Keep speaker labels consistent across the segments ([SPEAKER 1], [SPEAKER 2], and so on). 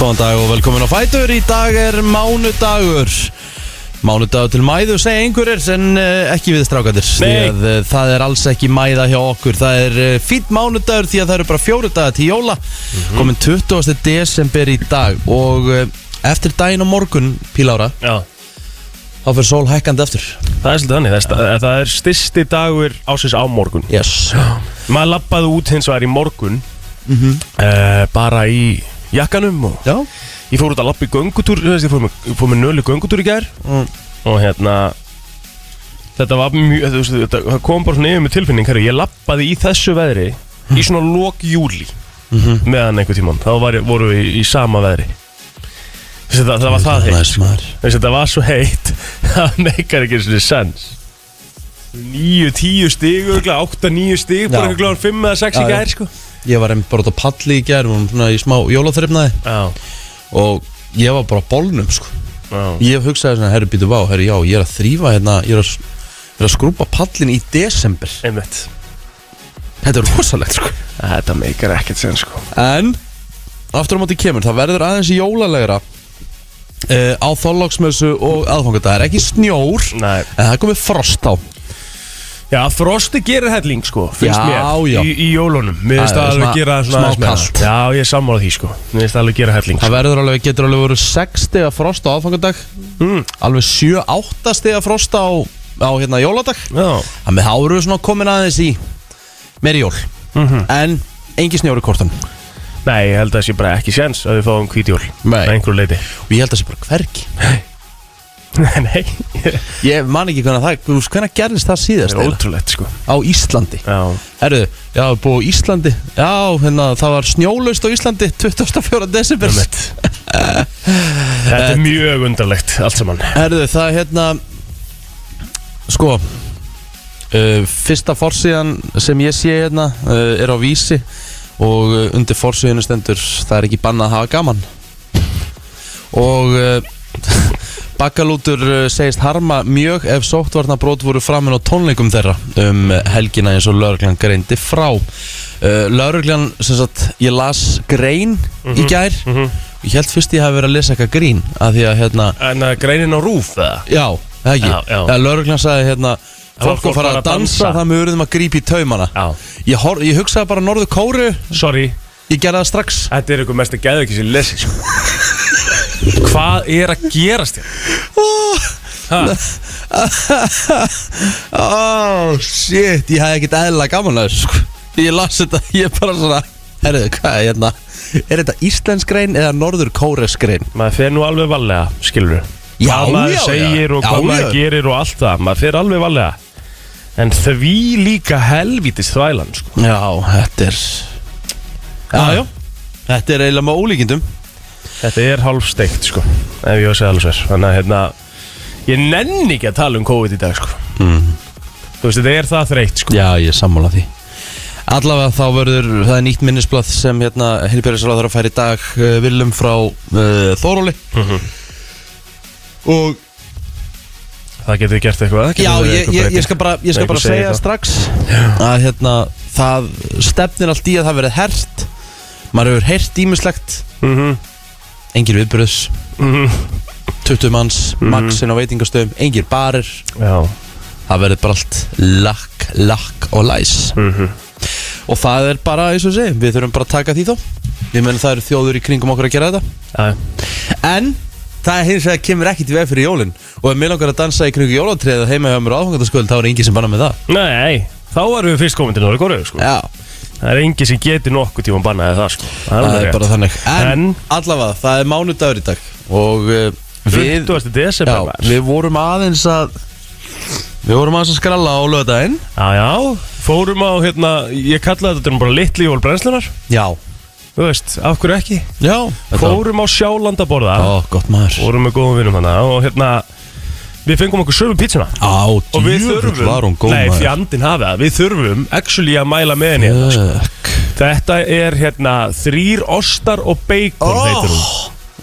[SPEAKER 1] Góðan dag og velkomin á Fætur Í dag er mánudagur Mánudagur til mæðu, segja einhverjir En eh, ekki við strákandir Því
[SPEAKER 2] Nei.
[SPEAKER 1] að eh, það er alls ekki mæða hjá okkur Það er eh, fínn mánudagur því að það eru bara fjóru dagar til jóla Komin 20. desember í dag Og eh, eftir daginn og morgun, Pílára
[SPEAKER 2] Já,
[SPEAKER 1] Þá fyrir sól hækkandi eftir
[SPEAKER 2] það er svolítið þannig, það er, sta- það er styrsti dagur ásins á morgun
[SPEAKER 1] Yes
[SPEAKER 2] Maður lappaði út hins vegar í morgun eh, Bara í jakkanum og
[SPEAKER 1] Já
[SPEAKER 2] Ég fór út að lappa í göngutúr, þú veist, ég fór með, ég fór með nölu göngutúr í gær
[SPEAKER 1] Mm.
[SPEAKER 2] Og hérna, þetta var mjög, þú veist, þetta það kom bara svona yfir með tilfinning Herru, ég lappaði í þessu veðri í svona lok júli Meðan einhver tíman, þá var, ég- vorum við í, í sama veðri Þú veist, það, það var það heitt
[SPEAKER 1] Nice, maður.
[SPEAKER 2] Þú veist, þetta var svo heitt það meikar ekki svona sens 9, 10 stig 8, 9 stig, bara
[SPEAKER 1] Já.
[SPEAKER 2] eitthvað gláðan 5 eða 6
[SPEAKER 1] Já,
[SPEAKER 2] í
[SPEAKER 1] já.
[SPEAKER 2] gær sko
[SPEAKER 1] Ég var einmitt bara út á palli í gerð Svona í smá jólaþrifnaði
[SPEAKER 2] Já,
[SPEAKER 1] Og ég var bara á bolnum sko
[SPEAKER 2] já,
[SPEAKER 1] Ég hugsaði svona, herru, býtu vá, herru, já, ég er að þrýfa hérna, ég er að, ég er að skrúpa pallin í desember.
[SPEAKER 2] einmitt
[SPEAKER 1] Þetta er rosalegt, sko.
[SPEAKER 2] Þetta meikar ekkert sens sko
[SPEAKER 1] En, aftur á móti kemur, það verður aðeins jólalegra uh, á þóllagsmessu og aðfangadagar. Ekki snjór,
[SPEAKER 2] Nei.
[SPEAKER 1] en það er komið frost á.
[SPEAKER 2] Já, frosti gerir helling sko, finnst
[SPEAKER 1] Já,
[SPEAKER 2] mér
[SPEAKER 1] já.
[SPEAKER 2] Í, í jólunum, mér finnst
[SPEAKER 1] Já,
[SPEAKER 2] það
[SPEAKER 1] já,
[SPEAKER 2] alveg
[SPEAKER 1] smá-
[SPEAKER 2] gera
[SPEAKER 1] smá
[SPEAKER 2] svona aðeins meira.
[SPEAKER 1] kalt.
[SPEAKER 2] Já, ég er sammála því sko, mér finnst það alveg gera helling sko.
[SPEAKER 1] Það verður alveg, getur alveg verið 6 stiga frost á aðfangadag,
[SPEAKER 2] Mm.
[SPEAKER 1] alveg 7-8 stiga frost á, á hérna jóladag.
[SPEAKER 2] Já,
[SPEAKER 1] Þannig að þá eru við svona komin aðeins í meiri jól.
[SPEAKER 2] Mhm.
[SPEAKER 1] En, engi snjór í kortan.
[SPEAKER 2] nei, ég held að það sé bara ekki sens að við fáum hvítjól
[SPEAKER 1] Nei.
[SPEAKER 2] Að einhverju leiti
[SPEAKER 1] Og ég held að það sé bara hvergi.
[SPEAKER 2] Nei, nei, það
[SPEAKER 1] Ég man ekki hvernig það, þú veist, hvernig gerðist það síðast
[SPEAKER 2] er
[SPEAKER 1] eiginlega?
[SPEAKER 2] ótrúlegt sko
[SPEAKER 1] á Íslandi
[SPEAKER 2] Já,
[SPEAKER 1] Herðu, já, við búið á Íslandi Já, hérna, það var snjólaust á Íslandi 24. desember
[SPEAKER 2] Einmitt. Þetta er mjög undarlegt allt saman
[SPEAKER 1] Herðu, það er hérna Sko uh, Fyrsta forsíðan sem ég sé hérna uh, er á vísi og uh, undir forsíðinu stendur það er ekki bannað að hafa gaman og uh, Bakkalútur uh, segist harma mjög ef sóttvarnabrót voru framin á tónleikum þeirra um uh, helgina eins og lauruglan greindi frá uh, Lauruglan, sem sagt, ég las grein í gær ég held fyrst ég hafi verið að lesa eitthvað grín af því að hérna
[SPEAKER 2] En að greinin á rúf eða?
[SPEAKER 1] Já, það ekki
[SPEAKER 2] Já, já.
[SPEAKER 1] Það Lörglann sagði hérna
[SPEAKER 2] Það var
[SPEAKER 1] Fólk að fara að dansa, þannig að við verðum að grípa í taumana
[SPEAKER 2] Já
[SPEAKER 1] ég, hor, ég hugsaði bara norðu kóru
[SPEAKER 2] Sorry,
[SPEAKER 1] Ég gerði það strax
[SPEAKER 2] þetta er eitthvað mest að geða ekki sér lesi sko. Hvað er að gerast hérna? þér?
[SPEAKER 1] Oh shit, ég hafði ekkert eðla gaman að þessu sko. Ég las þetta, ég bara svona Herðu, hvað er hérna Er þetta íslensk grein eða norður kóres grein?
[SPEAKER 2] Maður fer nú alveg valega, skilur við
[SPEAKER 1] Já,
[SPEAKER 2] Hvað
[SPEAKER 1] já, já.
[SPEAKER 2] maður segir og
[SPEAKER 1] Já,
[SPEAKER 2] hvað
[SPEAKER 1] já.
[SPEAKER 2] maður gerir og allt það Maður fer alveg valega En því líka helvítist þvælan sko.
[SPEAKER 1] Já, þetta er Já, já Þetta er eiginlega með ólíkindum
[SPEAKER 2] Þetta er hálfsteikt sko Ef ég á að segja alveg sér Þannig að hérna Ég nenni ekki að tala um COVID í dag sko Þú veist, þetta er það þreytt sko
[SPEAKER 1] Mm. Já, ég er sammála því Allavega þá verður, það er nýtt minnisblad sem hérna Hilbjörðisráður að færi í dag uh, Viljum frá uh, Þóróli
[SPEAKER 2] Mhm.
[SPEAKER 1] Og
[SPEAKER 2] Það getur þið gert eitthvað það getur
[SPEAKER 1] já,
[SPEAKER 2] þið
[SPEAKER 1] ég,
[SPEAKER 2] eitthvað
[SPEAKER 1] ég, ég
[SPEAKER 2] breyting.
[SPEAKER 1] skal bara, ég skal
[SPEAKER 2] Einhver
[SPEAKER 1] bara
[SPEAKER 2] segir
[SPEAKER 1] segja
[SPEAKER 2] það.
[SPEAKER 1] strax Að hérna, það stefnir allt í að það verið hert Maður hefur hert ímislegt
[SPEAKER 2] Mhm,
[SPEAKER 1] Engir viðbröðs,
[SPEAKER 2] mhm.
[SPEAKER 1] 20 manns, mm á veitingastöðum Engir barir,
[SPEAKER 2] Já,
[SPEAKER 1] það verður bara allt Lakk, lakk og læs
[SPEAKER 2] mhm.
[SPEAKER 1] Og það er bara, eins og ég segi, við þurfum bara að taka því þá Við menn það eru þjóður í kringum okkur að gera þetta
[SPEAKER 2] Já,
[SPEAKER 1] En það er hins vegar kemur ekkit í veg fyrir jólin Og ef mér langar að dansa í kringu jólatriðið heima hjá mér á aðfangandaskvöld Þá er engin sem banna með það
[SPEAKER 2] Nei, þá erum við fyrst komin til Norður Kóru sko.
[SPEAKER 1] Já,
[SPEAKER 2] Það er engi sem getur nokkuð tíma bannaði það sko. Það
[SPEAKER 1] það er
[SPEAKER 2] er
[SPEAKER 1] bara þannig En,
[SPEAKER 2] En-
[SPEAKER 1] allavega, það er mánudagur í dag Og uh,
[SPEAKER 2] Við,
[SPEAKER 1] við,
[SPEAKER 2] 20.
[SPEAKER 1] já,
[SPEAKER 2] desember já,
[SPEAKER 1] við vorum aðeins að Við vorum aðeins að skralla á lögdaginn
[SPEAKER 2] já, já, fórum á hérna Ég kallaði þetta bara litli jól brennslunar
[SPEAKER 1] Já,
[SPEAKER 2] Þú veist, af hverju ekki
[SPEAKER 1] já
[SPEAKER 2] Fórum á sjálandaborða
[SPEAKER 1] Ó, gott maður
[SPEAKER 2] Fórum með góðum vinum hana Og hérna, við fengum okkur sömu pítsuna
[SPEAKER 1] Á,
[SPEAKER 2] Og við
[SPEAKER 1] djöfull var hún
[SPEAKER 2] þurfum,
[SPEAKER 1] góð
[SPEAKER 2] nei
[SPEAKER 1] maður
[SPEAKER 2] fjandinn hafi það Við þurfum actually að mæla með henni hérna, sko.
[SPEAKER 1] Fuck.
[SPEAKER 2] Þetta er hérna Þrýr ostar og bacon heitir hún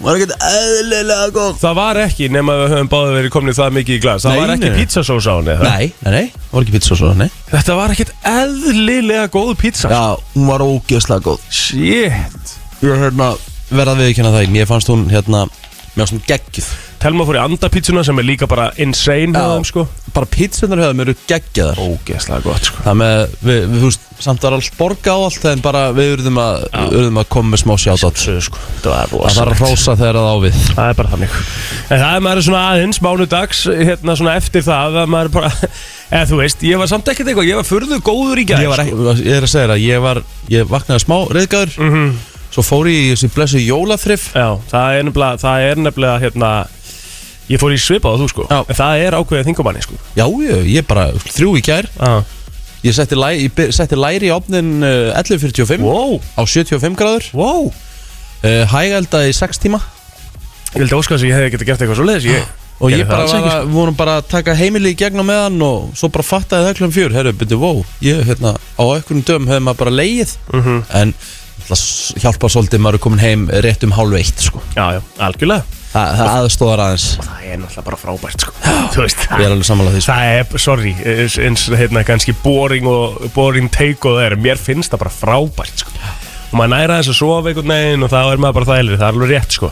[SPEAKER 1] Var ekkert eðlilega góð
[SPEAKER 2] Það var ekki nema við höfum báði verið komnið það mikið í glas Það
[SPEAKER 1] Nei,
[SPEAKER 2] var ekki
[SPEAKER 1] nei.
[SPEAKER 2] pizzasós á henni það.
[SPEAKER 1] Nei, nei, nei, var ekki pizza svo, nei
[SPEAKER 2] Þetta var ekkert eðlilega góð pizza
[SPEAKER 1] Já, hún var ógeðslega góð
[SPEAKER 2] Shit
[SPEAKER 1] Ég er hérna, verða við ekki hérna það Mér fannst hún hérna Mér fannst hún geggjuð
[SPEAKER 2] Telma fór í andapítsuna sem er líka bara insane
[SPEAKER 1] Já.
[SPEAKER 2] hjá þeim sko
[SPEAKER 1] Bara pítsunar höfðum eru geggjaðar
[SPEAKER 2] Ógeðslega gott sko
[SPEAKER 1] Það með, við, við, þú veist, samt var allt borga á allt En bara við urðum að, urðum að koma með smá sjátt
[SPEAKER 2] Svo, sko, Það var
[SPEAKER 1] Það þarf að hrósa þegar það á við
[SPEAKER 2] Það er bara þannig En það er maður svona aðeins mánudags hérna svona eftir það að maður bara eða þú veist, ég var samt ekkert eitthvað ég var furðu góður í sko. gæð
[SPEAKER 1] ég, var ekki, ég er að segja það, ég var Ég vaknaði smá reyðgæður
[SPEAKER 2] Mhm.
[SPEAKER 1] Svo fór ég í þessi blessu jólaþrif
[SPEAKER 2] Já, það er nefnilega, það er nefnilega hérna, ég fór í svipað á þú sko
[SPEAKER 1] Já.
[SPEAKER 2] en það er ákveðið þingumanni sko
[SPEAKER 1] Já, ég, ég bara þrjú í gær
[SPEAKER 2] ah.
[SPEAKER 1] Ég setti, læ, ég byr- setti læri í opnin uh, 11.45
[SPEAKER 2] Wow,
[SPEAKER 1] á 75 gráður
[SPEAKER 2] wow
[SPEAKER 1] uh, Hægælda í 6 tíma
[SPEAKER 2] Ég held að óskast að ég hefði getið gert eitthvað svo leiðis ég,
[SPEAKER 1] Og
[SPEAKER 2] gerði
[SPEAKER 1] ég
[SPEAKER 2] það
[SPEAKER 1] bara
[SPEAKER 2] alls
[SPEAKER 1] var
[SPEAKER 2] ekki, sko.
[SPEAKER 1] að, vorum bara að taka heimili í gegnum meðan og svo bara fattaði það klum fjör Herru, byrju, wow, ég, hérna, á einhvern dögum hefði maður bara leið -hmm.
[SPEAKER 2] Mhm.
[SPEAKER 1] En það hjálpar svolítið, maður er komin heim rétt um hálf eitt, sko
[SPEAKER 2] sko. Já, já, algjörlega
[SPEAKER 1] Þa, Það aðstóðar aðeins,
[SPEAKER 2] Það er náttúrulega bara frábært sko Þú veist,
[SPEAKER 1] ég er alveg sammála því, sko
[SPEAKER 2] Það er, sorry, eins, eins hérna kannski boring og boring take og það er, mér finnst það bara frábært sko. og maður næra þess að sofa einhvern veginn og þá er maður bara þælir, það er alveg rétt sko.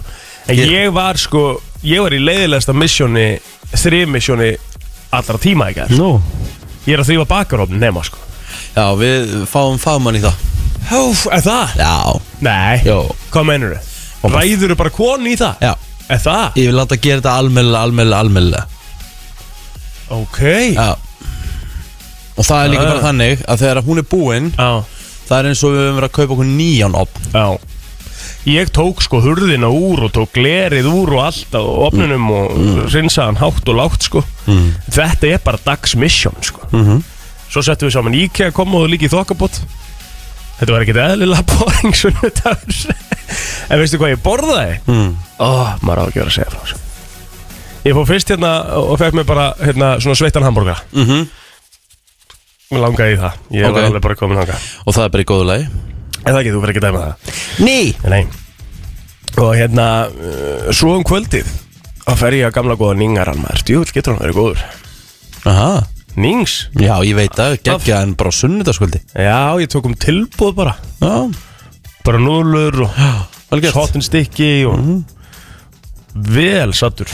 [SPEAKER 2] en
[SPEAKER 1] Ég-
[SPEAKER 2] ég var sko, ég var í leiðilegasta missjóni, þrjumissjóni allra tíma ekki
[SPEAKER 1] Nú
[SPEAKER 2] ég er að þrýfa bakarofn nema sko
[SPEAKER 1] Já, við fáum fagmann í það
[SPEAKER 2] Hóf, er það?
[SPEAKER 1] Já,
[SPEAKER 2] Nei,
[SPEAKER 1] já,
[SPEAKER 2] hvað meinur þau?
[SPEAKER 1] Og bara-
[SPEAKER 2] Ræður þau bara konu í það?
[SPEAKER 1] já
[SPEAKER 2] Er það?
[SPEAKER 1] Ég vil láta gera þetta almennilega, almennilega, almennilega
[SPEAKER 2] Ok
[SPEAKER 1] Já Og það er líka
[SPEAKER 2] Já.
[SPEAKER 1] bara þannig að þegar hún er búinn
[SPEAKER 2] Já,
[SPEAKER 1] Það er eins og við höfum verið að kaupa okkur nýjan opn
[SPEAKER 2] já Ég tók sko hurðina úr og tók glerið úr og allt á opnunum og mm. rinsaðan hátt og lágt sko Þetta er bara dagsmission sko
[SPEAKER 1] Mhm.
[SPEAKER 2] Svo settum við saman IKEA komoðu líka í þokkabót Þetta var ekkert eðlilega boring sunnudagur En veistu hvað ég borðaði?
[SPEAKER 1] mm.
[SPEAKER 2] Ó, maður á ekki verið að segja frá þessu Ég fór fyrst hérna og fekk mér bara hérna, svona sveittan hambúrgara
[SPEAKER 1] mm
[SPEAKER 2] Mér langaði í það Ég
[SPEAKER 1] Ok.
[SPEAKER 2] var alveg bara komin þangað
[SPEAKER 1] Og það er bara í góðu lagi
[SPEAKER 2] En það getur þú fyrir ekki að dæma það
[SPEAKER 1] Ný
[SPEAKER 2] Nei Og hérna, uh, svo um kvöldið að fer ég að gamla góða Ningaran maður Djúvill getur hann verið góður
[SPEAKER 1] Aha.
[SPEAKER 2] Nings?
[SPEAKER 1] Já, ég veit það, geggja en bara á sunnudaskvöldi
[SPEAKER 2] Já, ég tók um tilbúð bara
[SPEAKER 1] Já,
[SPEAKER 2] Bara núðlur og
[SPEAKER 1] vel gert
[SPEAKER 2] Sotin stikki og Vel sattur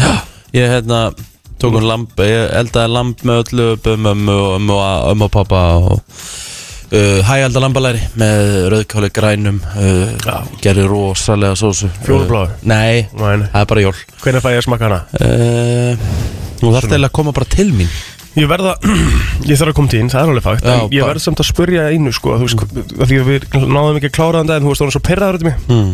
[SPEAKER 1] Ég hérna, tók hún lamp Ég eldaði lamp með öllu upp um ömmu og ömmu og ömmu og pappa og uh, hægælda lambalæri með rauðkáli grænum uh,
[SPEAKER 2] Já.
[SPEAKER 1] Gerði rosalega sósu
[SPEAKER 2] Fjólubláu?
[SPEAKER 1] Uh, Nei,
[SPEAKER 2] Nei, nei.
[SPEAKER 1] það er bara jól
[SPEAKER 2] Hvenær fæ ég að smaka hana?
[SPEAKER 1] uh, Þú þarft eiginlega að koma bara til mín
[SPEAKER 2] Ég verða, ég þarf að koma til inn, það er alveg fakt
[SPEAKER 1] Já,
[SPEAKER 2] en Ég
[SPEAKER 1] bara-
[SPEAKER 2] verð samt að spurja einu sko Þú veist, af því að við náðum ekki að klára þann dag En þú veist, það var svo perraður út í mig
[SPEAKER 1] mm.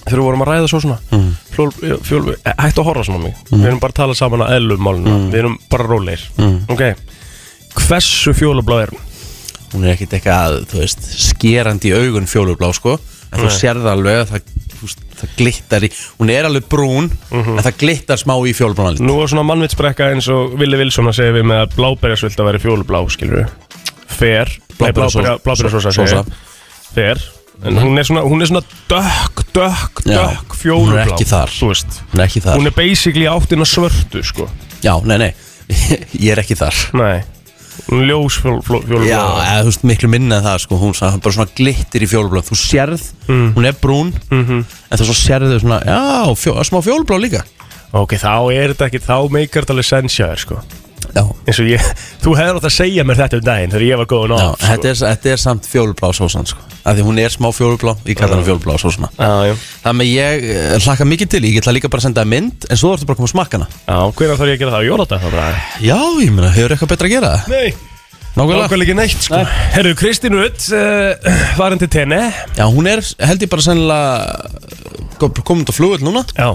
[SPEAKER 2] þegar við vorum að ræða svo svona mm. fjól, fjól, hættu eh, að horfa svona á mig við erum bara að tala saman að eðlum málunum við erum bara rólegir
[SPEAKER 1] Mm.
[SPEAKER 2] ok, hversu fjólubláð er hún?
[SPEAKER 1] hún er ekkert eitthvað, þú veist, skerandi í augun fjólublá, sko en þú
[SPEAKER 2] Nei.
[SPEAKER 1] sérð alveg að það, þú veist, það glittar í hún er alveg brún, en það glittar smá í fjólublána lit
[SPEAKER 2] nú er svona mannvitsbrekka eins og Vili Vilsson að segja við með að bláberjasvilt að vera fjólblá skilur við, fer
[SPEAKER 1] Bláberjasósa.
[SPEAKER 2] bláberjasósa
[SPEAKER 1] Sósa.
[SPEAKER 2] fer, en hún er svona hún er svona dökk, dökk,
[SPEAKER 1] Já,
[SPEAKER 2] dökk
[SPEAKER 1] hún er
[SPEAKER 2] fjólblá,
[SPEAKER 1] ekki þar.
[SPEAKER 2] þú veist
[SPEAKER 1] hún er ekki þar,
[SPEAKER 2] hún er basically áttina svörtu sko,
[SPEAKER 1] já, nei, nei ég er ekki þar
[SPEAKER 2] nei hún er ljós fjól, fjól, fjólblá
[SPEAKER 1] já, eða, þú veist, miklu minna en það, sko hún sagði bara svona glittir í fjólublána, þú sérð hún er brún, en þú svo sérð þau svona, já, fjó, smá fjólublá líka
[SPEAKER 2] Ok, þá er þetta ekki, þá meikar þetta alveg sensjaður, sko
[SPEAKER 1] já,
[SPEAKER 2] eins og ég, þú hefur átt að segja mér þetta um daginn þegar ég var góðan á
[SPEAKER 1] já
[SPEAKER 2] sko.
[SPEAKER 1] þetta, er, þetta er samt fjólublá sósan, sko, af því hún er smá fjólublá ég kallar hann fjólublá sósana
[SPEAKER 2] Já, já,
[SPEAKER 1] Þannig að ég eh, hlakka mikið til, ég get það líka bara að senda þér mynd En svo ertu bara að koma að smakka hana
[SPEAKER 2] já, hvernig þarf ég að gera það á jólata þá bara
[SPEAKER 1] Já, ég meina, hefur eitthvað betra að gera það?
[SPEAKER 2] Nei,
[SPEAKER 1] Nákvæmlega
[SPEAKER 2] nákvæmlega ekki neitt, sko Herru, Kristín Rutt, uh, farin til tenni
[SPEAKER 1] Já, hún er, held ég bara sennilega Komund á flugul núna
[SPEAKER 2] Já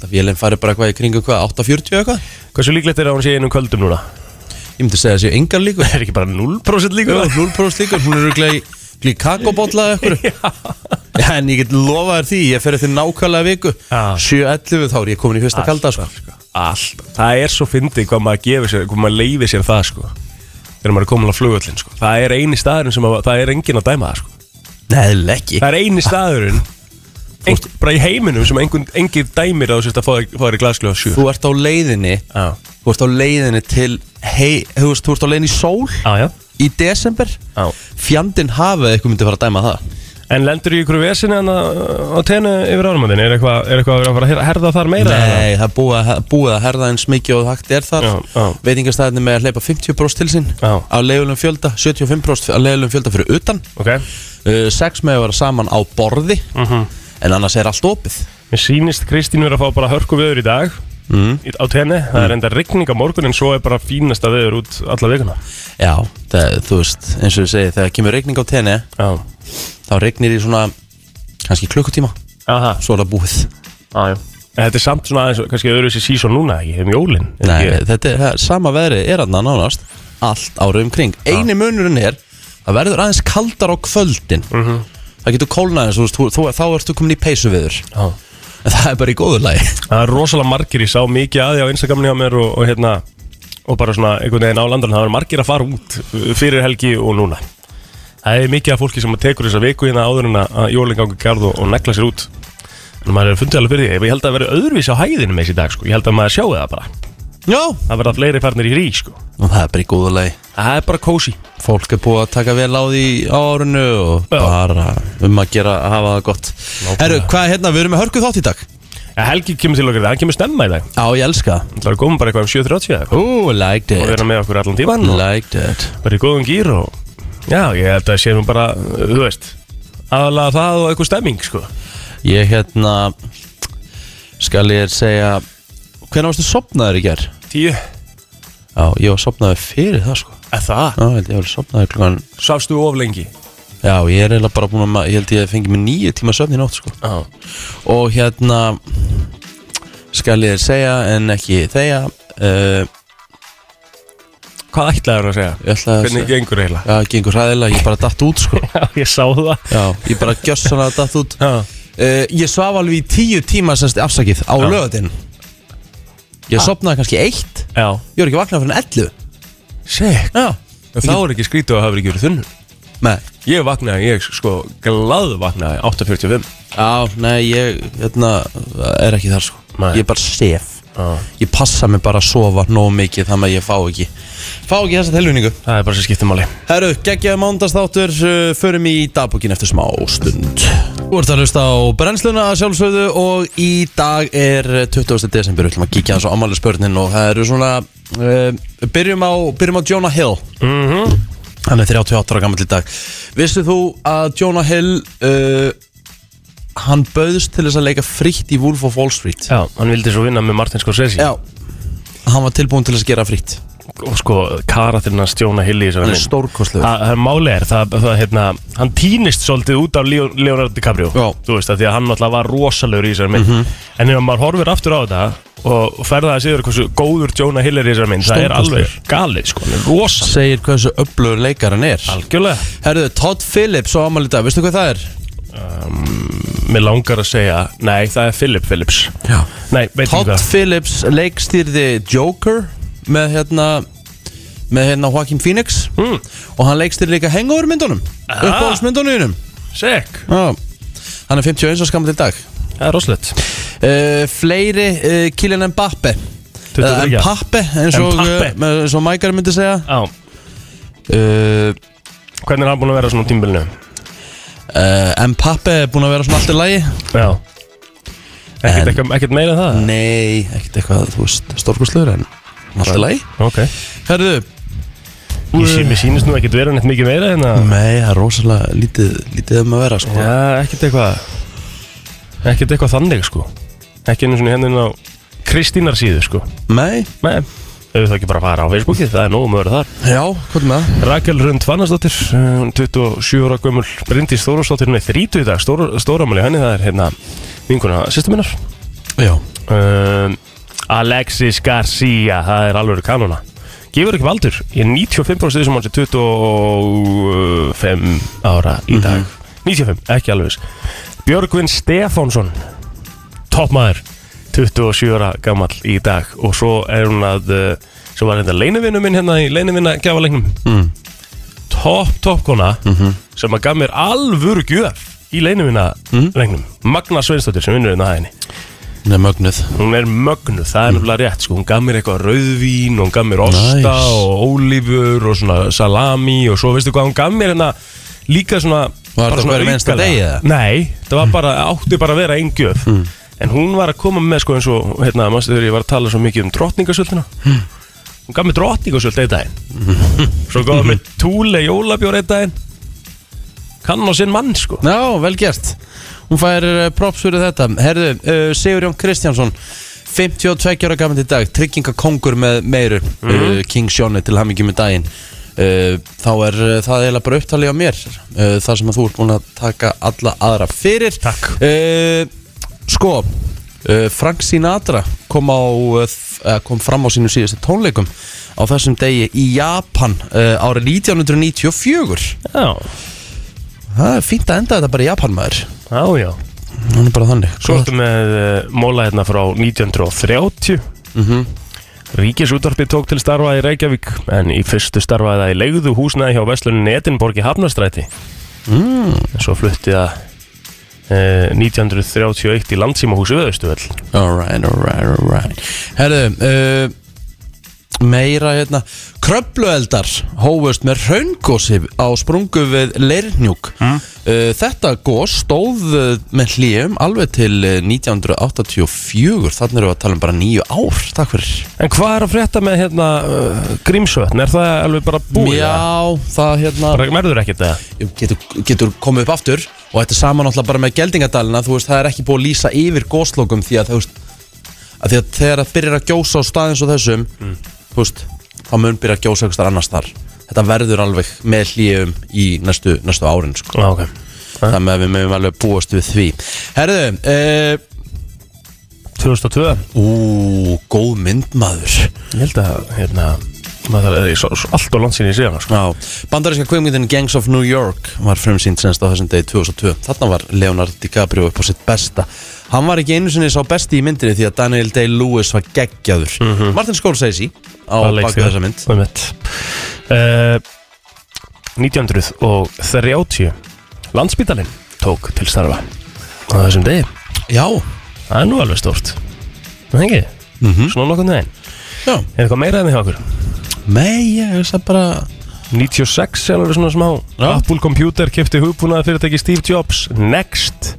[SPEAKER 1] Það vélinn fari bara eitthvað í kringu hvað, 8.40 eitthvað
[SPEAKER 2] Hversu líklegt er að hún sé einum kvöldum núna?
[SPEAKER 1] Ég myndi segja að séu engar líkur
[SPEAKER 2] Er ekki bara 0% líkur?
[SPEAKER 1] 0% líkur, hún er örugglega í Glikakobótla eða eitthvað Já, en ég get lofað þér því, ég fer eftir nákvæmlega viku
[SPEAKER 2] Já. Ah,
[SPEAKER 1] 7.11 þá er ég komin í fyrsta kalda sko.
[SPEAKER 2] Allt Það er svo fyndið hvað maður gefur sér, hvað maður leifir sér það, sko Þegar maður er komin á flugullin, sko Það er eini staðurinn sem að, það er engin að dæma það, sko
[SPEAKER 1] Nei, eiginlega ekki
[SPEAKER 2] Það er eini staðurinn ein, Bara í heiminum sem engin, engin dæmir að þú sérst að fá þér- fá þér í glasgljóða sjö
[SPEAKER 1] Þú ert á leiðinni
[SPEAKER 2] Já,
[SPEAKER 1] Þú ert á leiðinni til hei, þú, veist, þú ert á leiðinni í sól
[SPEAKER 2] já, já
[SPEAKER 1] í desember
[SPEAKER 2] Já.
[SPEAKER 1] Fjandinn hafið eitthvað myndi fara að dæma það
[SPEAKER 2] En lendur í ykkur vesinu hann á tennu yfir árumöndin? Er eitthvað er eitthvað að vera að fara að her- herða þar meira?
[SPEAKER 1] Nei, það er búið að, búið að herða eins mikið og hægt er þar
[SPEAKER 2] Já, já.
[SPEAKER 1] Veitingastæðinni með að hleypa 50% til sín
[SPEAKER 2] Já.
[SPEAKER 1] Á leiðulegum fjölda, 75% á leiðulegum fjölda fyrir utan
[SPEAKER 2] Ok,
[SPEAKER 1] uh, Sex með að vera saman á borði En annars er allt opið
[SPEAKER 2] mér sýnist Kristín verið að fá bara hörku viður í dag
[SPEAKER 1] mm.
[SPEAKER 2] í- á tenni. Það er enda rigning á morgun en svo er bara fínasta viður út alla vikuna.
[SPEAKER 1] Já, það, þú veist, eins og ég segi Þegar kemur regning á tenni,
[SPEAKER 2] Já,
[SPEAKER 1] þá regnir í svona Kanski klukkutíma,
[SPEAKER 2] aha,
[SPEAKER 1] svo er það búið
[SPEAKER 2] aðjá. En þetta er samt svona aðeins, kannski öðru sér sísón núna, ekki, um jólinn. er
[SPEAKER 1] Nei,
[SPEAKER 2] ekki?
[SPEAKER 1] þetta er, það, er- sama veðri er hann nánast Allt ára umkring Einu munurinn er að verður aðeins kaldar á kvöldin Það getur kólnað eins þú veist, þú- þú- Þá ertu komin í peysu
[SPEAKER 2] Já.
[SPEAKER 1] En það er bara í góðu lagi
[SPEAKER 2] Það er rosalega margir, ég sá mikið aði á Instagraminu á mér og, og hérna og bara svona einhvern veginn á landarinn, það er margir að fara út uh, fyrir helgi og núna Það er mikið af fólki sem tekur þessa viku hérna áður en að að jólin gangi í garð og, og negla sér út en maður er fundið alveg fyrir því, ég held að vera öðruvísi á hæðinu með þessi dag sko, ég held að maður sjáu það bara
[SPEAKER 1] Já
[SPEAKER 2] það verða fleiri farnir í rík sko
[SPEAKER 1] Og það er bara í góðu lagi
[SPEAKER 2] Það er bara kósi
[SPEAKER 1] Fólk er búið að taka vel á því á árinu Og
[SPEAKER 2] Já.
[SPEAKER 1] bara um að gera að hafa það gott Herru, hvað er hérna, við erum með hörku þátt í dag
[SPEAKER 2] ja, Helgi kemur til okkar, hann kemur stemma í dag
[SPEAKER 1] Já, ég elska það.
[SPEAKER 2] Það er komin bara eitthvað um 7.30 eða eitthvað
[SPEAKER 1] Ú, liked
[SPEAKER 2] og
[SPEAKER 1] it
[SPEAKER 2] vera með okkur allan tíman og
[SPEAKER 1] Liked it
[SPEAKER 2] bara í góðum gýr og já, ég held að sé nú bara, uh, þú veist aðalega það og eitthvað stemming, sko
[SPEAKER 1] Ég hérna Skal ég segja Hvernig varstu sopnaður í gerð?
[SPEAKER 2] Tíu,
[SPEAKER 1] Já, ég var sopnaður fyrir það sko
[SPEAKER 2] eða það
[SPEAKER 1] Já, ég held ég var sopnaður klukkan
[SPEAKER 2] Svafstu of lengi
[SPEAKER 1] Já, ég er eiginlega bara búin að ma- Ég held ég fengi mig nýju tíma söfn í nótt sko
[SPEAKER 2] Já,
[SPEAKER 1] Og hérna Skal ég segja en ekki þegja uh,
[SPEAKER 2] hvað ætlaður að segja?
[SPEAKER 1] Ég ætla að
[SPEAKER 2] Hvernig
[SPEAKER 1] segja
[SPEAKER 2] gengur eiginlega?
[SPEAKER 1] Já, gengur hræðilega, ég bara datt út sko
[SPEAKER 2] Já, ég sá það
[SPEAKER 1] Já, ég bara gjössanlega datt út
[SPEAKER 2] Já,
[SPEAKER 1] uh, Ég svaf alveg í tíu tíma semst afsakið á löðin Ég sopnaði kannski eitt
[SPEAKER 2] já
[SPEAKER 1] Ég var ekki vaknað fyrir en 11
[SPEAKER 2] Sek
[SPEAKER 1] Já
[SPEAKER 2] Þá er ekki skrítið að hafa ekki verið þunnur
[SPEAKER 1] Nei
[SPEAKER 2] Ég vaknaði, ég sko, glaðu vaknaði 8.45
[SPEAKER 1] Já, nei, ég hérna, er ekki þar sko
[SPEAKER 2] Nei.
[SPEAKER 1] Ég bara sef
[SPEAKER 2] Já.
[SPEAKER 1] Ég passa mig bara að sofa nóg mikið þannig að ég fá ekki Fá ekki þessa tilvinningu
[SPEAKER 2] Það er bara sem skiptir máli
[SPEAKER 1] Herru, geggjaði mándastáttur uh, Förum í dagbúkin eftir smá stund Þú ert að hlusta á brennsluna að sjálfsögðu Og í dag er uh, 20. desember Þú ætlum að kíkja hans á ammali spörnin Og það eru svona uh, byrjum, á, byrjum á Jonah Hill
[SPEAKER 2] mm
[SPEAKER 1] Hann er 38 ára gammal í dag Vissu þú að Jonah Hill uh, Hann bauðst til þess að leika fritt í Wolf of Wall Street
[SPEAKER 2] Já, hann vildi svo vinna með Martin Scorsese
[SPEAKER 1] Já Hann var tilbúin til þess að gera fritt
[SPEAKER 2] Og sko, karatinn að stjóna hilli í þessu
[SPEAKER 1] Hann er stórkostlegur
[SPEAKER 2] Það það er máli er, það, það, hérna, hann týnist svolítið út af Leo- Leonardo DiCaprio
[SPEAKER 1] Já. Mhm.
[SPEAKER 2] Þú veist það, því að hann alltaf var rosalegur í þessari mynd En ef maður horfir aftur á þetta og ferða það síður hversu góður Jonah Hill er í þessari mynd Það er
[SPEAKER 1] Stórkostlegur.
[SPEAKER 2] alveg galið, sko, hann er rosalegur
[SPEAKER 1] Segir hversu öflugur leikar hann er
[SPEAKER 2] Algjörlega
[SPEAKER 1] Herðu, Todd Phillips á ammali í dag, veistu hvað það er?
[SPEAKER 2] Mér langar að segja, nei, það er Philip Phillips
[SPEAKER 1] Já
[SPEAKER 2] Nei, veit ekki
[SPEAKER 1] Todd
[SPEAKER 2] hvað
[SPEAKER 1] Phillips leikstýrði Joker með hérna með hérna Joaquin Phoenix
[SPEAKER 2] Mm.
[SPEAKER 1] og hann leikstýrði líka Hangover myndunum
[SPEAKER 2] Aha.
[SPEAKER 1] uppáhaldsmyndunum þínum.
[SPEAKER 2] Sek,
[SPEAKER 1] Já. hann er 51 og skammal í dag
[SPEAKER 2] það er rosalegt
[SPEAKER 1] uh, fleiri uh, Kylian Mbappe
[SPEAKER 2] 23
[SPEAKER 1] Eða Mbappe eins og,
[SPEAKER 2] Mbappe.
[SPEAKER 1] uh, eins og Mækar myndi segja
[SPEAKER 2] Já,
[SPEAKER 1] uh,
[SPEAKER 2] hvernig er hann búin að vera svona á tímbilinu?
[SPEAKER 1] uh, Mbappe er búin að vera svona allt í lagi
[SPEAKER 2] Já Ekkert, ekkert, ekkert meira en það?
[SPEAKER 1] nei, ekkert eitthvað, þú veist, stórkursluður en allt í lagi
[SPEAKER 2] Ok
[SPEAKER 1] Herðu,
[SPEAKER 2] Ég sé, mér sýnist nú ekkert vera neitt mikið meira hérna. en að
[SPEAKER 1] Nei, það er rosalega lítið, lítið um að vera sko.
[SPEAKER 2] Já, ekkert eitthvað Ekkert eitthvað þannig sko Ekki einu svona hennin á Kristínar síðu sko
[SPEAKER 1] Nei,
[SPEAKER 2] Nei Þau þá ekki bara að fara á Facebookið, það er nóg um að vera þar
[SPEAKER 1] já, hvað með það?
[SPEAKER 2] Rakel Rund Fannasdóttir, eh, 27 ára gömul Bryndís Þórósdóttir, hún er 30 í dag stór, Stóramæli henni, það er hérna Vinkuna sýstu minnar
[SPEAKER 1] Já,
[SPEAKER 2] um, Alexis Garcia, það er alveg kanona Gefur ekki valdur, ég er 95% þessum hans er 25 ára í dag 95, ekki alveg viss. Björgvin Stefánsson toppmaður 27 ára gammal í dag og svo er hún að uh, sem var hérna leinivinu minn hérna í leinivinna gjafalegnum mm. topp toppkona sem að gaf mér alvöru gjöf í leinivinna legnum Magna Sveinsdóttir sem vinnur hérna að henni
[SPEAKER 1] hún er mögnuð
[SPEAKER 2] hún er mögnuð, það er nefnilega rétt sko. hún gaf mér eitthvað rauðvín, hún gaf mér osta
[SPEAKER 1] Mm. Nice.
[SPEAKER 2] og ólífur og svona salami og svo veistu hvað, hún gaf mér hérna líka svona
[SPEAKER 1] Var
[SPEAKER 2] Bara
[SPEAKER 1] þetta
[SPEAKER 2] svona
[SPEAKER 1] hverjum einsta
[SPEAKER 2] aukalega.
[SPEAKER 1] degi eða? Mm.
[SPEAKER 2] Nei, það var bara, átti bara að vera einn gjöf En hún var að koma með sko eins og Hérna, mástu þegar ég var að tala svo mikið um drottningasöldina
[SPEAKER 1] Mm.
[SPEAKER 2] Hún gaf mér drottningasöld einn daginn Svo gaf hún mér túle jólabjór einn daginn Kann á sinn mann sko
[SPEAKER 1] Já, vel gert Hún fær uh, props fyrir þetta Herðu, uh, Sigurjón Kristjánsson 52 ára gaman í dag Tryggingakongur með meiru uh, King Sjóni til hamingi með daginn uh, Þá er uh, það eiginlega bara upptalið á mér uh, Það sem að þú ert búin að taka alla aðra fyrir
[SPEAKER 2] Takk.
[SPEAKER 1] uh, Sko uh, Frank Sinatra kom, á, uh, f- eh, kom fram á sínum síðustu tónleikum á þessum degi í Japan uh, árið 1994
[SPEAKER 2] Já,
[SPEAKER 1] Það er fínt að enda þetta bara í Japan maður
[SPEAKER 2] já, já
[SPEAKER 1] Hún er bara þannig
[SPEAKER 2] Svo ertu með uh, móla hérna frá 1930
[SPEAKER 1] mm
[SPEAKER 2] Ríkisútvarpið tók til starfa í Reykjavík en í fyrstu starfaði það í leiðu húsnaði hjá Veslunin Edinborg í Hafnastræti mm. Svo flutti það uh, 1931 í landsímahúsi Veðustuvel
[SPEAKER 1] Alright, alright, alright Herðu, uh, meira hérna Kröplueldar hófust með raungósi á sprungu við Leirnjúk uh, Þetta gós stóð uh, með hlýjum alveg til uh, 1984 Þannig erum við að tala um bara nýju ár Takk fyrir
[SPEAKER 2] En hvað er að frétta með hérna uh, Grímsvötn? Er það alveg bara búið?
[SPEAKER 1] Já, það hérna
[SPEAKER 2] Bara verður ekkert það?
[SPEAKER 1] getur, getur komið upp aftur og þetta er saman náttúrulega bara með geldingadalina þú veist, það er ekki búið að lýsa yfir góslokum því að þú veist að því að þegar það byrjar að gjósa á staðins og þessum þú veist, þá mun byrja að gjósa einhvers staðar annars þar þetta verður alveg með hlýjum í næstu, næstu árin sko.
[SPEAKER 2] Já, ok
[SPEAKER 1] þannig að við mögum alveg búast við því Herðu, uh,
[SPEAKER 2] 2002
[SPEAKER 1] ú, góð myndmaður
[SPEAKER 2] Ég held að hérna maður þarf- ég svo- svo allt á landsinni í síðan sko.
[SPEAKER 1] Já, bandaríska kveimgindin Gangs of New York var frumsýnd senst á þessum degi 2002 þarna var Leonardo DiCaprio upp á sitt besta hann var ekki einu sinni sá besti í myndinni því að Daniel Day-Lewis var geggjaður Martin Scorsese á
[SPEAKER 2] Það leikst
[SPEAKER 1] baku
[SPEAKER 2] þér.
[SPEAKER 1] þessa mynd
[SPEAKER 2] Einmitt. Eh, 1930 Landspítalinn tók til starfa á þessum degi
[SPEAKER 1] Já,
[SPEAKER 2] það er nú alveg stort það hengi,
[SPEAKER 1] Mhm.
[SPEAKER 2] svona nokkurn veginn
[SPEAKER 1] já,
[SPEAKER 2] er eitthvað meira hérna enn því okkur
[SPEAKER 1] mei, ég veist það bara
[SPEAKER 2] 96 er alveg svona smá
[SPEAKER 1] Já.
[SPEAKER 2] Apple Computer kefti hugbúnaða fyrirtæki Steve Jobs Next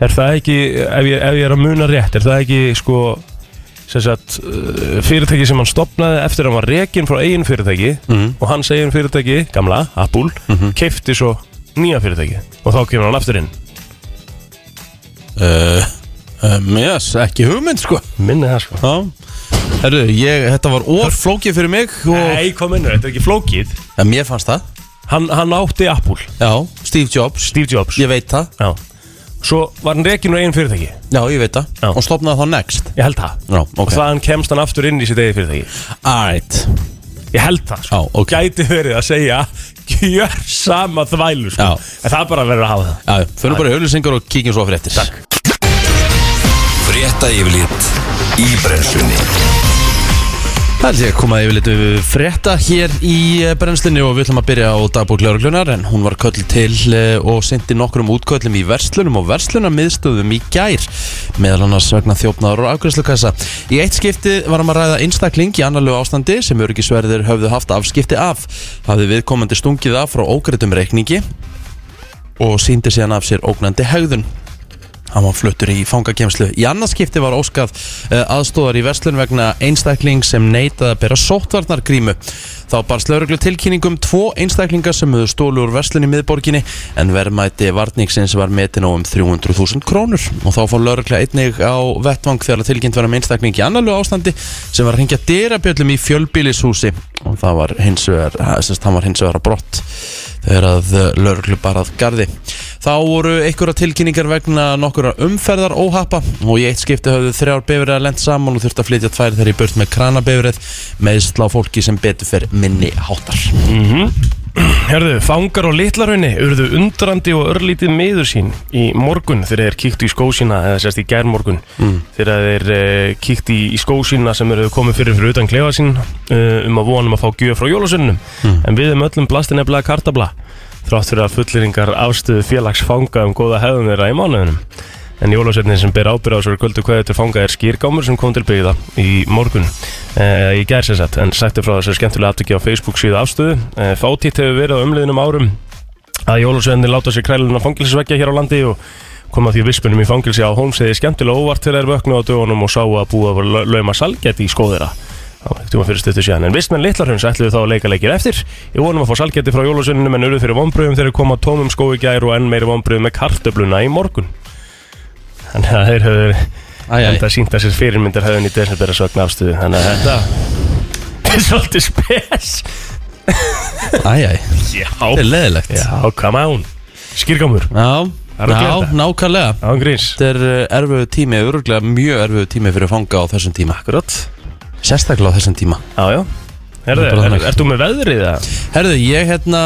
[SPEAKER 2] er það ekki, ef ég, ef ég er að muna rétt er það ekki sko sem sagt, uh, fyrirtæki sem hann stopnaði eftir að hann var rekinn frá eigin fyrirtæki
[SPEAKER 1] Mhm.
[SPEAKER 2] og hans eigin fyrirtæki, gamla, Apple mm kefti svo nýja fyrirtæki og þá kemur hann aftur inn
[SPEAKER 1] uh, um, yes, ekki hugmynd sko
[SPEAKER 2] minni það sko
[SPEAKER 1] Já, herru, ég, þetta var orflókið fyrir mig og
[SPEAKER 2] Nei, kom inn, þetta er ekki flókið
[SPEAKER 1] ja, mér fannst það,
[SPEAKER 2] hann, hann átti Apple,
[SPEAKER 1] já, Steve Jobs
[SPEAKER 2] Steve Jobs
[SPEAKER 1] ég veit það,
[SPEAKER 2] Já. svo var hann rekinn frá eigin fyrirtæki
[SPEAKER 1] já, ég veit það
[SPEAKER 2] Já.
[SPEAKER 1] og stopnaði þá next
[SPEAKER 2] ég held það
[SPEAKER 1] Já, ok.
[SPEAKER 2] og þaðan kemst hann aftur inn í sitt eigið fyrirtæki
[SPEAKER 1] Alright
[SPEAKER 2] Ég held það sko.
[SPEAKER 1] Já, ok.
[SPEAKER 2] Gæti verið að segja Gjör sama þvælu sko.
[SPEAKER 1] Já.
[SPEAKER 2] En það er bara verður að hafa það
[SPEAKER 1] Já, já, förum bara í auðlýsingar og kíkjum svo á fréttir
[SPEAKER 2] Takk.
[SPEAKER 3] Frétta yfirlit í brennslunni
[SPEAKER 1] Það er því að koma yfir litu frétta hér í eh, brennslunni og við ætlum að byrja á dagbúk lauruglunar en hún var köll til eh, og sendi nokkrum útköllum í verslunum og verslunarmiðstöðum í gær meðal annars vegna þjófnaður og afgræslukassa. Í eitt skipti var um að ræða einstakling í annarlegu ástandi sem öryggisverðir höfðu haft afskipti af. Hafði viðkomandi stungið af frá ógreitum reikningi og síndi síðan af sér ógnandi hegðun hann var fluttur í fangakemslu í annarskipti var óskað eh, aðstóðar í verslun vegna einstakling sem neitaði að bera sóttvarnargrímu þá barst lauruglu tilkynningum tvo einstaklinga sem höfðu stólu úr verslun í miðborginni en verðmæti varningsins var metin á um 300.000 krónur og þá fór laurugla einnig á vettvang þegar tilkynnt var um einstakling í annarlu ástandi sem var að hringja dyrabjöllum í fjölbýlishúsi og það var hins vegar, sérst, hann var hins vegar að brott þegar að lörglu bara að gardi. Þá voru einhverja tilkynningar vegna nokkura umferðar óhappa og í eitt skipti höfðu þrjár bifrið lent saman og þurfti að flytja tvær þegar í burt með kranabifrið með slá fólki sem betur fer minni hátar.
[SPEAKER 2] Mm-hmm. Herðu, fangar og litlarunni urðu undrandi og örlítið meður sín í morgun þegar þeir kíktu í skósina eða sérst í gærmorgun
[SPEAKER 1] Mm.
[SPEAKER 2] þegar þeir eh, kíktu í, í skósina sem eru komið fyrir fyrir utan klefa sín eh, um að vonum að fá gjöf frá jólasunum
[SPEAKER 1] Mm.
[SPEAKER 2] en við um öllum blasti nefnilega kartabla þrátt fyrir að fulleringar afstöðu félags fanga um góða hefðum þeirra í mánuðunum en jólasveitin sem ber ábyrð á svo kvöldu kveðu til fanga er skýrgámur sem kom til byggða í morgun eh, í gær sem sagt en sagti frá þessu skemmtilega aftöki á Facebook síðu afstöðu eh, fátítt hefur verið á umliðinum árum að jólasveinni láta sér krælun á fangilsveggja hér á landi og koma því vispunum í fangilsi á Holmseði skemmtilega óvart þegar þeir vöknu á dögunum og sáu að búa var lau- lauma salgæti í skóðera tíma fyrir stuttu síðan, en vistmenn Littlarhunds ætluðu þá að leika leikir eftir. Ég vonum að fá salgæti frá jólasveininum en urðu fyrir vonbröðum þegar þeir koma tómum skói gær og enn meiri vonbröðum með kartöfluna í morgun. Þannig að þeir höfðu
[SPEAKER 1] Æ, æ,
[SPEAKER 2] enda sínt að sér fyrirmyndar höfðun í desember að sögna afstöðu, þannig að þetta er svolítið spes.
[SPEAKER 1] æ, æ,
[SPEAKER 2] Já,
[SPEAKER 1] þetta er leðilegt Já,
[SPEAKER 2] já, come on. Skýrgámur, Það er að
[SPEAKER 1] já
[SPEAKER 2] gera þetta.
[SPEAKER 1] nákvæmlega
[SPEAKER 2] án gríns.
[SPEAKER 1] Þetta er uh, erfiðu tími, öruglega mjög erfiðu tími fyrir að fanga á þessum tíma
[SPEAKER 2] Akkurat.
[SPEAKER 1] Sérstaklega á þessum tíma
[SPEAKER 2] Já, já. Herðu,
[SPEAKER 1] Bara
[SPEAKER 2] er,
[SPEAKER 1] þannig.
[SPEAKER 2] ert þú með veðrið það?
[SPEAKER 1] Herðu, ég hérna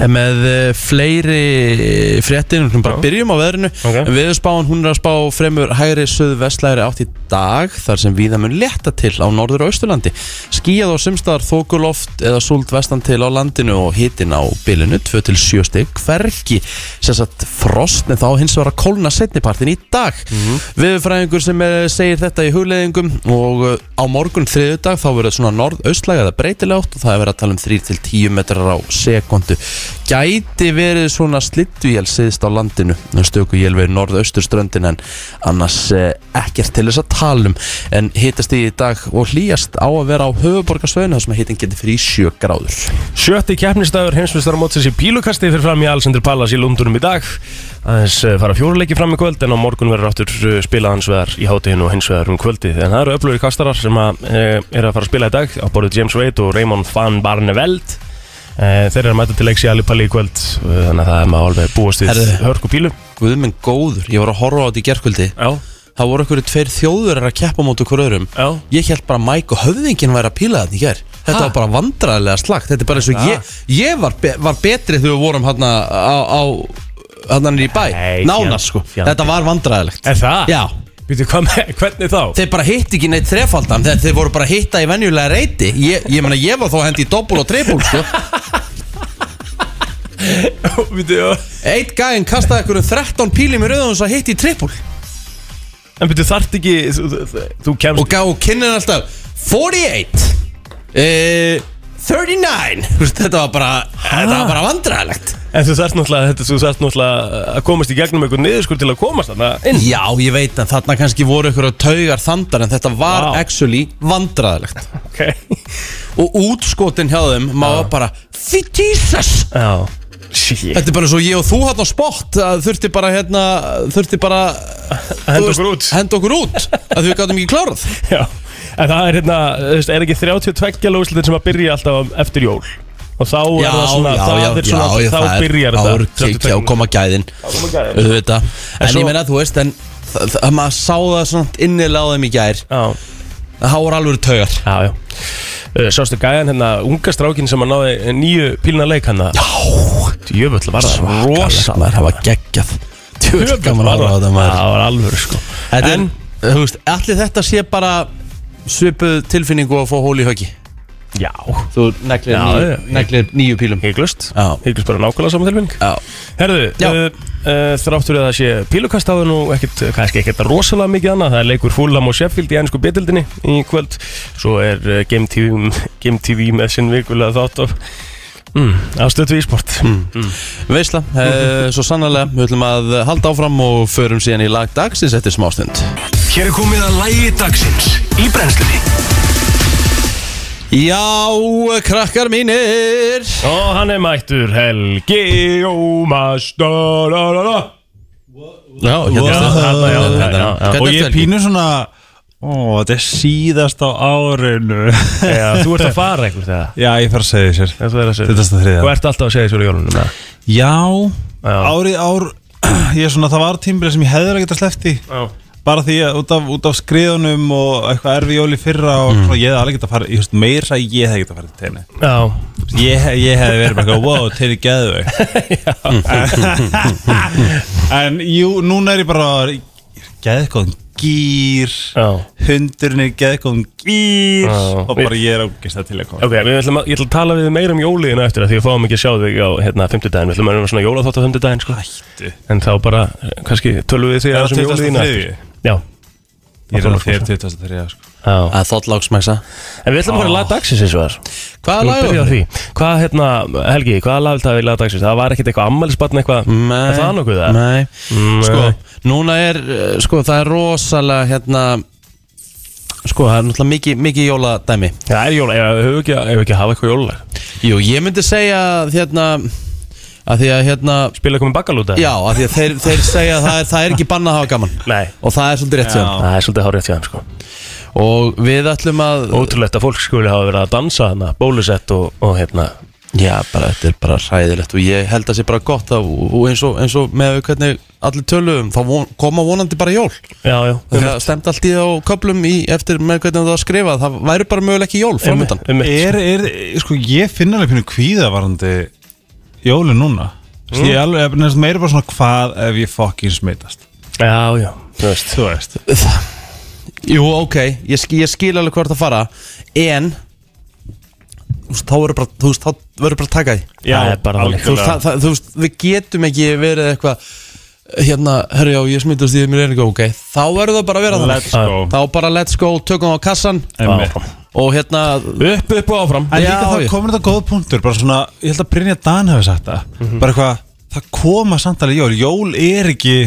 [SPEAKER 1] er með uh, fleiri eh, fréttir, við skulum bara
[SPEAKER 2] Já.
[SPEAKER 1] byrjum á veðrinu
[SPEAKER 2] Ok.
[SPEAKER 1] okay. Veðurspáin, hún er að spá fremur hægri söðvestlægri átt í dag þar sem víða mun létta til á norður og austurlandi skíjað á sumstaðar þókuloft eða súld vestan til á landinu og hitin á bilinu 2-7 stig hverki sem sagt frost en þá hins vegar að kólna setnipartin í dag mm
[SPEAKER 2] Mhm.
[SPEAKER 1] viðurfræðingur sem er, segir þetta í hugleðingum og uh, á morgun þriðudag þá verður svona norðaustlæg eða breytilegt og það er verið að tala um 3-10 metrar á sekundu gæti verið svona slittuél siðst á landinu stöku él við norðaustur ströndin en annars eh, ekkert til þess að tala um en hittast í dag og hlýjast á að vera á höfuborgarsvöðinu þar sem hittin getur fyrir 7 gráður
[SPEAKER 2] Sjötti keppnistagur heimsmyndstara mótsins í pílukasti fyrir fram í Alexander Palace í Lundunum í dag aðeins eh, fara fjóruleiki fram í kvöld en á morgun verður áttur spilað hans vegar í hátíðin og hins vegar um kvöldi en það eru öflugir kastarar sem að, e, er að fara að spila í dag á borðið James Wade og Raymond van Barneveld e, þeir eru að mæta til leiks í Alipalli í kvöld eh, þannig að það er maður alveg búast við
[SPEAKER 1] Herðu.
[SPEAKER 2] hörku pílu
[SPEAKER 1] Guðminn góður, ég var að horfa á þetta í gerkvöldi
[SPEAKER 2] Já,
[SPEAKER 1] þá voru einhverju tveir þjóður að keppa mót okkur öðrum
[SPEAKER 2] já
[SPEAKER 1] Ég held bara að Mike og höfðingin væri að píla þarna í hér Þetta
[SPEAKER 2] Ha?
[SPEAKER 1] var bara vandræðilega slagt Þetta er bara eins og
[SPEAKER 2] Ha?
[SPEAKER 1] ég, ég var, be var betri þegar við vorum hérna á, á hérna niður í bæ
[SPEAKER 2] Nei,
[SPEAKER 1] Nánast
[SPEAKER 2] fjandi-
[SPEAKER 1] sko,
[SPEAKER 2] fjandi.
[SPEAKER 1] þetta var vandræðilegt
[SPEAKER 2] Er það?
[SPEAKER 1] Já,
[SPEAKER 2] Býtu, hvað með, hvernig þá?
[SPEAKER 1] þeir bara hitti ekki neitt þrefaldan þegar þeir voru bara að hitta í venjulega reyti Ég, ég meina ég var þó að hendi í doppul og trepul sko
[SPEAKER 2] Býtu,
[SPEAKER 1] Eitt gæðin kastaði einhverjum 13 pílum í rauðum og svo hitti í trepul
[SPEAKER 2] en býtu þart ekki, þú, þú, þú kemst
[SPEAKER 1] og gá kynnin alltaf 48 uh, 39 Þú veist, Þetta var bara, þetta var bara vandræðilegt
[SPEAKER 2] En þú þarft náttúrulega, þetta, þú þarft náttúrulega að komast í gegnum einhvern niðurskur til að komast þarna inn
[SPEAKER 1] Já, ég veit að þarna kannski voru ykkur að taugar þandar en þetta var
[SPEAKER 2] Vá.
[SPEAKER 1] actually vandræðilegt
[SPEAKER 2] Ok
[SPEAKER 1] og útskotin hjá þeim maður bara fyrir Jesus
[SPEAKER 2] Já Shit
[SPEAKER 1] Þetta er bara svo ég og þú hann á spott að þurfti bara hérna þurfti bara
[SPEAKER 2] Að
[SPEAKER 1] þú veist,
[SPEAKER 2] henda okkur út
[SPEAKER 1] henda okkur út að við gætum ekki klárað
[SPEAKER 2] Já En það er hérna, þú veist, er ekki 32 lóðslutin sem að byrja alltaf eftir jól Og þá er
[SPEAKER 1] Já,
[SPEAKER 2] það svona,
[SPEAKER 1] já, já,
[SPEAKER 2] það er svona,
[SPEAKER 1] já, já,
[SPEAKER 2] þá
[SPEAKER 1] það er
[SPEAKER 2] byrjar
[SPEAKER 1] ár kikja
[SPEAKER 2] þetta
[SPEAKER 1] og
[SPEAKER 2] 32.
[SPEAKER 1] koma gæðin
[SPEAKER 2] koma gæðin.
[SPEAKER 1] auðvitað
[SPEAKER 2] En
[SPEAKER 1] en
[SPEAKER 2] svo-
[SPEAKER 1] ég meina þú veist en þa- þa- maður sá það svona innilega á þeim í gær
[SPEAKER 2] Já,
[SPEAKER 1] það voru alveg taugar
[SPEAKER 2] já, já Uh, Sástu gæjan hérna, unga strákin sem að náði nýju pílna leik hann Já Jöfull var það
[SPEAKER 1] rosalega það var geggjað tjóð gaman að ráða maður
[SPEAKER 2] Það var alvöru sko
[SPEAKER 1] Þetta
[SPEAKER 2] En-
[SPEAKER 1] er, þú veist, allir þetta sé bara svipuð tilfinningu að fá hól í höggi
[SPEAKER 2] Já
[SPEAKER 1] Þú neglir,
[SPEAKER 2] Já,
[SPEAKER 1] níu,
[SPEAKER 2] já.
[SPEAKER 1] neglir nýju pílum
[SPEAKER 2] Hygglust
[SPEAKER 1] Já.
[SPEAKER 2] Hygglust bara nákvæmlega saman tilfinning
[SPEAKER 1] Já,
[SPEAKER 2] Herðu,
[SPEAKER 1] Já.
[SPEAKER 2] uh, uh, þráttur að það sé pílukast á það nú ekkit, kannski ekkert rosalega mikið annað það er leikur Fulham og Sheffield í ennsku betildinni í kvöld, svo er uh, Game, TV, Game TV með sinn vikulega þátt af mm, afstöðu í sport mm.
[SPEAKER 1] veisla, eh, svo sannarlega Við ætlum að halda áfram og förum síðan í lag dagsins eftir smástund
[SPEAKER 3] Hér er komið að lægi dagsins í brennslunni
[SPEAKER 1] Já, krakkar mínir
[SPEAKER 2] og hann er mættur Helgi Ómas da, da, da, da.
[SPEAKER 1] Já, hérna
[SPEAKER 2] Já, þarna, já, já, já, já.
[SPEAKER 1] Hvernig
[SPEAKER 2] Og
[SPEAKER 1] ertu,
[SPEAKER 2] ég
[SPEAKER 1] Helgi?
[SPEAKER 4] Pínu svona Ó, þetta er síðast á árinu
[SPEAKER 2] Já, þú ert að fara einhver þegar
[SPEAKER 4] Já, ég fara að segja því sér
[SPEAKER 2] Þetta er að segja.
[SPEAKER 4] Þetta er það þriðja.
[SPEAKER 2] Þú ert alltaf að segja þessu í jólunum eða?
[SPEAKER 4] Já,
[SPEAKER 2] Já.
[SPEAKER 4] árið ár Ég er svona, það var tímbilið sem ég hefði að geta sleppt í
[SPEAKER 2] Já.
[SPEAKER 4] Bara því að út af, út af skriðunum og eitthvað erfi jóli fyrra og svona, ég hefði alveg geta farið, ég veist meira að ég hefði geta farið til tenni
[SPEAKER 2] Já,
[SPEAKER 4] Ég, hef- ég hefði verið bara eitthvað, wow, tenni geðu En jú, núna er ég bara geðgóðan gýr
[SPEAKER 2] já
[SPEAKER 4] hundurinn er geðgóðum gýr
[SPEAKER 2] Já.
[SPEAKER 4] og bara ég er ágæst að til að koma
[SPEAKER 2] Ok, við ætlum að, ég ætla að tala við þig meira um jóliðina eftir að því við fáum ekki að sjá þig á hérna, 50 daginn, við ætlum að vera með svona jólaþátt á 50 daginn sko.
[SPEAKER 4] Ættu
[SPEAKER 2] en þá bara, eh, kannski tölum við þig
[SPEAKER 4] Er það
[SPEAKER 2] aðeins um jóliðina
[SPEAKER 4] 23?
[SPEAKER 2] Já,
[SPEAKER 4] Ég er
[SPEAKER 2] Þorláksmessa.
[SPEAKER 4] að þegar 23 sko.
[SPEAKER 2] Já.
[SPEAKER 1] að þottláksmæsa
[SPEAKER 2] En við ætlum að fara í lag dagsins eins og þar
[SPEAKER 1] Hvaða
[SPEAKER 2] Við
[SPEAKER 1] lag
[SPEAKER 2] byrjum á
[SPEAKER 1] var
[SPEAKER 2] því Hvað hérna, Helgi, hvaða lag vil það við lag dagsins? Það var ekkert eitthvað ammælisbarn eitthvað
[SPEAKER 1] Nei,
[SPEAKER 2] Er það nokkuð það?
[SPEAKER 1] Nei,
[SPEAKER 2] Nei.
[SPEAKER 1] sko, núna er, eh, sko, það er rosalega, hérna Sko, það er náttúrulega mikið, mikið jóladæmi
[SPEAKER 2] Já, er jóla, ef ef við ekki, ef við ekki að hafa eitthvað jólalag
[SPEAKER 1] Jú, ég myndi segja, að, hérna Að því að, hérna,
[SPEAKER 2] Spila eitthvað með bakalúta?
[SPEAKER 1] já, að því að þeir, þeir segja að það er, það er ekki bannað að hafa gaman
[SPEAKER 2] Nei,
[SPEAKER 1] Og það er svolítið rétt
[SPEAKER 4] Já.
[SPEAKER 1] sér
[SPEAKER 2] það er svolítið hárið hjá þeim sko
[SPEAKER 1] Og við ætlum að
[SPEAKER 2] Ótrúlegt að fólk skuli hafa verið að dansa hana Bólusett og, og hérna
[SPEAKER 1] Já, bara, þetta er bara ræðilegt og ég held að sé bara gott að, og eins og, eins og með hvernig allir töluðum, þá von, koma vonandi bara jól
[SPEAKER 2] Já, já
[SPEAKER 1] Það stemt allt í það á köplum í, eftir með hvernig það var skrifað, það væri bara möguleik í jól framöndan
[SPEAKER 2] um,
[SPEAKER 4] Er, er, sko, ég finn alveg pínu kvíða varandi jólin núna mm. Ég er alveg, ég er næstum meira bara svona hvað ef ég fokkin smitast
[SPEAKER 2] Já, já, þú veist
[SPEAKER 4] Þú veist
[SPEAKER 1] Jú, ok, ég, skil, ég skil alveg hvort að fara, en þú veist, þá verður bara, þú veist, þá verður bara að taka því
[SPEAKER 2] Já, það er bara þannig
[SPEAKER 1] þú veist, það, það, þú veist, við getum ekki verið eitthvað hérna, herru, já, ég smitast í því mér er eitthvað, ok þá verður það bara að vera
[SPEAKER 4] Let's
[SPEAKER 1] þannig
[SPEAKER 4] go.
[SPEAKER 1] þá bara let's go, tökum á kassan
[SPEAKER 4] Einmitt.
[SPEAKER 2] Áfram.
[SPEAKER 1] og hérna,
[SPEAKER 2] Upp, upp og áfram
[SPEAKER 4] En
[SPEAKER 1] Já,
[SPEAKER 4] líka
[SPEAKER 1] já.
[SPEAKER 4] það komur þetta góð punktur bara svona, ég held að Brynja Dan hefði sagt það
[SPEAKER 1] Mhm.
[SPEAKER 4] bara eitthvað, það koma samtalið jól jól er ekki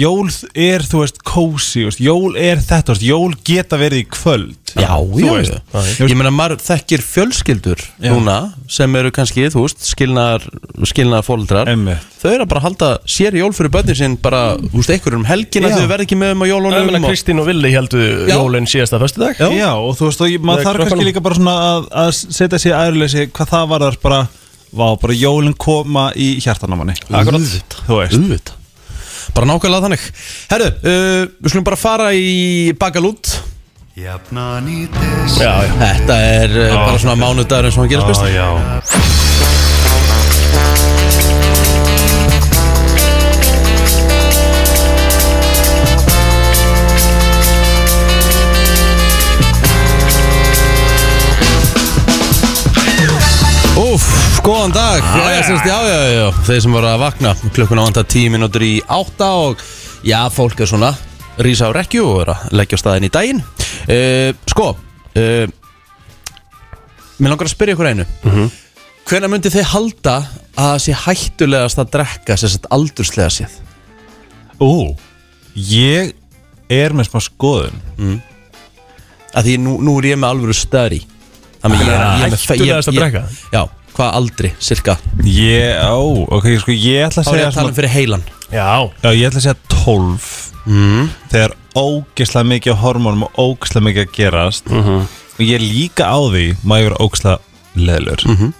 [SPEAKER 4] jól er, þú veist, kósi veist, jól er þetta, þú veist, jól geta verið í kvöld
[SPEAKER 1] Já,
[SPEAKER 4] þú
[SPEAKER 1] já,
[SPEAKER 4] veist.
[SPEAKER 1] já. Ég meina, maður þekkir fjölskyldur núna sem eru kannski, þú veist, skilnaðar skilnaðar fóldrar
[SPEAKER 4] Einmitt.
[SPEAKER 1] Þau eru að bara halda sér jól fyrir börnin sinn bara, þú veist, einhverjum um helgina
[SPEAKER 4] Já.
[SPEAKER 1] þau verð ekki með um á
[SPEAKER 2] Ég meina
[SPEAKER 1] jólunum og...
[SPEAKER 2] Kristín og Villi heldu
[SPEAKER 1] Já.
[SPEAKER 2] jólinn síðasta föstudag
[SPEAKER 4] já. og þú veist, og ég- maður
[SPEAKER 2] Með
[SPEAKER 4] þarf kannski
[SPEAKER 2] krökkunum.
[SPEAKER 4] líka bara svona að, að setja sér aðurleysi hvað það var þar bara, vá, bara jólin koma í hjartan á manni
[SPEAKER 1] Akkurat.
[SPEAKER 4] þú veist
[SPEAKER 1] Auðvitað. Bara nákvæmlega þannig Herru, uh, við skulum bara fara í bakalút
[SPEAKER 5] Jafnan í des
[SPEAKER 2] já, já.
[SPEAKER 1] Þetta er uh, bara svona mánudagur eins og hann gerast best
[SPEAKER 2] já.
[SPEAKER 1] Úf, góðan dag Já, já, semst, já, já, já, þeir sem voru að vakna Klukkun á anda tíu mínútur í átta og já, fólk er svona Rísa á rekju og er að leggja á staðin í daginn uh, Sko uh, Mér langar að spyrja ykkur einu mm -hmm. Hvenær myndi þið halda að það sé hættulegast að drekka sem sagt aldurslega séð?
[SPEAKER 4] Ú, ég er með smá skoðun
[SPEAKER 1] Að því nú, nú er ég með alvöru stöðri Þannig ég er ég er með- ég-
[SPEAKER 2] Hættulegast að
[SPEAKER 1] ég-
[SPEAKER 2] drekka?
[SPEAKER 1] Já, hvað aldri, cirka
[SPEAKER 4] ég, á, ok, sko, ég ætla að
[SPEAKER 1] Þá er ég
[SPEAKER 4] segja
[SPEAKER 1] að tala um fyrir heilan
[SPEAKER 2] Já,
[SPEAKER 4] Já, ég ætla að segja 12
[SPEAKER 1] Mm.
[SPEAKER 4] Þegar ógeðslega mikið á hormónum og ógeðslega mikið að gerast
[SPEAKER 1] Mhm.
[SPEAKER 4] og ég er líka á því maður er ógeðslega leðlur
[SPEAKER 1] Mhm.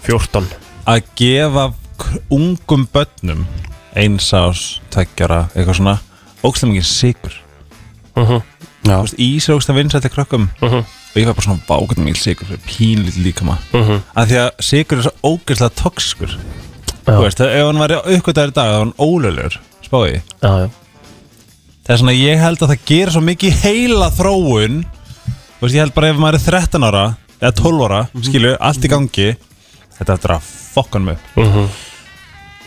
[SPEAKER 2] 14
[SPEAKER 4] að gefa k- ungum börnum eins ás, tveggjara, eitthvað svona ógeðslega mikið sigur
[SPEAKER 1] Já,
[SPEAKER 4] Ís er ógeðslega vinsætti krökkum og ég fæ bara svona vágætt mikið sigur fyrir pínlítið líka maður að því að sigur er svo ógeðslega toksiskur Þú veist, ef hann var uppgötaður í dag þá var hann ólöðlur, spáði
[SPEAKER 2] já, já.
[SPEAKER 4] Það er svona, ég held að það gerir svo mikið heila þróun Þú veist, ég held bara ef maður er 13 ára eða 12 ára, skilu, allt í gangi Þetta er eftir að fokka hann upp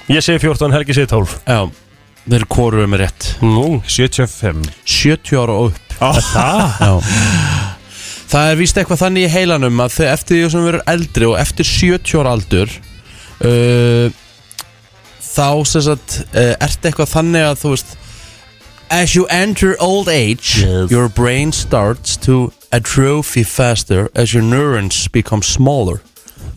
[SPEAKER 2] Ég segi 14, Helgi segi 12
[SPEAKER 1] já Þeir koruðu með rétt
[SPEAKER 2] Nú
[SPEAKER 4] 75
[SPEAKER 1] 70 ára og upp
[SPEAKER 4] Ah.
[SPEAKER 2] Það?
[SPEAKER 1] Já. Það er víst eitthvað þannig í heilanum að þau- eftir því sem verður eldri og eftir 70 ára aldur uh, þá sem sagt uh, ert eitthvað þannig að þú veist As you enter old age your brain starts to atrophy faster as your neurons become smaller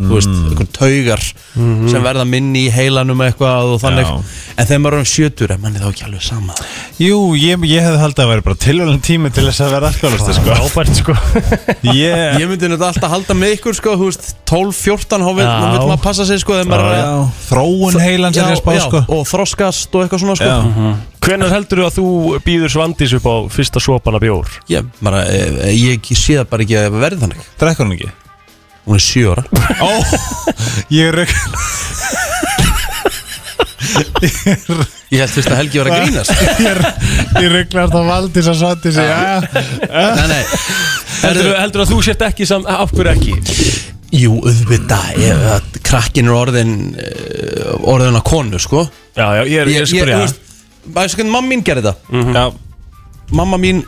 [SPEAKER 1] þú veist, eitthvað taugar sem verða minni í heilanum eitthvað og þannig
[SPEAKER 4] Já.
[SPEAKER 1] en þegar maður er um 70 er manni þá ekki alveg sama
[SPEAKER 4] Jú, ég, ég hefði haldið að vera bara tilvæðan tími til þess að vera alkoholist sko.
[SPEAKER 2] Ábært sko
[SPEAKER 4] Ég,
[SPEAKER 1] Ég myndi náttúrulega alltaf halda með ykkur sko, þú veist, 12-14 þá vil
[SPEAKER 2] Já.
[SPEAKER 1] þá vill maður passa sig sko, þegar maður er að-
[SPEAKER 4] já, þróun heilan sem
[SPEAKER 1] Já,
[SPEAKER 4] ég spá
[SPEAKER 1] já,
[SPEAKER 4] sko.
[SPEAKER 1] og þroskast og eitthvað svona sko.
[SPEAKER 4] Já.
[SPEAKER 2] Hvenær heldur þú að þú býður Svandís upp á fyrsta svopana bjór?
[SPEAKER 1] ég, bara, eh, ég sé það bara ekki að verði þannig
[SPEAKER 4] Drekkur hann ekki?
[SPEAKER 1] hún er 7 ára
[SPEAKER 4] Ó, ég er
[SPEAKER 1] ég held fyrst að Helgi var að grínast
[SPEAKER 4] Ég rugglast að valdi svo svandi sig Já,
[SPEAKER 1] nei, nei.
[SPEAKER 2] Heldur,
[SPEAKER 1] Heldur,
[SPEAKER 2] heldur að þú sért ekki sam... Af hverju ekki?
[SPEAKER 1] jú, auðvitað ef að krakkin er orðin eh, orðin að konu sko
[SPEAKER 2] Já, já, ég er, ég er
[SPEAKER 1] ég,
[SPEAKER 2] spyrja
[SPEAKER 1] sko, þú veist, maður veist hvernig mamma mín gerði það
[SPEAKER 4] já
[SPEAKER 1] mamma mín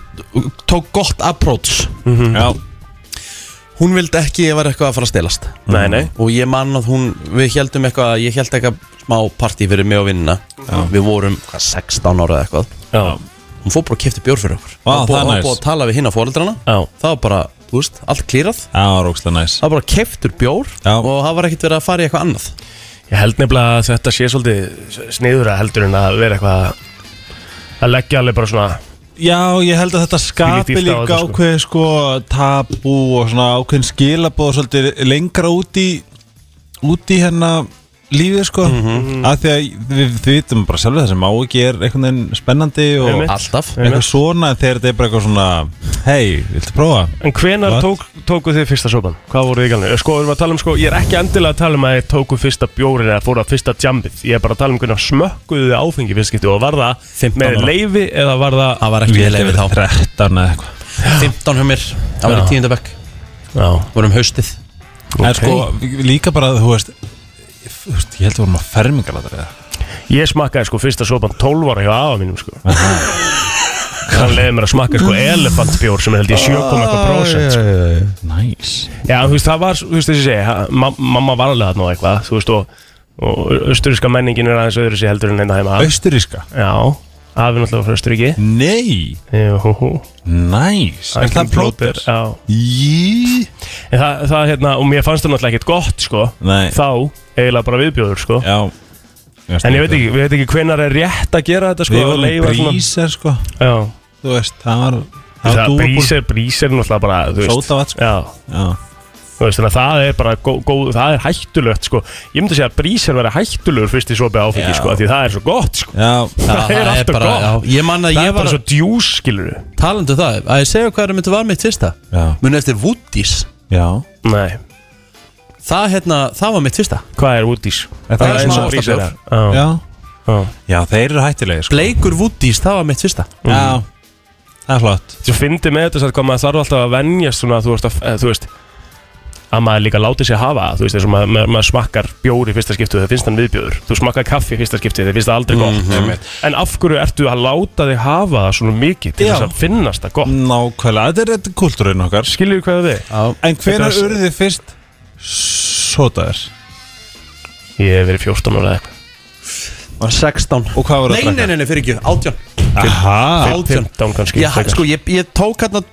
[SPEAKER 1] tók gott approach
[SPEAKER 4] Já,
[SPEAKER 1] Hún vildi ekki að ég var eitthvað að fara að stelast
[SPEAKER 2] Nei, nei
[SPEAKER 1] Og ég man að hún, við heldum eitthvað Ég held eitthvað smá partí fyrir mig og vinnina Við vorum, hvað, 16 ára eða eitthvað
[SPEAKER 2] Já,
[SPEAKER 1] Hún fór bara að kefti bjór fyrir okkur
[SPEAKER 4] Vá,
[SPEAKER 1] Það var
[SPEAKER 4] það er
[SPEAKER 1] búið- var
[SPEAKER 4] næs.
[SPEAKER 1] búið að tala við hinn á foreldrana
[SPEAKER 2] já
[SPEAKER 1] Það var bara, þú veist, allt klírað
[SPEAKER 4] það var ógstlega næs
[SPEAKER 1] Það var bara keftur bjór
[SPEAKER 4] Já.
[SPEAKER 1] Og það var ekkert verið að fara í eitthvað annað
[SPEAKER 2] Ég held nefnilega að þetta sé svolítið sniður að heldur en að vera eitthvað að- að leggja alveg bara svona
[SPEAKER 4] Já, ég held að þetta skapi
[SPEAKER 2] Þvílík dýrt á
[SPEAKER 4] líka
[SPEAKER 2] þetta, sko.
[SPEAKER 4] ákveð sko tabú og svona ákveðin skilabóð og svolítið lengra út í út í hérna lífið sko mm
[SPEAKER 2] Mhm.
[SPEAKER 4] af því að við, við vitum bara sjálfur það sem má ekki er einhvern veginn spennandi og
[SPEAKER 2] Einmitt.
[SPEAKER 1] Alltaf
[SPEAKER 4] eitthvað svona en þegar þetta er bara eitthvað svona hei, viltu prófa?
[SPEAKER 2] En hvenar
[SPEAKER 4] What?
[SPEAKER 2] tók, tókuð þið fyrsta sopan? Hvað voruð þið galnir? Sko, við erum að tala um sko, ég er ekki endilega að tala um að þið tókuð fyrsta bjórin eða fóruð að fyrsta djambið Ég er bara að tala um hvernig smökkuðu þið áfengi fyrst skipti og var það
[SPEAKER 1] 15
[SPEAKER 2] með
[SPEAKER 1] ára.
[SPEAKER 2] leifi eða var það
[SPEAKER 1] Það var ekki
[SPEAKER 4] Ég held að
[SPEAKER 1] leifið
[SPEAKER 4] verið
[SPEAKER 1] þá
[SPEAKER 4] 13 eða eitthvað
[SPEAKER 1] 15 hjá mér, það var í
[SPEAKER 2] Já.
[SPEAKER 1] tíundabökk
[SPEAKER 2] Já,
[SPEAKER 1] Vorum haustið
[SPEAKER 4] En sko, líka bara, þú veist, þú veist ég held að vorum að fermingalatar eða
[SPEAKER 2] Ég smakkaði sko fyrsta sopan 12 ára hjá afa mínum sko Hann leiði mér að smakka sko elefantbjór sem er held ég 7,1% sko.
[SPEAKER 4] Næs nice.
[SPEAKER 2] Já, þú veist, það var, þú veist, þessi segi, ha- ma mamma var alveg þarna og eitthvað, þú veist, og, og austuriska menningin er aðeins öðru sér heldur en einna heima.
[SPEAKER 4] Austuríska?
[SPEAKER 2] Já, afi náttúrulega frá Austuríki.
[SPEAKER 4] Nei,
[SPEAKER 2] Jú, hú.
[SPEAKER 4] næs nice. Er það plóter?
[SPEAKER 2] Já.
[SPEAKER 4] Jí
[SPEAKER 2] En það, það, hérna, og mér fannst það náttúrulega ekkert gott, sko,
[SPEAKER 4] Nei
[SPEAKER 2] þá eiginlega bara viðbjóður, sko.
[SPEAKER 4] Já
[SPEAKER 2] En ég veit ekki, við veit ekki hvenar er rétt að gera þetta, sko,
[SPEAKER 4] Við vorum
[SPEAKER 2] að
[SPEAKER 4] í
[SPEAKER 2] leyfa svona-
[SPEAKER 4] bríser sko
[SPEAKER 2] Já,
[SPEAKER 4] Þú veist, það var Það var
[SPEAKER 2] það
[SPEAKER 4] dúabúr
[SPEAKER 2] brísir, brísir náttúrulega bara, þú veist.
[SPEAKER 4] Sótavat sko
[SPEAKER 2] Já,
[SPEAKER 4] Já
[SPEAKER 2] þú veist, þannig að það er bara góð, góð það er hættulegt, sko. Ég myndi að segja að brísir vera hættulegur fyrst í sopi áfengi,
[SPEAKER 4] Já.
[SPEAKER 2] sko, af því það er svo gott, sko.
[SPEAKER 4] Já
[SPEAKER 1] Það
[SPEAKER 2] er alltaf
[SPEAKER 1] bara,
[SPEAKER 2] gott.
[SPEAKER 1] já, Ég man að
[SPEAKER 2] Það
[SPEAKER 1] ég
[SPEAKER 2] er
[SPEAKER 1] var
[SPEAKER 2] bara svo djús, skilur við
[SPEAKER 1] talandu það Að ég segja hvað er mitt var mitt fyrsta
[SPEAKER 4] Já
[SPEAKER 1] Muni eftir Woody's
[SPEAKER 4] Já
[SPEAKER 2] Nei,
[SPEAKER 1] Það, hérna, það var mitt fyrsta
[SPEAKER 2] hvað er Woody's?
[SPEAKER 4] En það
[SPEAKER 1] er
[SPEAKER 4] er
[SPEAKER 1] eins
[SPEAKER 4] svona
[SPEAKER 1] og-
[SPEAKER 2] Brísir er
[SPEAKER 4] Já
[SPEAKER 2] Já, já
[SPEAKER 4] Já, þeir eru hættilegir sko
[SPEAKER 1] Bleikur Woody's, það var mitt fyrsta
[SPEAKER 2] Mm.
[SPEAKER 4] Já Það er flott
[SPEAKER 2] Þú fyndi með þetta satt hvað maður þarf alltaf að venjast svona að þú, ert að, eh, þú veist að maður líka láti sig hafa það, þú veist eins og maður, maður, maður smakkar bjór í fyrsta skiptu það finnst hann viðbjóður, þú smakkar kaffi í fyrsta skipti það finnst það aldrei gott en af hverju ertu að láta þig hafa það svona mikið til
[SPEAKER 4] Já.
[SPEAKER 2] þess að finnast það gott
[SPEAKER 4] Nákvæmlega, þetta er þetta kultúrin okkar
[SPEAKER 2] skilur við hvað það við?
[SPEAKER 1] Já,
[SPEAKER 4] En hvenær
[SPEAKER 2] Þetta er-
[SPEAKER 4] urðu þið fyrst Sotaðir
[SPEAKER 2] Ég hef verið 14 ára eða eitthvað
[SPEAKER 1] 16
[SPEAKER 4] Og hvað voru
[SPEAKER 1] Nei, nei, nei, nei, fyrir ekki, 18
[SPEAKER 4] Aha
[SPEAKER 1] 18
[SPEAKER 2] 15 kannski
[SPEAKER 1] Já,
[SPEAKER 2] frekar.
[SPEAKER 1] sko, ég, ég tók hérna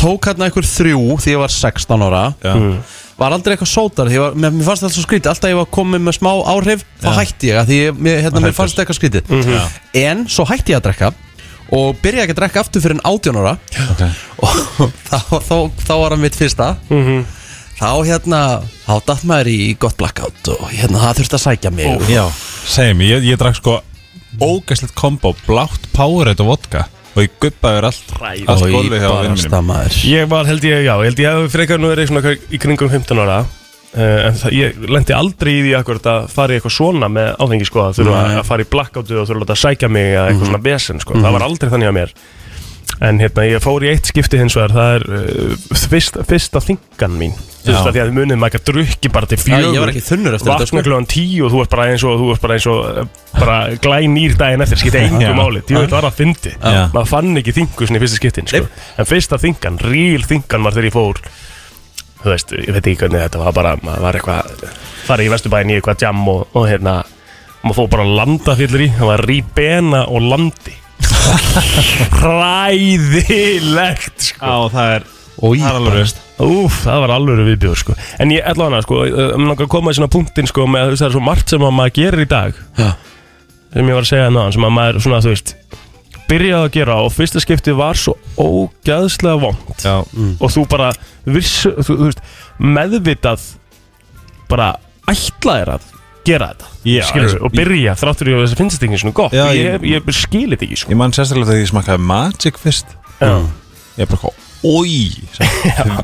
[SPEAKER 1] Tók hérna einhver þrjú því ég var 16 ára
[SPEAKER 4] Já.
[SPEAKER 2] Mm.
[SPEAKER 1] Var aldrei eitthvað sótar því ég var, mér, mér fannst það svo skrítið Alltaf ég var komið með smá áhrif Þá hætti ég, af því ég, mér, hérna, mér fannst eitthvað skrítið
[SPEAKER 4] Já.
[SPEAKER 1] En svo hætti ég að drekka Og byrjaði ekki að drekka aftur fyrir en 18 ára
[SPEAKER 4] Ok
[SPEAKER 1] og þá, þá, þá var hann mitt fyrsta þá hérna þá datt maður í gott blackout og hérna það þurfti að sækja mig og,
[SPEAKER 4] Já, segjum, ég, ég drakk sko ógæslegt kombo, blátt Powerade og vodka og ég guppaði allt
[SPEAKER 2] Ræður.
[SPEAKER 4] allt
[SPEAKER 1] og
[SPEAKER 4] gólfið
[SPEAKER 1] í
[SPEAKER 4] hjá vinnum mínum
[SPEAKER 1] barasta maður
[SPEAKER 2] Ég var held ég, já, ég held ég að frekar nú er ég svona í kringum 15 ára Uh, en það, ég lendi aldrei í því akkurat að fara í eitthvað svona með áfengi sko að þurfa
[SPEAKER 1] Nei. Mhm.
[SPEAKER 2] að fara í blackoutu og þurfa að láta sækja mig eða eitthvað svona besen sko, það var aldrei þannig að mér en hérna ég fór í eitt skipti hins vegar það er uh, fyrst, fyrsta þingan mín þú veist
[SPEAKER 4] Já.
[SPEAKER 2] að því að þið munið maður ekki að drukki bara til
[SPEAKER 1] Já,
[SPEAKER 2] fjögur
[SPEAKER 1] ég var ekki þunnur eftir þetta
[SPEAKER 2] vakna
[SPEAKER 1] sko.
[SPEAKER 2] klukkan tíu og þú ert bara eins og þú ert bara eins og eh, bara glænýr daginn eftir skipti engu
[SPEAKER 4] Já.
[SPEAKER 2] máli, því þetta var að fyndi
[SPEAKER 4] Já.
[SPEAKER 2] maður fann ekki þingu sinni í fyrsta skiptin sko. en fyrsta þingan, ríl þingan var þegar ég fór þú veist, ég veit ekki hvernig þetta var bara, maður var eitthvað farið í vesturbæðin í eitthvað jam og, og hérna, maður fór bara landa fyllir í það var ríbena og landi hræðilegt sko.
[SPEAKER 4] Já, það er
[SPEAKER 1] og í
[SPEAKER 4] Það er alveg
[SPEAKER 1] bara-
[SPEAKER 4] veist.
[SPEAKER 2] Úf, það var alveg viðbjóður sko En ég ætla hana sko, um langar að koma í svona punktin sko með þú veist, það er svo margt sem að maður gerir í dag
[SPEAKER 1] Já.
[SPEAKER 2] sem ég var að segja náðan sem að maður svona þú veist byrjaði að gera og fyrsta skipti var svo ógæðslega vond
[SPEAKER 4] Já,
[SPEAKER 2] og þú bara viss, þú, þú veist, meðvitað bara ætlaðir að gera þetta
[SPEAKER 4] Já,
[SPEAKER 2] skilur,
[SPEAKER 4] eins-
[SPEAKER 2] og byrja þráttur í að þess að finnst þetta ekki svona gott
[SPEAKER 4] Já,
[SPEAKER 2] ég,
[SPEAKER 4] ég-
[SPEAKER 2] ég, ég skilir þetta ekki sko
[SPEAKER 4] ég man sérstaklega þegar ég smakkaði Magic fyrst
[SPEAKER 2] Já.
[SPEAKER 4] Ég er bara hvað, oi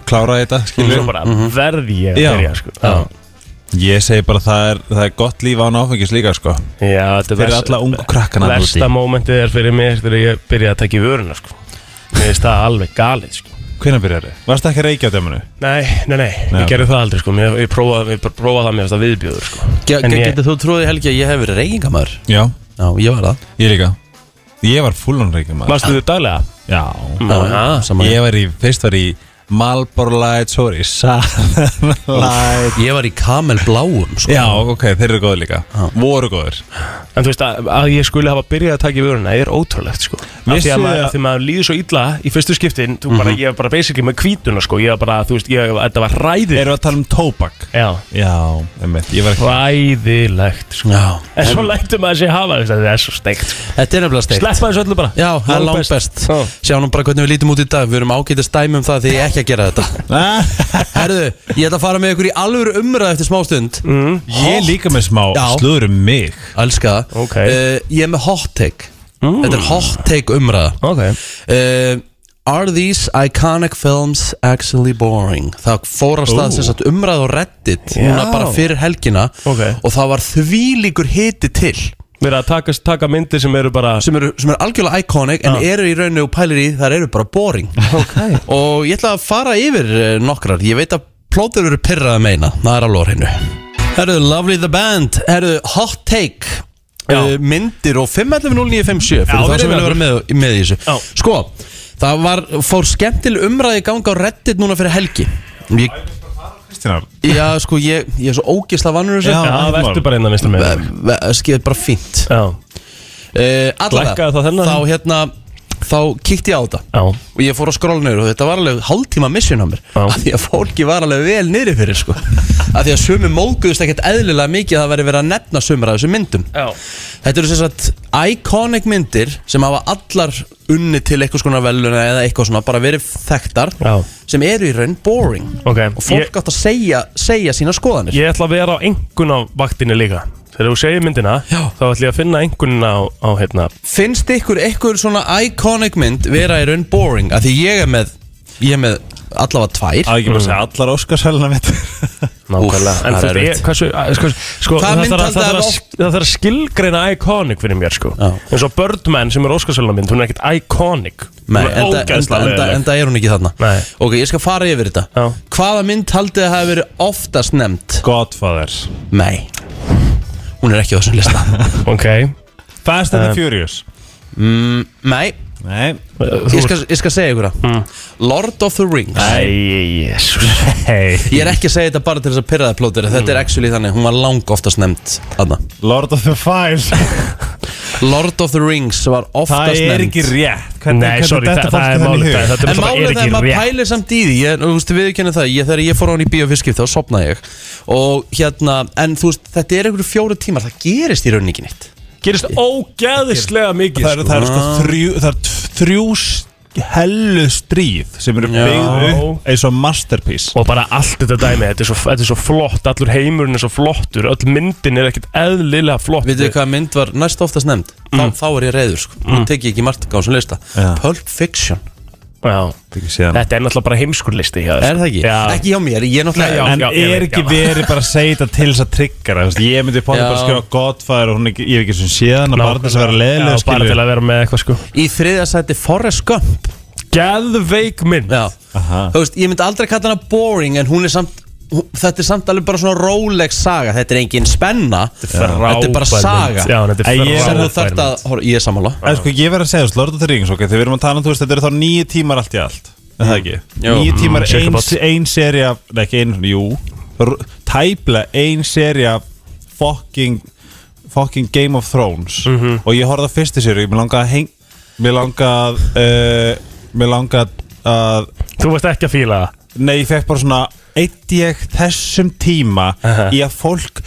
[SPEAKER 4] Kláraði þetta,
[SPEAKER 2] og svo
[SPEAKER 4] skilur
[SPEAKER 2] bara verði ég
[SPEAKER 4] Mhm. Já.
[SPEAKER 2] að byrja sko Já,
[SPEAKER 4] Ég segi bara það er, það er gott líf án áfengis líka, sko
[SPEAKER 2] Já þetta er
[SPEAKER 4] Fyrir
[SPEAKER 2] vers-
[SPEAKER 4] alla ungu krakkana þarna úti.
[SPEAKER 2] Versta mómentið er fyrir mig þegar ég byrja að taka í vöruna sko. Mér finnst það alveg galið sko.
[SPEAKER 4] Hvenær byrjar þið? Varst það ekki að reykja á dæmunu?
[SPEAKER 2] nei, nei, nei,
[SPEAKER 4] Nei.
[SPEAKER 2] ég gerði það aldrei sko. Mér, Ég prófaði prófa ég prófaði það mér finnst það viðbjóður sko.
[SPEAKER 1] Ge-
[SPEAKER 2] En
[SPEAKER 1] ge-
[SPEAKER 2] ég-
[SPEAKER 1] Getur þú trúið Helgi að ég hef verið reykingamæður?
[SPEAKER 4] Já,
[SPEAKER 1] Já, ég var það
[SPEAKER 4] ég líka Ég var fullan reykja maður
[SPEAKER 2] Varstu þið daglega?
[SPEAKER 4] Já,
[SPEAKER 2] Mm. já,
[SPEAKER 1] saman
[SPEAKER 4] Ég var í, fyrst var í Marlboro Lights, svo var ég í Southern Lights
[SPEAKER 1] Ég var í kamel bláum sko.
[SPEAKER 4] Já, ok, þeir eru góður líka Voru góður
[SPEAKER 2] En þú veist að, að ég skulle hafa byrjað að taka í vöruna er ótrúlegt sko Af því
[SPEAKER 4] Vissu
[SPEAKER 2] að maður,
[SPEAKER 4] að-
[SPEAKER 2] að því maður líður svo illa í fyrstu skiptin þú bara, Ég var bara basically með hvítuna sko Ég var bara, þú veist, ég, þetta var ræðið
[SPEAKER 4] Erum við að tala um tóbak?
[SPEAKER 2] Já,
[SPEAKER 4] Já, einmitt, ég var ekki
[SPEAKER 2] ræðilegt sko
[SPEAKER 1] Já.
[SPEAKER 2] En svo lætur maður sér hafa þess að það er svo steikt sko.
[SPEAKER 1] Þetta er nefnilega steikt
[SPEAKER 2] Sleppa þessu öllu bara
[SPEAKER 1] Já, það er langt best
[SPEAKER 2] Já.
[SPEAKER 1] Sjá nú bara hvernig við lítum út í dag Við erum ágætið stæmi um það því ég er ekki að gera þetta Herðu, ég ætla að fara með ykkur í alvöru umræð eftir smástund mm.
[SPEAKER 4] Ég líka með smá
[SPEAKER 1] Já.
[SPEAKER 4] slúður um mig
[SPEAKER 1] Elska það
[SPEAKER 2] Ok. Mm.
[SPEAKER 1] Eh, Ég er með hot take Þetta er hot take umræða
[SPEAKER 2] Ok
[SPEAKER 1] uh, Are these iconic films actually boring? Það fór af stað sem sagt umræð og reddit núna
[SPEAKER 2] Já.
[SPEAKER 1] bara fyrir helgina
[SPEAKER 2] Ok.
[SPEAKER 1] og það var þvílíkur hiti til
[SPEAKER 2] Við erum að taka, taka myndir sem eru bara
[SPEAKER 1] sem eru, sem eru algjörlega iconic en eru í rauninu og pælir í þar eru bara boring okay. og ég ætla að fara yfir eh, nokkrar ég veit að plóður eru pyrraða meina það er alveg á hreinu Herru, Lovely the Band, herru, Hot Take
[SPEAKER 2] Já.
[SPEAKER 1] uh, myndir og 510957
[SPEAKER 2] Já,
[SPEAKER 1] fyrir það sem
[SPEAKER 2] við erum
[SPEAKER 1] vilja vera með, með í þessu
[SPEAKER 2] Já.
[SPEAKER 1] sko, það var, fór skemmtil umræði gang á Reddit núna fyrir helgi ég,
[SPEAKER 4] Kristínar
[SPEAKER 1] já, sko, ég, ég er svo ógisla vannur þessu Eh,
[SPEAKER 4] Já.
[SPEAKER 2] Já,
[SPEAKER 4] ekkert
[SPEAKER 2] verður
[SPEAKER 4] mál.
[SPEAKER 2] bara innan vinstum með
[SPEAKER 1] skið bara fínt
[SPEAKER 2] Já,
[SPEAKER 1] uh, allavega,
[SPEAKER 2] Lækkaði það þennan?
[SPEAKER 1] þá hérna þá kíkti ég á þetta
[SPEAKER 2] já
[SPEAKER 1] og ég fór að skróla niður og þetta var alveg hálftíma mission á mér
[SPEAKER 2] Já.
[SPEAKER 1] af því að fólki var alveg vel niðri fyrir sko. af því að sumi móguðust ekkert eðlilega mikið að það væri verið að nefna sumur af þessum myndum
[SPEAKER 2] Já.
[SPEAKER 1] þetta eru sem sagt iconic myndir sem hafa allar unni til eitthvað svona veluna eða eitthvað svona bara verið þekktar
[SPEAKER 2] Já.
[SPEAKER 1] sem eru í raun boring
[SPEAKER 2] Ok,
[SPEAKER 1] og fólk
[SPEAKER 2] ég-
[SPEAKER 1] átt að segja, segja sína skoðanir
[SPEAKER 2] Ég ætla að vera á enguna vaktinni líka Þegar þú segir myndina
[SPEAKER 1] Já.
[SPEAKER 2] Þá ætla ég að finna engunina á, á hérna
[SPEAKER 1] finnst ykkur eitthvað svona iconic mynd vera í raun boring af því ég er með, ég er með allavega tvær
[SPEAKER 4] Að ekki bara segja allar Óskarsæluna mitt
[SPEAKER 1] Nákvæmlega. Það
[SPEAKER 2] En þú
[SPEAKER 1] er
[SPEAKER 2] veist,
[SPEAKER 1] erfitt.
[SPEAKER 2] hversu, að- sko, sko
[SPEAKER 1] Hvaða
[SPEAKER 2] það,
[SPEAKER 1] mynd
[SPEAKER 2] þarf að,
[SPEAKER 1] haldið
[SPEAKER 2] það,
[SPEAKER 1] að
[SPEAKER 2] þarf að,
[SPEAKER 1] oft-
[SPEAKER 2] það þarf að skilgreina iconic fyrir mér sko
[SPEAKER 1] Já.
[SPEAKER 2] En svo Birdman sem er Óskarsvælunarmynd, hún er ekkert iconic
[SPEAKER 1] Nei,
[SPEAKER 2] Hún er
[SPEAKER 1] enda, enda,
[SPEAKER 2] ógeðslega
[SPEAKER 1] enda,
[SPEAKER 2] leiðinleg.
[SPEAKER 1] enda er hún ekki þarna
[SPEAKER 2] Nei.
[SPEAKER 1] Ok, ég skal fara yfir þetta
[SPEAKER 2] Já.
[SPEAKER 1] Hvaða mynd haldið að hafa verið oftast nefnd?
[SPEAKER 4] Godfather
[SPEAKER 1] Nei Hún er ekki á þessum lista
[SPEAKER 2] Ok
[SPEAKER 4] Fast and the Furious
[SPEAKER 1] Nei,
[SPEAKER 4] Eh. Nei
[SPEAKER 1] ég skal, ég skal segja ykkur
[SPEAKER 2] Hmm.
[SPEAKER 1] það Lord of the Rings
[SPEAKER 2] Æ, jésús
[SPEAKER 1] Ég er ekki að segja þetta bara til þess að pyrra það plótir Þetta
[SPEAKER 2] Hmm.
[SPEAKER 1] er actually þannig, hún var lang oftast nefnd þarna.
[SPEAKER 4] Lord of the Five
[SPEAKER 1] Lord of the Rings var
[SPEAKER 4] Það
[SPEAKER 1] oftast
[SPEAKER 4] er
[SPEAKER 1] nefnd
[SPEAKER 4] ekki rétt
[SPEAKER 2] Nei, sorry, það, það er málið það-
[SPEAKER 1] En
[SPEAKER 2] Þetta er bara
[SPEAKER 1] málið það
[SPEAKER 2] er
[SPEAKER 1] er
[SPEAKER 2] ekki
[SPEAKER 1] maður
[SPEAKER 2] rétt
[SPEAKER 1] pælir samt í því ég, þú veist, Við kennum það, ég, þegar ég fór á hann í bíófiskip þá sopnaði ég og hérna, en þú veist, þetta er einhverju fjóru tímar, það gerist í rauninni ekki neitt
[SPEAKER 2] Gerist ógeðislega mikið
[SPEAKER 4] Það eru það er sko þrjú, það er tv- þrjú s- hellu stríð sem eru byggð upp eins og masterpiece
[SPEAKER 2] Og bara allt þetta dæmi, þetta er, svo, þetta er svo flott Allur heimurinn er svo flottur Öll myndin er ekkert eðlilega flott
[SPEAKER 1] Vitið þið hvað mynd var næst oftast nefnd? Þá, þá er ég reyður, sko. Nú tek ég ekki margt á sem lista.
[SPEAKER 4] Já.
[SPEAKER 1] Pulp Fiction.
[SPEAKER 2] Já.
[SPEAKER 4] Ekki síðan.
[SPEAKER 2] Þetta er náttúrulega bara heimskurlisti hjá þér, sko.
[SPEAKER 1] Er það ekki?
[SPEAKER 2] Já.
[SPEAKER 1] Ekki hjá mér, ég er náttúrulega...
[SPEAKER 2] Já,
[SPEAKER 4] En
[SPEAKER 2] já, ég
[SPEAKER 4] er
[SPEAKER 2] veit,
[SPEAKER 4] ekki
[SPEAKER 2] já.
[SPEAKER 4] verið bara að segja þetta til þess að trygga það Ég myndi pálið
[SPEAKER 1] Já.
[SPEAKER 4] bara að skrifa Godfather og hún er ekki, ég er ekki sem séðan að
[SPEAKER 2] Nákvæmlega.
[SPEAKER 4] bara þess að vera
[SPEAKER 2] Já, Bara
[SPEAKER 4] leðilega
[SPEAKER 2] til
[SPEAKER 4] skilur
[SPEAKER 2] að vera með eitthvað sko
[SPEAKER 1] Í þriðja sæti Forrest Gump.
[SPEAKER 2] Geðveik mynd
[SPEAKER 1] Já. Þú veist, ég myndi aldrei kalla hana boring, en hún er samt... hún- Þetta er samt alveg bara svona róleg saga. Þetta er engin spenna. Þetta er bara
[SPEAKER 2] Frábær
[SPEAKER 1] saga.
[SPEAKER 2] mynd. Já, þetta er
[SPEAKER 4] En ég-
[SPEAKER 1] Sem þú
[SPEAKER 2] frábær
[SPEAKER 1] þarft að... Hor, ég er sammála.
[SPEAKER 4] En sko ég verð að segja þú Lord of the Rings, ok, þegar við erum að tala um þú veist, þetta eru þá nýju tímar allt í allt Er það ekki?
[SPEAKER 1] Jú.
[SPEAKER 4] Nýju tímar,
[SPEAKER 2] Mm, check
[SPEAKER 4] ein,
[SPEAKER 2] about.
[SPEAKER 4] ein serja Nei ekki ein, jú r- Tæplega ein serja Fucking Fucking Game of Thrones Og ég horfði á fyrstu serju, mér langaði að heng Mér langaði að uh, Mér langaði að
[SPEAKER 2] mynd. Þú varst ekki að fíla það
[SPEAKER 4] Nei, ég fekk bara svona Eitt ég þessum tíma
[SPEAKER 2] Aha.
[SPEAKER 4] Í að fólk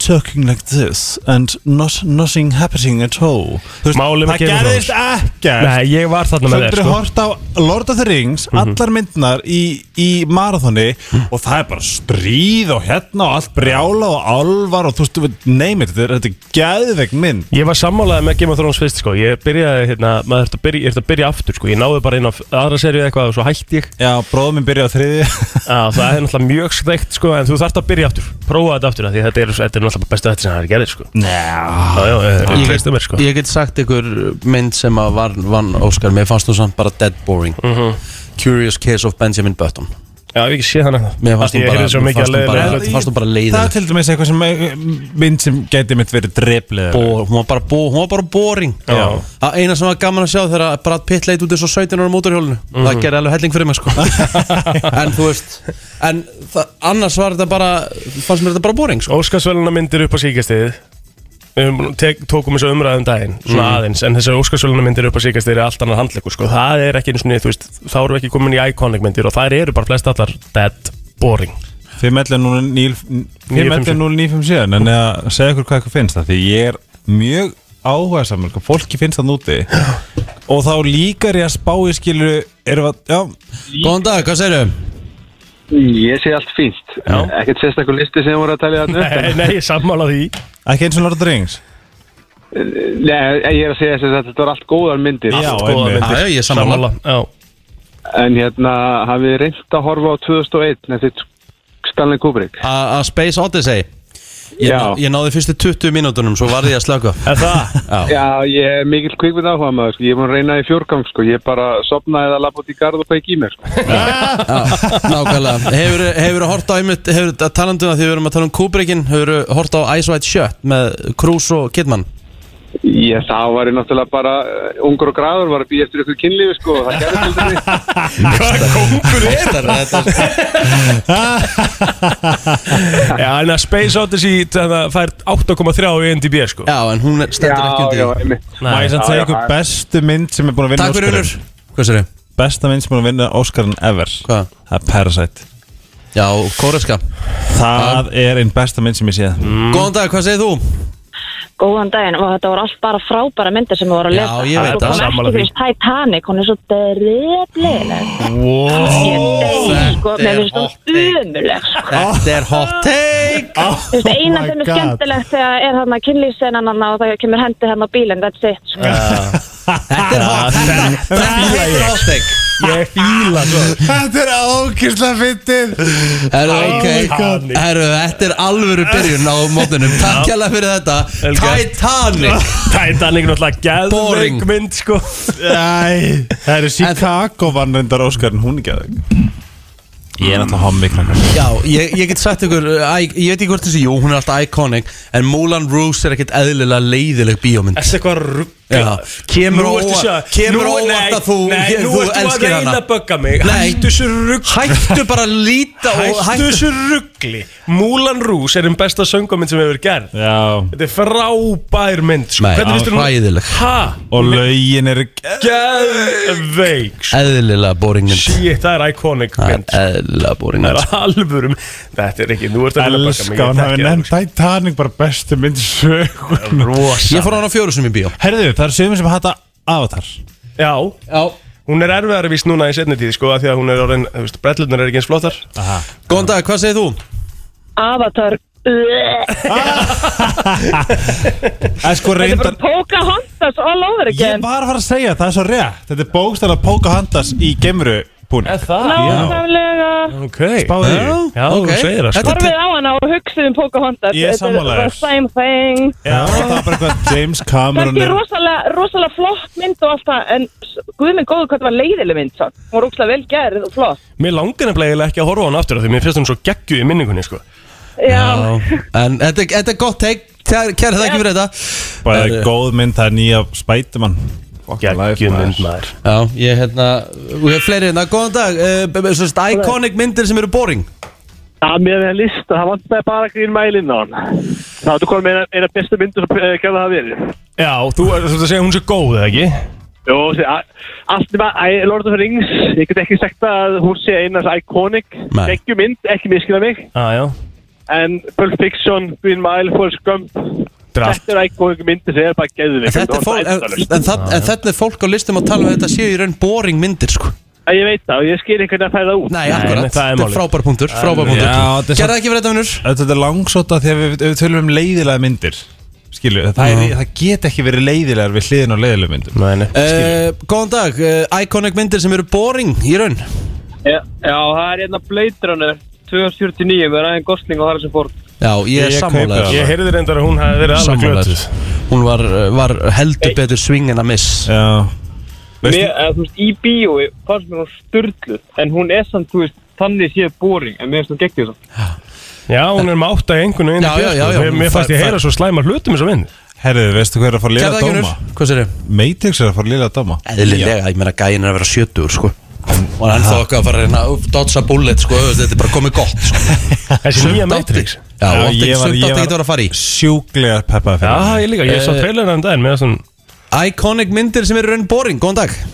[SPEAKER 4] Talking like this And not, nothing happening at all Þú veist,
[SPEAKER 2] Málið með
[SPEAKER 4] Það
[SPEAKER 2] Game of
[SPEAKER 4] gerðist ekkert
[SPEAKER 2] Nei, ég var þarna með þér
[SPEAKER 4] Söndur sko.
[SPEAKER 2] sko Mhm.
[SPEAKER 4] hort á Lord of the Rings Allar myndnar í, í marathoni Og það er bara stríð og hérna Og allt brjála og alvar Og þú veist, neymi þetta er- Þetta er geðveik mynd
[SPEAKER 2] Ég var sammálaðið með Game of Thrones fyrst sko Ég byrjaði hérna, maður þurfti að byrja, ég þurfti að byrja aftur sko Ég náði bara inn á f- aðra serið eitthvað og svo hætti ég
[SPEAKER 4] Já, bróðum minn byrjaði á þriði
[SPEAKER 2] Já, það er náttúrulega mjög steikt sko En þú þarft að byrja aftur, prófa þetta aftur af Því þetta er, þetta er náttúrulega bara bestu þetta sem það er gerðið sko
[SPEAKER 4] Njá
[SPEAKER 2] Já, já, ég- ég
[SPEAKER 1] Ég
[SPEAKER 2] treysti mér sko
[SPEAKER 1] ég get sagt ykkur mynd sem að Mhm. var, vann Óskar, mér fannst þú samt bara dead boring Curious Case of Benjamin Button
[SPEAKER 2] Já, ég hef ekki séð hann eitthvað
[SPEAKER 1] Mér fannst hún
[SPEAKER 2] Ég
[SPEAKER 1] bara-
[SPEAKER 2] heyrði svo
[SPEAKER 1] mér
[SPEAKER 2] mikið
[SPEAKER 1] fannst
[SPEAKER 2] að
[SPEAKER 1] hún
[SPEAKER 2] leiða
[SPEAKER 1] bara- fannst hún bara leiðinleg.
[SPEAKER 4] Það er til dæmis eitthvað sem eh, mynd sem gæti mitt verið dreflið
[SPEAKER 1] Bó, hún, var bara bó, hún var bara boring
[SPEAKER 2] Já.
[SPEAKER 1] Það eina sem var gaman að sjá þegar Brad Pitt leit út eins og 17 ára mótorhjólinu það gerði alveg helling fyrir mig sko. en þú veist en það, annars var þetta bara fannst mér þetta bara boring sko.
[SPEAKER 2] Óskarsvöluna myndir upp á síkastiðið Við höfum tek- tókum þessu umræðum um daginn Svona
[SPEAKER 1] Mm.
[SPEAKER 2] aðeins, en þessar óskarsvöluna myndir upp á síkastiðið er allt annar handleikur sko. Það er ekki eins og niður, þú veist Þá erum við ekki komin í iconic myndir og þær eru bara flest allar dead boring
[SPEAKER 4] 5.11.0957 En að segja ykkur hvað ykkur finnst það Því ég er mjög sko. áhuga saman Fólki finnst það núti Og þá líkar ég að spá í skilur Erum við að, já,
[SPEAKER 1] Góðan dag, hvað segirðu?
[SPEAKER 6] Ég sé allt fínt Ekkert sérstakur listi sem voru að tala þarna upp
[SPEAKER 2] Nei, nei, ég sammála því
[SPEAKER 4] ekki eins og Lord of the Rings
[SPEAKER 6] Nei, Eh, ég er að segja þess að þetta var allt góðar myndir
[SPEAKER 4] Já,
[SPEAKER 2] Allt góðar
[SPEAKER 4] einmitt.
[SPEAKER 2] myndir.
[SPEAKER 1] Já, já, ég er sammála.
[SPEAKER 2] Sko, Já,
[SPEAKER 6] En hérna, hafið þið reynt að horfa á 2001 Eftir Stanley Kubrick
[SPEAKER 1] A, a Space Odyssey ég,
[SPEAKER 6] Já.
[SPEAKER 1] ég náði fyrstu 20 mínútunum svo varði ég að slaka
[SPEAKER 2] er það?
[SPEAKER 6] Já, ég er mikill kvikmynd áhuga maður sko. Ég er búin að reyna í fjórgang sko. Ég er bara sopnaði að lappa út í garð og kveik í mér sko.
[SPEAKER 1] Já, Nákvæmlega Hefur, hefur hort á einmitt hefur, að talanduna því við erum að tala um Kubrickin hefur hort á Ice White Shut með Cruise og Kidman
[SPEAKER 6] Ég þá var ég náttúrulega bara eh, Ungur og gráður var að býja eftir ykkur kynlífi sko. og Það gerði til dæmi
[SPEAKER 2] Já, en að Space Odyssey það fær 8,3 í NDB sko.
[SPEAKER 1] Já, en hún er- stendur ekki
[SPEAKER 6] Já,
[SPEAKER 1] undir
[SPEAKER 6] já,
[SPEAKER 1] því.
[SPEAKER 6] einmitt
[SPEAKER 4] Má ég sem
[SPEAKER 6] Já,
[SPEAKER 4] segja
[SPEAKER 6] já,
[SPEAKER 4] ykkur
[SPEAKER 6] já.
[SPEAKER 4] bestu mynd sem er búin að vinna
[SPEAKER 1] Takk fyrir
[SPEAKER 4] Óskarinn?
[SPEAKER 1] unnur Hvað segirðu?
[SPEAKER 4] Besta mynd sem er búin að vinna Óskarinn ever
[SPEAKER 1] Hvað?
[SPEAKER 4] Það er Parasite
[SPEAKER 1] Já, kóreska
[SPEAKER 4] Það er einn besta mynd sem ég séð
[SPEAKER 1] Góðan dag, hvað segir þú?
[SPEAKER 7] Góðan daginn og þetta voru allt bara frábæra myndir sem við vorum að
[SPEAKER 1] Já,
[SPEAKER 7] lesa.
[SPEAKER 1] ég veit það.
[SPEAKER 7] það. Svo kom
[SPEAKER 2] Sammála
[SPEAKER 7] ekki
[SPEAKER 2] því.
[SPEAKER 7] fyrst Titanic, hún er svo dreflileg.
[SPEAKER 2] wow.
[SPEAKER 7] Ég degi, sko,
[SPEAKER 1] þetta
[SPEAKER 7] mér
[SPEAKER 1] er
[SPEAKER 7] finnst hún
[SPEAKER 1] hot take.
[SPEAKER 7] umuleg. sko.
[SPEAKER 1] Þetta er hot take
[SPEAKER 7] Þú veist, eina sem er skemmtilegt þegar er þarna kynlýfssenan hann og það kemur hendi hann á bílinn, that's it. Sko.
[SPEAKER 1] Þetta er hot take Þetta er hot take
[SPEAKER 2] Ég fíla svo
[SPEAKER 4] Þetta er ókýrslega fyndið
[SPEAKER 1] Herru, ok
[SPEAKER 2] Titanic.
[SPEAKER 1] Herru, þetta er alvöru byrjun á mótunum Takk hérlega fyrir þetta
[SPEAKER 2] Vel gert.
[SPEAKER 1] Titanic
[SPEAKER 2] Titanic náttúrulega
[SPEAKER 1] Boring.
[SPEAKER 2] geðveik mynd sko
[SPEAKER 4] Æ, það eru Chicago vann reyndar Óskarinn Hún ekki að Ég er náttúrulega hommi krakkar
[SPEAKER 1] Já, ég, ég get sagt ykkur uh, æ, Ég veit ekki hvort þessi, jú, hún er alltaf iconic En Moulin Rouge er ekkert eðlilega leiðileg bíómynd
[SPEAKER 2] Þessi eitthvað ruggla
[SPEAKER 1] Já, kemur
[SPEAKER 2] Nú ertu
[SPEAKER 1] óvart-
[SPEAKER 2] sjá-
[SPEAKER 1] kemur
[SPEAKER 2] nú-
[SPEAKER 1] óvart
[SPEAKER 2] nei,
[SPEAKER 1] að þú-
[SPEAKER 2] Nei,
[SPEAKER 1] ég-
[SPEAKER 2] nú
[SPEAKER 1] þú
[SPEAKER 2] ertu að
[SPEAKER 1] elskir
[SPEAKER 2] reyna
[SPEAKER 1] hana.
[SPEAKER 2] að bögga mig
[SPEAKER 1] Nei.
[SPEAKER 2] Hættu þessu ruggli
[SPEAKER 1] Hættu bara að líta og
[SPEAKER 2] Hættu þessu ruggli Múlan Rús er einn besta söngumynd sem hefur gerð
[SPEAKER 4] Já
[SPEAKER 2] Þetta er frábær mynd sko.
[SPEAKER 1] Nei,
[SPEAKER 2] Hvernig finnst þér hún-
[SPEAKER 1] hræðileg.
[SPEAKER 2] Ha?
[SPEAKER 4] Og lögin eru
[SPEAKER 2] Geðveik sko.
[SPEAKER 1] Eðlilega boring mynd
[SPEAKER 2] Shit, það er iconic
[SPEAKER 1] Það
[SPEAKER 2] mynd
[SPEAKER 1] er Eðlilega boring
[SPEAKER 2] Það
[SPEAKER 1] mynd
[SPEAKER 2] er alvörum Þetta er ekki, nú ertu að reyna að bögga mig
[SPEAKER 4] Elska,
[SPEAKER 2] ég
[SPEAKER 4] hann hafi
[SPEAKER 2] þekki það,
[SPEAKER 4] nefnt Titanic bara bestu mynd sögun
[SPEAKER 2] sko. Rosa
[SPEAKER 1] Ég fór á hana fjóru sem í bíó
[SPEAKER 4] Herðu, það eru sögum sem hata Avatar
[SPEAKER 2] Já,
[SPEAKER 1] Já
[SPEAKER 2] Hún er erfiðar víst núna í setni tíð sko af því að hún er orðin, þú veist, brellurnar er ekki eins flottar
[SPEAKER 1] Góðan dag, hvað segir þú?
[SPEAKER 7] Avatar, bleh.
[SPEAKER 4] Það er sko
[SPEAKER 7] þetta er bara
[SPEAKER 4] reyndar
[SPEAKER 7] Pocahontas all over
[SPEAKER 4] Ég
[SPEAKER 7] again.
[SPEAKER 4] var að fara að segja, það er svo rétt Þetta er bókstæðan að póka handas í gemru búin
[SPEAKER 2] það?
[SPEAKER 7] Nákvæmlega,
[SPEAKER 2] Ok
[SPEAKER 4] Báði
[SPEAKER 2] Já,
[SPEAKER 1] ok.
[SPEAKER 2] þú segir það sko
[SPEAKER 1] Þetta-
[SPEAKER 7] horfið á hana og hugsið um Pocahontas.
[SPEAKER 4] Ég er
[SPEAKER 7] Þetta
[SPEAKER 4] sammála þér.
[SPEAKER 7] the Same thing.
[SPEAKER 4] Já, það var bara eitthvað James Cameron
[SPEAKER 7] Kanski
[SPEAKER 4] er-
[SPEAKER 7] rosalega, rosalega flott mynd og allt það, en s- guð minn góður hvað það var leiðileg mynd svo. Hún var ógslag vel gerð og flott.
[SPEAKER 2] Mér langar nefnilega eiginlega ekki að horfa á hann aftur af því mér finnst hún svo geggju í minningunni sko
[SPEAKER 7] Já,
[SPEAKER 1] En þetta, þetta er gott teik Kæra það ekki fyrir þetta
[SPEAKER 4] Bara góð mynd, það er nýja Spiderman
[SPEAKER 2] Geggju mynd maður
[SPEAKER 1] Já, ég hérna Við hefum fleiri hérna, góðan dag uh, b- b- Svona iconic myndir sem eru boring
[SPEAKER 8] Já, mér er list og það vantaði bara grín mælinn á hann. Það var þú komið með eina, eina bestu myndu sem eh, gerði það verið.
[SPEAKER 2] Já, þú þú ert að segja hún sé góð eða ekki?
[SPEAKER 8] Jó, þessi, a- allt nema I- Lord of the Rings, ég get ekki sagt að hún sé einas iconic,
[SPEAKER 1] Nei.
[SPEAKER 8] ekki mynd, ekki miskina mig,
[SPEAKER 2] Já, já
[SPEAKER 8] en Pulp Fiction, Green Mile, Forrest Gump,
[SPEAKER 2] Draft
[SPEAKER 8] þetta er iconic myndi sem er bara geðvig.
[SPEAKER 1] En þetta er fólk En, en, það, en þetta er fólk á listum að tala um að Þetta séu í raun boring myndir sko
[SPEAKER 8] Ég veit það og ég skil ekki hvernig að fæða út.
[SPEAKER 1] Nei,
[SPEAKER 2] Nei,
[SPEAKER 1] akkurat
[SPEAKER 2] nei, það
[SPEAKER 1] Þetta
[SPEAKER 2] er
[SPEAKER 1] er
[SPEAKER 2] málið.
[SPEAKER 1] frábær punktur Frábær punktur
[SPEAKER 4] Já, þetta er
[SPEAKER 1] Kæra það ekki fyrir þetta vinnur
[SPEAKER 4] Þetta er langsóta því að við, við tölum um leiðilega myndir Skilju, það, er, það get ekki verið leiðilegar við hliðin á leiðilega myndir
[SPEAKER 2] Nei, nei
[SPEAKER 1] Uh, góðan dag, uh, iconic myndir sem eru boring í raun
[SPEAKER 9] Já, það er hérna Blade Runner 2049 með Ryan Gosling og Harrison Ford
[SPEAKER 1] Já, ég er
[SPEAKER 4] Ég kaupi
[SPEAKER 1] sammálaður
[SPEAKER 4] það.
[SPEAKER 2] Ég heyrði reyndar að hún hafi verið alveg glötuð
[SPEAKER 1] Sammálaður Hún var, uh, var heldur betur swing en að miss
[SPEAKER 4] Já
[SPEAKER 9] Mér, eða, þú veist, í bíói fannst mér hún styrlu en hún er samt, þú veist, þannig séu boring en mér finnst það geggjur það
[SPEAKER 2] Já, hún er með átta í einhvern veginn
[SPEAKER 1] Já, já, já, já,
[SPEAKER 2] Mér, mér
[SPEAKER 1] hún
[SPEAKER 2] fannst ég
[SPEAKER 1] fær-
[SPEAKER 2] heyra svo slæma hlutum eins og vinn
[SPEAKER 4] Herðu, veistu hver er að fara að liða
[SPEAKER 1] Kæra
[SPEAKER 4] að dóma?
[SPEAKER 1] Hvað sér þau?
[SPEAKER 4] Matrix er að fara að liða að dóma
[SPEAKER 1] Eðlilega, ég meina gæin er að vera 70 sko Og hann þá okkar að fara að reyna að dodsa bullet sko Þetta er bara komið gott sko
[SPEAKER 2] Þessi nýja
[SPEAKER 1] Sumt átti-
[SPEAKER 2] Matrix
[SPEAKER 1] Já,
[SPEAKER 2] Já,
[SPEAKER 4] Já,
[SPEAKER 1] ótti,
[SPEAKER 4] ég var-
[SPEAKER 1] sumt átti
[SPEAKER 4] ég
[SPEAKER 1] ekki
[SPEAKER 4] var-
[SPEAKER 1] að vera að fara í
[SPEAKER 4] Sjúklegar peppaði fyrir
[SPEAKER 2] ég líka, ég sá
[SPEAKER 1] Eh,
[SPEAKER 2] trailerna um daginn með þessum
[SPEAKER 1] Iconic myndir sem eru raun boring, góðan dag
[SPEAKER 9] Góðan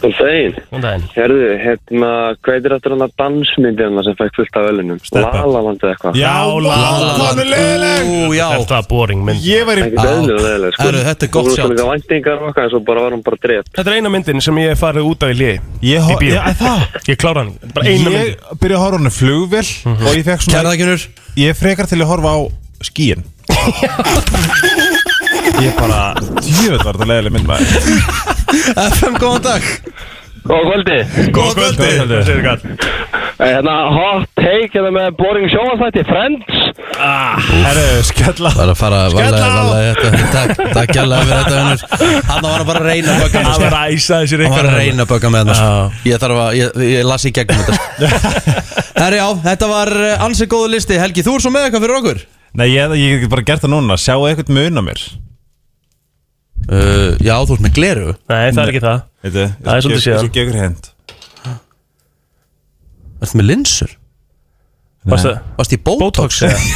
[SPEAKER 9] daginn
[SPEAKER 2] um daginn
[SPEAKER 9] Herðu, hérna, hvað er þetta hann dansmyndina sem fæk fullt af velunum?
[SPEAKER 2] Steppa.
[SPEAKER 9] Lalandu eitthvað
[SPEAKER 4] Já,
[SPEAKER 1] Lallan, ú, já
[SPEAKER 2] Þetta er boring mynd
[SPEAKER 4] Ég var í
[SPEAKER 9] Ekki dæðilega, dæðilega, sko
[SPEAKER 1] Herru, þetta er gott
[SPEAKER 9] Þú voru
[SPEAKER 1] sjátt.
[SPEAKER 9] svona væntingar og okkar en svo bara var hún bara drept
[SPEAKER 2] Þetta er eina myndin sem ég hef farið út af í liði
[SPEAKER 4] Ég
[SPEAKER 2] Í
[SPEAKER 4] ho-
[SPEAKER 2] bíó
[SPEAKER 4] Já, er það?
[SPEAKER 2] Ég klára hann Bara eina Mhm.
[SPEAKER 4] Ég
[SPEAKER 2] myndin
[SPEAKER 4] byrja að horfa á hann flugvél Og ég fekk svona
[SPEAKER 1] Kærðagjunur
[SPEAKER 4] Ég er frekar til að horfa á skíin Ég bara Jöfnveld var þetta leiðileg mynd maður
[SPEAKER 1] FM, góðan dag
[SPEAKER 9] Góð kvöldi
[SPEAKER 1] Góðan kvöldi
[SPEAKER 2] Þetta er galt
[SPEAKER 9] Hérna, hot take hérna með boring sjónastætti, Friends
[SPEAKER 4] Herru, skella
[SPEAKER 1] Var að fara, varlega, varlega þetta Takk, takk jæglega fyrir þetta vinnur Hann var að bara að reyna að bögga
[SPEAKER 2] Það
[SPEAKER 1] með
[SPEAKER 2] var
[SPEAKER 1] þetta
[SPEAKER 2] að æsa þessir
[SPEAKER 1] Hann
[SPEAKER 2] ykkur
[SPEAKER 1] var að reyna að bögga með þetta sko. Ég þarf að, ég, ég las í gegnum þetta sko. Herri já, þetta var eh, ansi góðu listi Helgi, þú er svo með eitthvað fyrir okkur
[SPEAKER 4] Nei, ég, ég get bara gert það núna Sjáu eitthvað mun á mér
[SPEAKER 1] uh, Já, þú ert með gleru
[SPEAKER 2] Nei, það er ekki það
[SPEAKER 4] Veitu,
[SPEAKER 2] Það er svolítið síðan.
[SPEAKER 4] Ég gefur hend
[SPEAKER 1] Ertu með linsur?
[SPEAKER 2] Varstu
[SPEAKER 1] Varst í Botox?
[SPEAKER 2] Botox eða?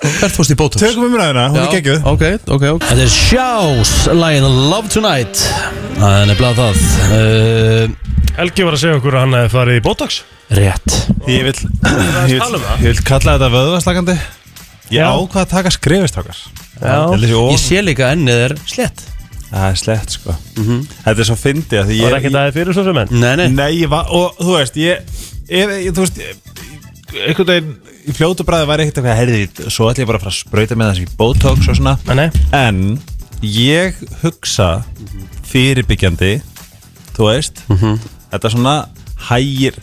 [SPEAKER 1] Hvert fórst í Botox?
[SPEAKER 4] Tökum umræðina, hún er
[SPEAKER 1] Já,
[SPEAKER 4] geggjuð
[SPEAKER 1] ok, ok, ok Þetta er Sjás, lægin Love Tonight Það er nefnilega það uh,
[SPEAKER 2] Helgi var að segja okkur að hann hefði farið í Botox
[SPEAKER 1] Rétt
[SPEAKER 4] Ég vil, ég,
[SPEAKER 2] tala
[SPEAKER 4] vil,
[SPEAKER 2] um það.
[SPEAKER 4] ég vil kalla þetta vöðvaslagandi Ég
[SPEAKER 2] Já.
[SPEAKER 4] ákvað að taka skrifistakar
[SPEAKER 2] Já
[SPEAKER 1] Ég sé líka ennið er slett
[SPEAKER 4] Það er slett sko Þetta er svo fyndið að því
[SPEAKER 2] Mhm. Var
[SPEAKER 4] ég,
[SPEAKER 2] ekki
[SPEAKER 4] ég,
[SPEAKER 2] það fyrir svo sem enn
[SPEAKER 1] Nei, nei
[SPEAKER 4] Nei, ég var, og þú veist ég, ef, ég, þú veist ég- einhvern veginn í fljótu bræði var ekkert eitthvað herðið, svo ætla ég bara að fara að sprauta með þessi botox og svona
[SPEAKER 2] Nei, nei
[SPEAKER 4] en ég hugsa fyrirbyggjandi þú veist
[SPEAKER 2] Mhm.
[SPEAKER 4] þetta svona hægir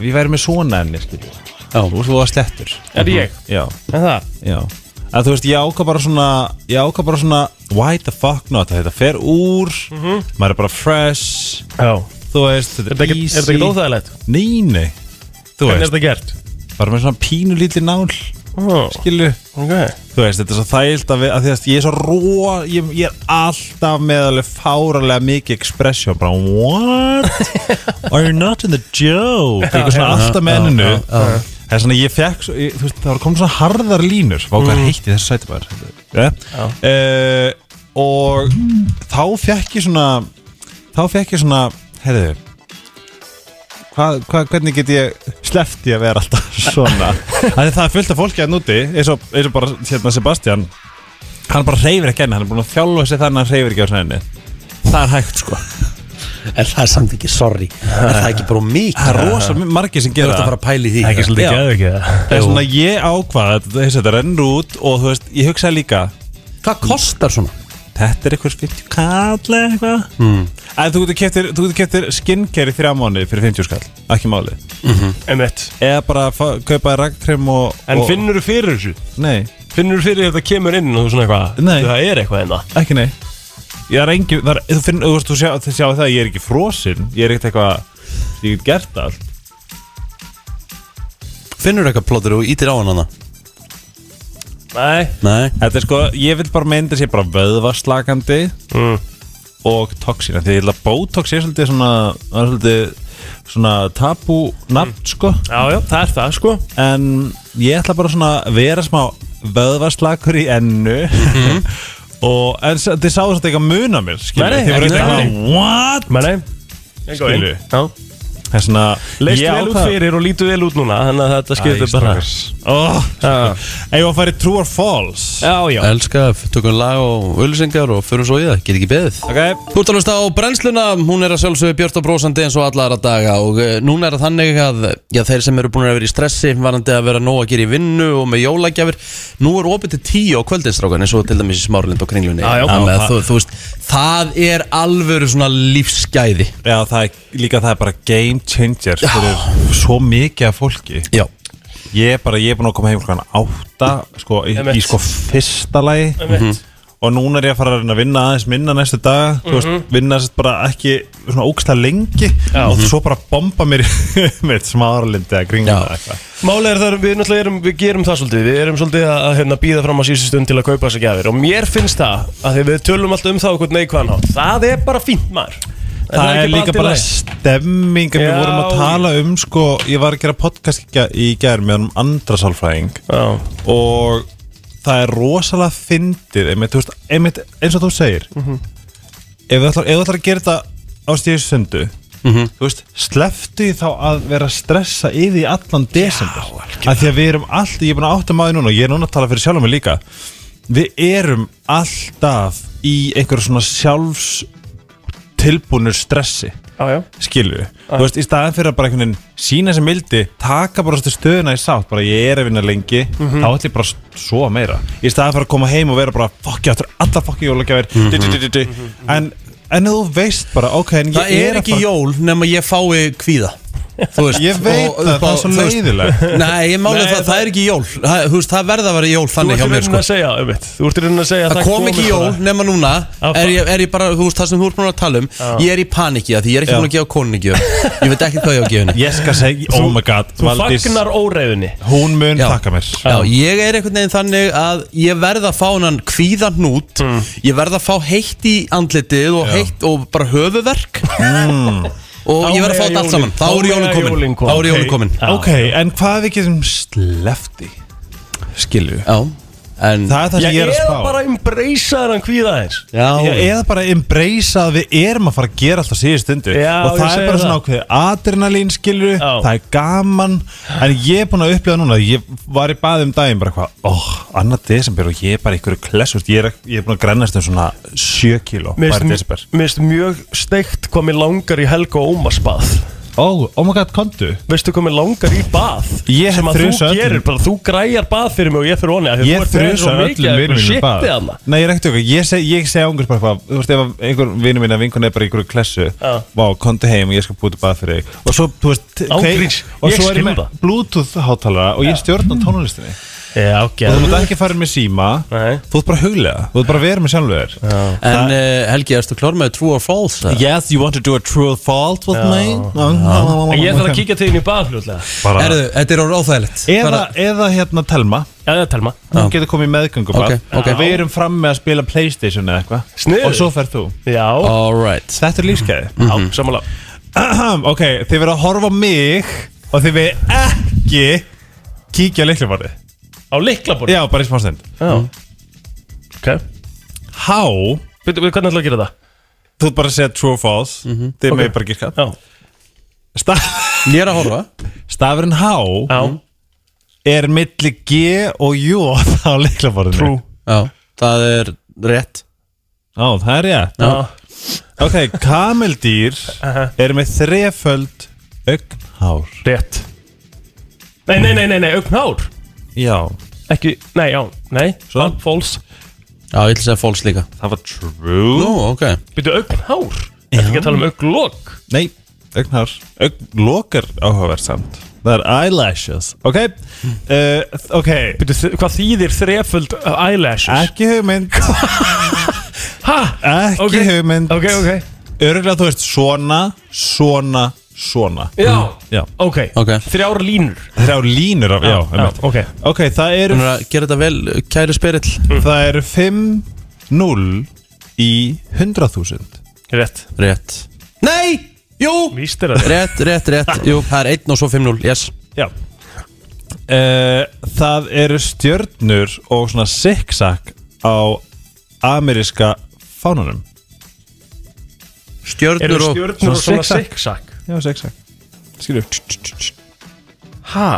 [SPEAKER 4] við væri með svona enni skilur við.
[SPEAKER 1] Já.
[SPEAKER 4] þú veist þú var slettur
[SPEAKER 2] Er ég?
[SPEAKER 4] Mhm. já,
[SPEAKER 2] En það?
[SPEAKER 4] já að þú veist ég ákvað bara svona ég ákvað bara svona why the fuck not þetta fer úr maður er bara fresh
[SPEAKER 2] Já
[SPEAKER 4] þú veist þetta
[SPEAKER 2] Mhm. Er
[SPEAKER 4] er,
[SPEAKER 2] þetta ekki- er þetta ekki óþægilegt?
[SPEAKER 4] nei nei þú
[SPEAKER 2] Hvernig er
[SPEAKER 4] veist
[SPEAKER 2] þetta gert?
[SPEAKER 4] bara með svona pínu lítið nál
[SPEAKER 2] Ó,
[SPEAKER 4] skilur
[SPEAKER 2] Ok
[SPEAKER 4] Þú veist, þetta er svo þægilt að, við, að því að ég er svo ró, ég, ég er alltaf með alveg fáralega mikið expression, bara what? Are you not in the joke? Ég er svona alltaf með enninu. Það er svona, ég fekk, svo- ég, þú veist, það var komið svona harðar línur, var okkar heitt í þessu sæti bara. Yeah. Uh, og þá fekk ég svona, þá fekk ég svona, heyrðu, Hva, hva, hvernig get ég slefti að vera alltaf svona Af því það er fullt af fólki að núti eins og, eins og bara hérna Sebastian hann bara reyfir ekki henni, hann er búin að þjálfa sig þannig að hann reyfir ekki á henni það er hægt sko,
[SPEAKER 1] En það er samt ekki sorry Er það ekki bara mikið?
[SPEAKER 4] það er rosa margir sem
[SPEAKER 1] Þú
[SPEAKER 4] gera
[SPEAKER 1] ert að fara að pæli því
[SPEAKER 2] Ekki
[SPEAKER 4] Já.
[SPEAKER 2] svolítið geðu ekki
[SPEAKER 4] það er svona ég ákvað þetta, þessi, þetta rennur út og þú veist, ég hugsaði líka
[SPEAKER 1] Hvað kostar svona?
[SPEAKER 4] þetta er eitthvað 50 kall eða eitthvað
[SPEAKER 1] Hmm.
[SPEAKER 4] mm. en þú getur keftir, þú getur keftir skincare í þrjá mánu fyrir 50 skall, ekki máli
[SPEAKER 2] Emmett
[SPEAKER 4] eða bara fá- kaupa ragtrim og,
[SPEAKER 2] En
[SPEAKER 4] og
[SPEAKER 2] finnur þú fyrir þessu?
[SPEAKER 4] nei,
[SPEAKER 2] Finnur þú fyrir þetta kemur inn og þú svona eitthvað
[SPEAKER 4] Nei.
[SPEAKER 2] Það er eitthvað hérna. en
[SPEAKER 4] ekki nei ég er engi, það er, þú finn, þú veist, þú sjá, þú sjá það ég er ekki frosinn, ég er ekkert eitthvað ég get gert allt
[SPEAKER 1] Finnur eitthvað plótur og ítir á hann hana?
[SPEAKER 2] Nei
[SPEAKER 1] Nei
[SPEAKER 4] þetta er sko, ég vil bara mynda sér bara vöðvaslakandi
[SPEAKER 2] Mm.
[SPEAKER 4] og toxina, því ég held að botox er svolítið svona, það er svolítið svona tabú nafn, sko
[SPEAKER 2] Mm. Já, já, það er það sko
[SPEAKER 4] en ég ætla bara svona að vera smá vöðvaslakur í ennu og en s- þið sáðu þetta ekki að muna mér skilur,
[SPEAKER 2] Mhm. Nei, nei,
[SPEAKER 4] þið voru
[SPEAKER 2] ekki
[SPEAKER 4] eitthvað, what?
[SPEAKER 2] Menni Skilu
[SPEAKER 4] Skilu.
[SPEAKER 2] Já
[SPEAKER 4] Það er svona,
[SPEAKER 2] Leist
[SPEAKER 4] ég
[SPEAKER 2] vel út
[SPEAKER 4] ákvað-
[SPEAKER 2] fyrir og lítu vel út núna Þannig að þetta skiptir bara
[SPEAKER 4] oh,
[SPEAKER 2] Já.
[SPEAKER 4] Eða að fara í True or False
[SPEAKER 2] Já, já
[SPEAKER 1] Elska, tökum lag og öllisengar og förum svo í það, get ekki beðið
[SPEAKER 4] Ok
[SPEAKER 1] Þú ert að hlusta á brennsluna, hún er að sjálfsögðu björt og brósandi eins og alla aðra daga og uh, núna er það þannig að já, þeir sem eru búin að vera í stressi varandi að vera nóg að gera í vinnu og með jólagjafir nú er opið til tíu á kvöldinstrákan eins og til dæmis í smárlind og kringlunni
[SPEAKER 2] Já, já,
[SPEAKER 1] Þannig að
[SPEAKER 2] já,
[SPEAKER 1] þú, þú veist, það er alvöru svona lífsgæði
[SPEAKER 4] Já, það er líka það er bara game changer fyrir svo mikið af fólki
[SPEAKER 1] Já,
[SPEAKER 4] Ég er bara, ég er búin að koma heim klokkan átta sko, í,
[SPEAKER 2] Einmitt.
[SPEAKER 4] í sko fyrsta lagi
[SPEAKER 2] Einmitt.
[SPEAKER 4] og og núna er ég að fara að reyna að vinna aðeins minna næstu dag þú
[SPEAKER 2] Mhm.
[SPEAKER 4] veist, vinna þess bara ekki svona ógsta lengi og
[SPEAKER 2] Mhm.
[SPEAKER 4] svo bara bomba mér með smáralindi að gringa
[SPEAKER 1] Já.
[SPEAKER 4] það eitthvað
[SPEAKER 2] Málega er það, við náttúrulega erum, við gerum það svolítið Við erum svolítið að, að hérna, býða fram á síðustu stund til að kaupa þessa gjafir Og mér finnst það, að þegar við tölum alltaf um það okkur neikvæðan hátt Það er bara fínt maður
[SPEAKER 4] Það, er líka bara stemming en við
[SPEAKER 2] Já,
[SPEAKER 4] vorum að tala um sko, ég var að gera podcast í gær- í gær með honum andra sálfræðing
[SPEAKER 2] Já,
[SPEAKER 4] og það er rosalega fyndið einmitt, þú veist, einmitt, eins og þú segir ef þú ætlar, ef þú ætlar að gera þetta á stíðu sundu þú veist, sleftu því þá að vera að stressa yfir í allan desember að því að við erum allt, ég er búin að átta maður núna og ég er núna að tala fyrir sjálfum mig líka við erum alltaf í einhverjum svona sjálfs tilbúnur stressi
[SPEAKER 2] já, já
[SPEAKER 4] skilu þú veist, í staðan fyrir að bara einhvern veginn sína sem mildi, taka bara stu stöðuna í sátt bara ég er að vinna lengi,
[SPEAKER 2] Mhm.
[SPEAKER 4] þá ætlum ég bara að sofa meira, í staðan fyrir að koma heim og vera bara, fokk ég áttur alla fokki jólagjafir
[SPEAKER 1] Mhm.
[SPEAKER 4] du, du, du, du, du. en en þú veist bara, ok, en ég
[SPEAKER 1] Það er
[SPEAKER 4] að
[SPEAKER 1] ekki
[SPEAKER 4] fara-
[SPEAKER 1] jól nema ég fái kvíða Þú veist,
[SPEAKER 4] Ég veit
[SPEAKER 1] og
[SPEAKER 4] það,
[SPEAKER 1] upp á-
[SPEAKER 4] það er svo
[SPEAKER 1] þú veist-
[SPEAKER 4] leiðilegt.
[SPEAKER 1] Nei, ég máli
[SPEAKER 2] Nei,
[SPEAKER 1] það,
[SPEAKER 2] það-
[SPEAKER 1] það er ekki jól Það, þú veist, það verða að vera jól
[SPEAKER 2] Þú
[SPEAKER 1] þannig
[SPEAKER 2] ert
[SPEAKER 1] hjá
[SPEAKER 2] í
[SPEAKER 1] mér
[SPEAKER 2] rauninni
[SPEAKER 1] sko
[SPEAKER 2] að segja, einmitt. Þú ert í rauninni að segja að
[SPEAKER 1] Það kom ekki
[SPEAKER 2] komi
[SPEAKER 1] jól
[SPEAKER 2] bara.
[SPEAKER 1] nema núna
[SPEAKER 2] Að
[SPEAKER 1] er
[SPEAKER 2] bara-
[SPEAKER 1] ég, er ég bara, þú veist, það sem þú ert búin að tala um Ég er í paniki að því ég er ekki
[SPEAKER 4] Já.
[SPEAKER 1] búin að gefa koninni gjöf Ég veit ekki hvað ég á að gefa henni
[SPEAKER 4] ég skal segja, oh my god
[SPEAKER 2] Þú fagnar óreiðinni
[SPEAKER 4] hún mun
[SPEAKER 1] Já.
[SPEAKER 4] taka mér
[SPEAKER 1] Já, ég er einhvern veginn þannig að ég verð að fá hennan kvíðan nút Ég verð að fá heitt í andlitið og heitt og bara höfuverk Og
[SPEAKER 2] Hmm. Þá
[SPEAKER 1] ég verð að fá
[SPEAKER 2] mega
[SPEAKER 1] þetta allt
[SPEAKER 2] jólin.
[SPEAKER 1] saman Þá
[SPEAKER 2] Þá
[SPEAKER 1] er jólin
[SPEAKER 2] mega jólin
[SPEAKER 1] komin
[SPEAKER 2] komin.
[SPEAKER 1] Þá er jólin komin
[SPEAKER 2] Já.
[SPEAKER 4] ok, en hvað við getum slefti skilu,
[SPEAKER 1] Já, en
[SPEAKER 4] það er
[SPEAKER 2] Já,
[SPEAKER 4] það sem ég er að
[SPEAKER 2] eða
[SPEAKER 4] spá
[SPEAKER 2] bara embracea þennan kvíða eins
[SPEAKER 1] Já,
[SPEAKER 4] Já, eða bara embracea að við erum að fara að gera alltaf síðust stundu
[SPEAKER 2] Já,
[SPEAKER 4] og
[SPEAKER 2] ég
[SPEAKER 4] það
[SPEAKER 2] segi
[SPEAKER 4] er bara svona
[SPEAKER 2] það.
[SPEAKER 4] ákveðið adrenalín skilur,
[SPEAKER 2] Já.
[SPEAKER 4] það er gaman en ég er búin að upplega núna ég var í baði um daginn bara hvað oh, annar desember og ég er bara í einhverju kless ég, er- ég er búin að grennast um svona 7 kíló
[SPEAKER 2] Mér
[SPEAKER 4] bara í
[SPEAKER 2] finnst-
[SPEAKER 4] desember
[SPEAKER 2] mér finnst mjög steikt hvað mér langar í Helga Ómars bað
[SPEAKER 4] oh, oh my god, kontu
[SPEAKER 2] Veistu hvað mér langar í bað
[SPEAKER 4] Ég
[SPEAKER 2] Sem að þú
[SPEAKER 4] þrusa öllum.
[SPEAKER 2] gerir, bara þú græjar bað fyrir mig og ég fyrir honi af því að
[SPEAKER 4] ég
[SPEAKER 2] þú ert með svo
[SPEAKER 4] þrjusa
[SPEAKER 2] mikið af
[SPEAKER 4] öllum
[SPEAKER 2] einhverju
[SPEAKER 4] vinnum mínum
[SPEAKER 2] shitti
[SPEAKER 4] bara
[SPEAKER 2] þarna.
[SPEAKER 4] Nei, ég er ekkert okkur, ég segi seg ángur bara hvað Þú veist, ef að einhver vinnum minna vinkun er bara í einhverju klessu
[SPEAKER 2] Já.
[SPEAKER 4] Vá, komdu heim og ég skal búið til bað fyrir þig Og svo, þú veist,
[SPEAKER 2] Ángríns,
[SPEAKER 4] Og
[SPEAKER 2] ég
[SPEAKER 4] svo er
[SPEAKER 2] skil
[SPEAKER 4] ég með
[SPEAKER 2] það.
[SPEAKER 4] Bluetooth hátalara og ég stjórna tónlistinni
[SPEAKER 2] Já,
[SPEAKER 4] Og
[SPEAKER 2] ok
[SPEAKER 4] þú mútt ekki fara með síma
[SPEAKER 2] Nei.
[SPEAKER 4] Þú ert bara huglega, þú ert bara verið með sjálfur þér
[SPEAKER 1] En uh, Helgi, erstu klár með True or False? eða?
[SPEAKER 4] Yes, you want to do a true fault with me
[SPEAKER 2] En ég þarf að kíkja til þín í bað fljótlega
[SPEAKER 1] Herðu, þetta er orðið óþægilegt
[SPEAKER 4] Eða,
[SPEAKER 1] Bara-
[SPEAKER 4] eða hérna Telma
[SPEAKER 2] Já, það er telma
[SPEAKER 4] Hún getur komið í meðgöngum
[SPEAKER 1] Ok, ok.
[SPEAKER 4] Við erum fram með að spila Playstation eða eitthvað
[SPEAKER 2] Sniðugt.
[SPEAKER 4] Og svo ferð þú
[SPEAKER 2] Já,
[SPEAKER 1] Alright
[SPEAKER 4] Þetta er lífskeiði
[SPEAKER 2] já, sammála
[SPEAKER 4] Ahem, Ok, þið verða að horfa á mig og þið verða ekki kíkja á leiklabarði
[SPEAKER 2] Á liklaborð
[SPEAKER 4] Já, bara í smá stund
[SPEAKER 2] Ok
[SPEAKER 4] Há,
[SPEAKER 2] Veitu, veitu, hvernig ætlaðu að gera það?
[SPEAKER 4] þú ert bara að segja true or false Þið okay. megir bara gíska
[SPEAKER 2] Já,
[SPEAKER 4] Sta
[SPEAKER 1] Ég er að horfa
[SPEAKER 4] Stafurinn há
[SPEAKER 2] já,
[SPEAKER 4] er milli G og J á leiklabarðinu
[SPEAKER 2] true
[SPEAKER 1] Já, það er rétt
[SPEAKER 4] Á, það er ég
[SPEAKER 2] Já,
[SPEAKER 4] Ok, kameldýr er með þreföld augnhár
[SPEAKER 2] rétt Nei, nei, nei, nei, nei, augnhár
[SPEAKER 4] Já,
[SPEAKER 2] Ekki, nei, já, nei,
[SPEAKER 4] Svo?
[SPEAKER 2] false
[SPEAKER 1] Já, ég ætla að segja False líka
[SPEAKER 4] það var true
[SPEAKER 1] Nú, ok
[SPEAKER 2] Byrju augnhár Þetta ekki að tala um augnlokk
[SPEAKER 4] Nei, augnhár Augnlokar áhugavert samt Það er eyelashes Ok, uh, ok
[SPEAKER 2] Byrju, þ- hvað þýðir þreföld eyelashes?
[SPEAKER 4] Ekki hugmynd
[SPEAKER 2] Ha?
[SPEAKER 4] Ekki
[SPEAKER 2] Ok,
[SPEAKER 4] hugmynd
[SPEAKER 2] Ok, ok
[SPEAKER 4] Örgulega þú veist svona, svona, svona
[SPEAKER 2] Já,
[SPEAKER 4] Já
[SPEAKER 2] ok,
[SPEAKER 1] Ok.
[SPEAKER 2] Þrjár línur
[SPEAKER 4] Þrjá línur af, já,
[SPEAKER 2] já,
[SPEAKER 4] einmitt.
[SPEAKER 2] ok
[SPEAKER 4] Ok, það eru,
[SPEAKER 1] Hún er að gera þetta vel, kæri spyrill
[SPEAKER 4] það eru 5-0 í 100.000
[SPEAKER 2] Rétt
[SPEAKER 1] Rétt Nei, jú
[SPEAKER 2] Víst er það
[SPEAKER 1] Rétt, rétt, rétt Jú, það er 1 og svo 5-0 Yes
[SPEAKER 2] Já
[SPEAKER 4] uh, Það eru stjörnur og svona zigzag á ameríska fánunum
[SPEAKER 2] Eru
[SPEAKER 1] Stjörnur og
[SPEAKER 2] stjörnur og svona
[SPEAKER 4] zigzag?
[SPEAKER 2] zigzag?
[SPEAKER 4] Já, zigzag Skilju
[SPEAKER 2] Ha?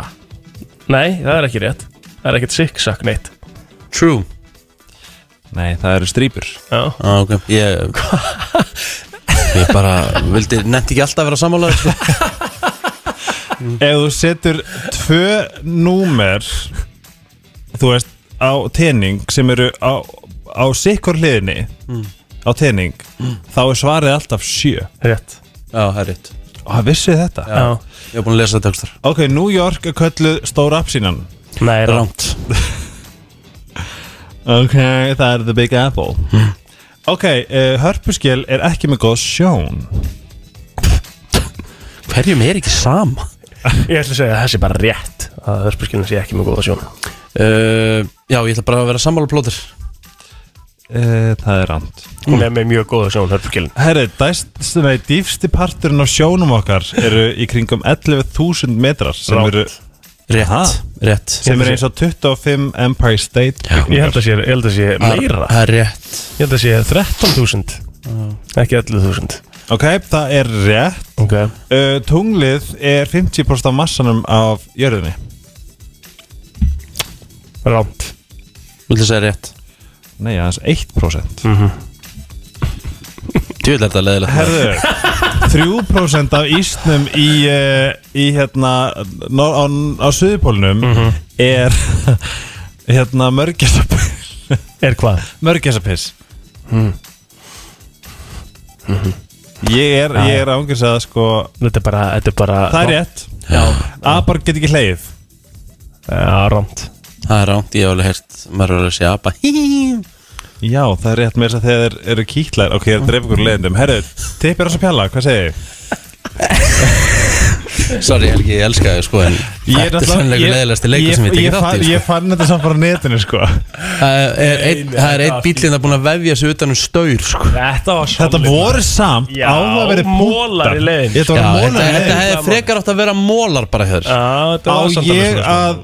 [SPEAKER 2] Nei, það er ekki rétt Það er ekkert zigzag neitt
[SPEAKER 1] True
[SPEAKER 4] Nei, það eru strýpur
[SPEAKER 2] Já
[SPEAKER 1] Já, ok Ég Ég bara vildi Nefnt ekki alltaf að vera sammálaður sko.
[SPEAKER 4] Ef þú setur tvö númer Þú veist á tening sem eru á, á sikkur hliðinni á tening þá er svarið alltaf sjö
[SPEAKER 2] Rétt
[SPEAKER 1] Já, það er rétt
[SPEAKER 4] og það vissið Ah, þetta
[SPEAKER 2] Já
[SPEAKER 1] Ég er búin að lesa þetta aukstar
[SPEAKER 4] Ok, New York er kölluð stóra appsínan
[SPEAKER 2] Nei, rá
[SPEAKER 1] Rámt
[SPEAKER 4] Ok, það er The Big Apple Ok, uh, hörpuskil er ekki með góð sjón
[SPEAKER 1] Hverjum er ekki sama?
[SPEAKER 2] Ég ætla að segja að það sé bara rétt að hörspurskilin sé ekki með góða sjón
[SPEAKER 1] Uh, já, ég ætla bara að vera sammála plótur
[SPEAKER 4] uh, Það er rand
[SPEAKER 2] Hún er með mjög góða sjón, hörspurskilin
[SPEAKER 4] Herri, dæst, nei, dýfsti parturinn á sjónum okkar eru í kringum 11.000 metrar sem,
[SPEAKER 2] Rangt.
[SPEAKER 4] eru,
[SPEAKER 1] Rétt,
[SPEAKER 4] Ha?
[SPEAKER 1] rétt
[SPEAKER 4] sem eru eins og 25 Empire State
[SPEAKER 2] Ég held að sé, ég held að sé meira
[SPEAKER 1] Það er rétt
[SPEAKER 2] Ég held að sé 13.000 Ekki 11.000
[SPEAKER 4] Ok, það er rétt
[SPEAKER 2] Ok
[SPEAKER 4] uh, Tunglið er 50% af massanum af jörðinni
[SPEAKER 2] Rámt
[SPEAKER 1] Þú ætla að segja rétt
[SPEAKER 4] Nei, aðeins 1%
[SPEAKER 1] Þú ætla þetta leðilegt
[SPEAKER 4] Herðu, 3% af ísnum í, uh, í hérna nó, á, á suðupólnum er hérna mörgjasapiss
[SPEAKER 2] Er hvað?
[SPEAKER 4] mörgjasapiss Mm. Ég er, ég er ángjörs að sko
[SPEAKER 2] Þetta er bara, þetta er bara
[SPEAKER 4] Það er rétt Apar get ekki hleið
[SPEAKER 2] Já, rámt
[SPEAKER 1] Það er rámt, ég hef alveg heyrt Maður er alveg að segja apa
[SPEAKER 4] Já, það er rétt með þess að þegar þeir eru kýtlar Ok, það dreif ykkur úr leiðindum Herðu, tippir á svo pjalla, hvað segir þið?
[SPEAKER 1] Sorry Helgi, ég elska þig sko En þetta er sannlega leðilegasti leikur sem ég tekið þátt í
[SPEAKER 4] Ég
[SPEAKER 1] sko.
[SPEAKER 4] fann þetta samt bara á netinu sko
[SPEAKER 1] Það er einn- það er einn bílinn að búin að vefja sig utan um staur sko.
[SPEAKER 2] Þetta var
[SPEAKER 4] Þetta voru samt
[SPEAKER 2] Já,
[SPEAKER 4] á að vera
[SPEAKER 2] mólar í leiðinni.
[SPEAKER 1] Já,
[SPEAKER 4] Þetta var
[SPEAKER 1] þetta,
[SPEAKER 4] mólar í
[SPEAKER 1] þetta
[SPEAKER 4] leiðinni
[SPEAKER 1] hefði frekar átt að vera mólar bara hér
[SPEAKER 2] Já, þetta
[SPEAKER 4] Á
[SPEAKER 2] var samt alveg
[SPEAKER 4] ég
[SPEAKER 2] svona
[SPEAKER 4] að,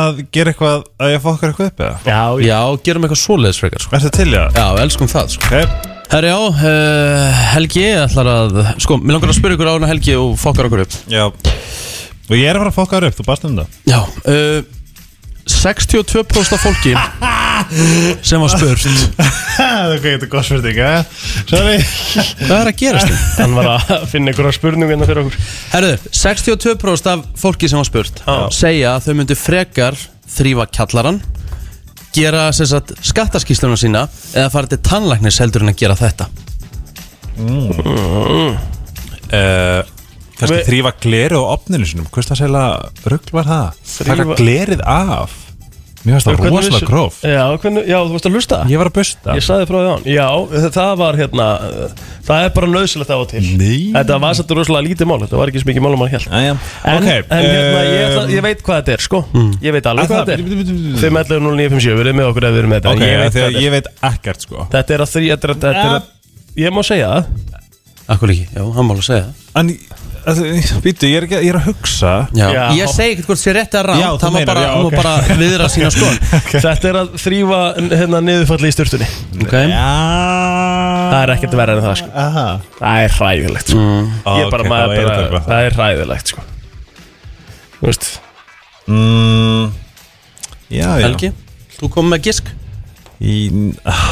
[SPEAKER 4] að gera eitthvað að ég fokkar eitthvað upp eða?
[SPEAKER 2] Já, já
[SPEAKER 1] Já, gerum eitthvað svoleiðis frekar sko.
[SPEAKER 4] Er þetta til í það?
[SPEAKER 1] Já, elskum það sko.
[SPEAKER 4] Okay.
[SPEAKER 1] Herri já, uh, Helgi ég ætlar að Sko, mér langar að spyrja ykkur á hana Helgi og fokkar okkur upp
[SPEAKER 4] Já Og ég er að fara að fokka þér upp, þú baðst um það
[SPEAKER 1] Já uh, 62% af fólki sem var spurt
[SPEAKER 4] Það er gætið góð spurning, eða? Sorry
[SPEAKER 1] Hvað er að gerast þér?
[SPEAKER 2] Hann var að finna einhverja spurningu hérna fyrir okkur
[SPEAKER 1] Herðu, 62% af fólki sem var spurt segja að þau myndu frekar þrýfa kjallaran gera sem sagt skattaskýsluna sína eða fara til tannlæknis heldur en að gera þetta
[SPEAKER 4] uh, Kannski
[SPEAKER 2] Við-
[SPEAKER 4] þrýfa gleri á opninu sinum Hvers það segla rugl var það? Þrýfa
[SPEAKER 2] Þrífa-
[SPEAKER 4] glerið af Mér finnst það
[SPEAKER 2] Hvernig
[SPEAKER 4] rosalega
[SPEAKER 2] vissu-
[SPEAKER 4] gróf
[SPEAKER 2] Já, hvernig, já, þú veist að hlusta
[SPEAKER 4] Ég var að busta
[SPEAKER 2] Eh, Ég saði frá því án Já, þa- það var hérna uh, Það er bara nöðsilegt af og til
[SPEAKER 4] Nei.
[SPEAKER 2] Þetta var satt rosalega lítið mál Þetta var ekki svo mikið mál um að hjálp
[SPEAKER 4] Æja
[SPEAKER 2] En, en hérna, ég,
[SPEAKER 4] ehm,
[SPEAKER 2] ætla, ég veit hvað þetta er, sko
[SPEAKER 4] Mm.
[SPEAKER 2] Ég veit alveg hvað þetta er 5.11.0957, verið með okkur ef við erum með þetta
[SPEAKER 4] eh, Ok,
[SPEAKER 2] Ég
[SPEAKER 4] af
[SPEAKER 2] veit
[SPEAKER 4] því
[SPEAKER 2] hvað þetta
[SPEAKER 4] að
[SPEAKER 2] er
[SPEAKER 4] ég veit ekkert sko
[SPEAKER 2] Þetta er að þrý, þetta er að, þetta er að Ég má segja það
[SPEAKER 1] Akkur ekki, já, hann má alveg segja það
[SPEAKER 4] En, býtu, ég er, ekki- ég er að hugsa
[SPEAKER 1] Já,
[SPEAKER 2] Já.
[SPEAKER 1] ég segi ekkert hvort sé rétt að
[SPEAKER 4] Já,
[SPEAKER 1] rátt
[SPEAKER 4] þú
[SPEAKER 1] það má
[SPEAKER 4] meinar,
[SPEAKER 1] bara,
[SPEAKER 4] já,
[SPEAKER 1] hún má
[SPEAKER 4] ok.
[SPEAKER 1] bara viðra sína skoðun
[SPEAKER 2] Þetta er að þrýfa hérna niðurfalli í styrtunni
[SPEAKER 1] okay.
[SPEAKER 2] Það er ekkert verið en það sko
[SPEAKER 4] Aha.
[SPEAKER 2] Það er hræðilegt sko Ég er bara maður
[SPEAKER 4] Ah, Ok, þá er
[SPEAKER 2] bara,
[SPEAKER 4] þetta bara það.
[SPEAKER 2] það er hræðilegt sko Þú veist
[SPEAKER 4] Mm, já, já
[SPEAKER 1] Helgi, þú kom með gisk
[SPEAKER 4] Í, ah.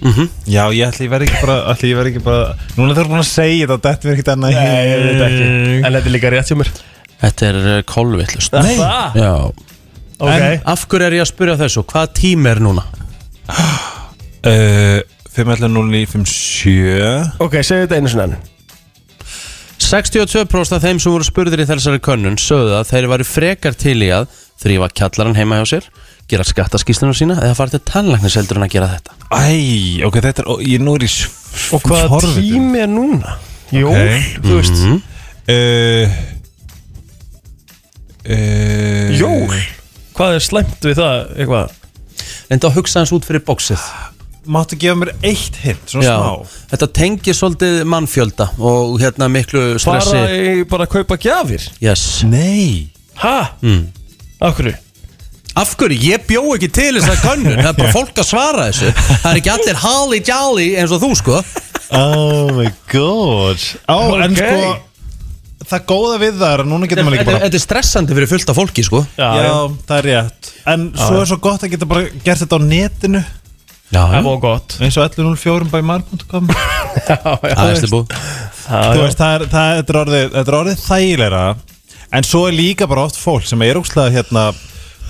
[SPEAKER 2] Mhm.
[SPEAKER 4] Já, ég ætli ég verð ekki bara, ætli ég verð ekki bara Núna þurfum búin að segja þetta og þetta verð ekki annað
[SPEAKER 2] Nei, ég veit ekki En þetta er líka rétt hjá mér
[SPEAKER 1] Þetta er uh, kolvillust
[SPEAKER 2] Nei Það?
[SPEAKER 1] Já,
[SPEAKER 2] Ok
[SPEAKER 1] af hverju er ég að spyrja þessu, hvað tími er núna?
[SPEAKER 4] uh, 5.11.09.57
[SPEAKER 2] Ok, segðu þetta einu sinni enn
[SPEAKER 1] 62% af þeim sem voru spurðir í þessari könnun sögðu að þeir væri frekar til í að þrýfa kjallaran heima hjá sér gera skattaskýsluna sína eða fara til tannlæknis heldur en að gera þetta
[SPEAKER 4] Æ, ok, þetta er, ó, ég nú er í
[SPEAKER 2] Og hvaða tími er núna? Jól, þú veist
[SPEAKER 4] Mhm. uh, uh,
[SPEAKER 2] Jól? Hvað er slæmt við það, eitthvað?
[SPEAKER 1] reynda að hugsa hans út fyrir bóksið
[SPEAKER 4] Máttu gefa mér eitt hint, svona smá
[SPEAKER 1] þetta tengir svolítið mannfjölda og hérna miklu stressi
[SPEAKER 2] Bara, í, bara að kaupa gjafir?
[SPEAKER 1] yes.
[SPEAKER 4] Nei
[SPEAKER 2] Ha? Mm. Akkur?
[SPEAKER 1] af hverju, ég bjó ekki til þess að könnun það er bara fólk að svara þessu það er ekki allir halli jali eins og þú sko
[SPEAKER 4] Oh my god Á, en
[SPEAKER 2] Ok.
[SPEAKER 4] sko Það góða við það er að núna getur
[SPEAKER 1] þetta
[SPEAKER 4] maður líka
[SPEAKER 1] er-
[SPEAKER 4] bara
[SPEAKER 1] þetta er stressandi fyrir fullt af fólki sko
[SPEAKER 4] Já, það er rétt En svo er svo gott að geta bara gert þetta á netinu
[SPEAKER 2] Það var gott
[SPEAKER 4] eins og 1104 by mar.com
[SPEAKER 1] aðeins þið búið
[SPEAKER 4] Þú veist, það er, það, þetta, er orðið, þetta er orðið þægilegra En svo er líka bara oft fólk sem er ógslag hérna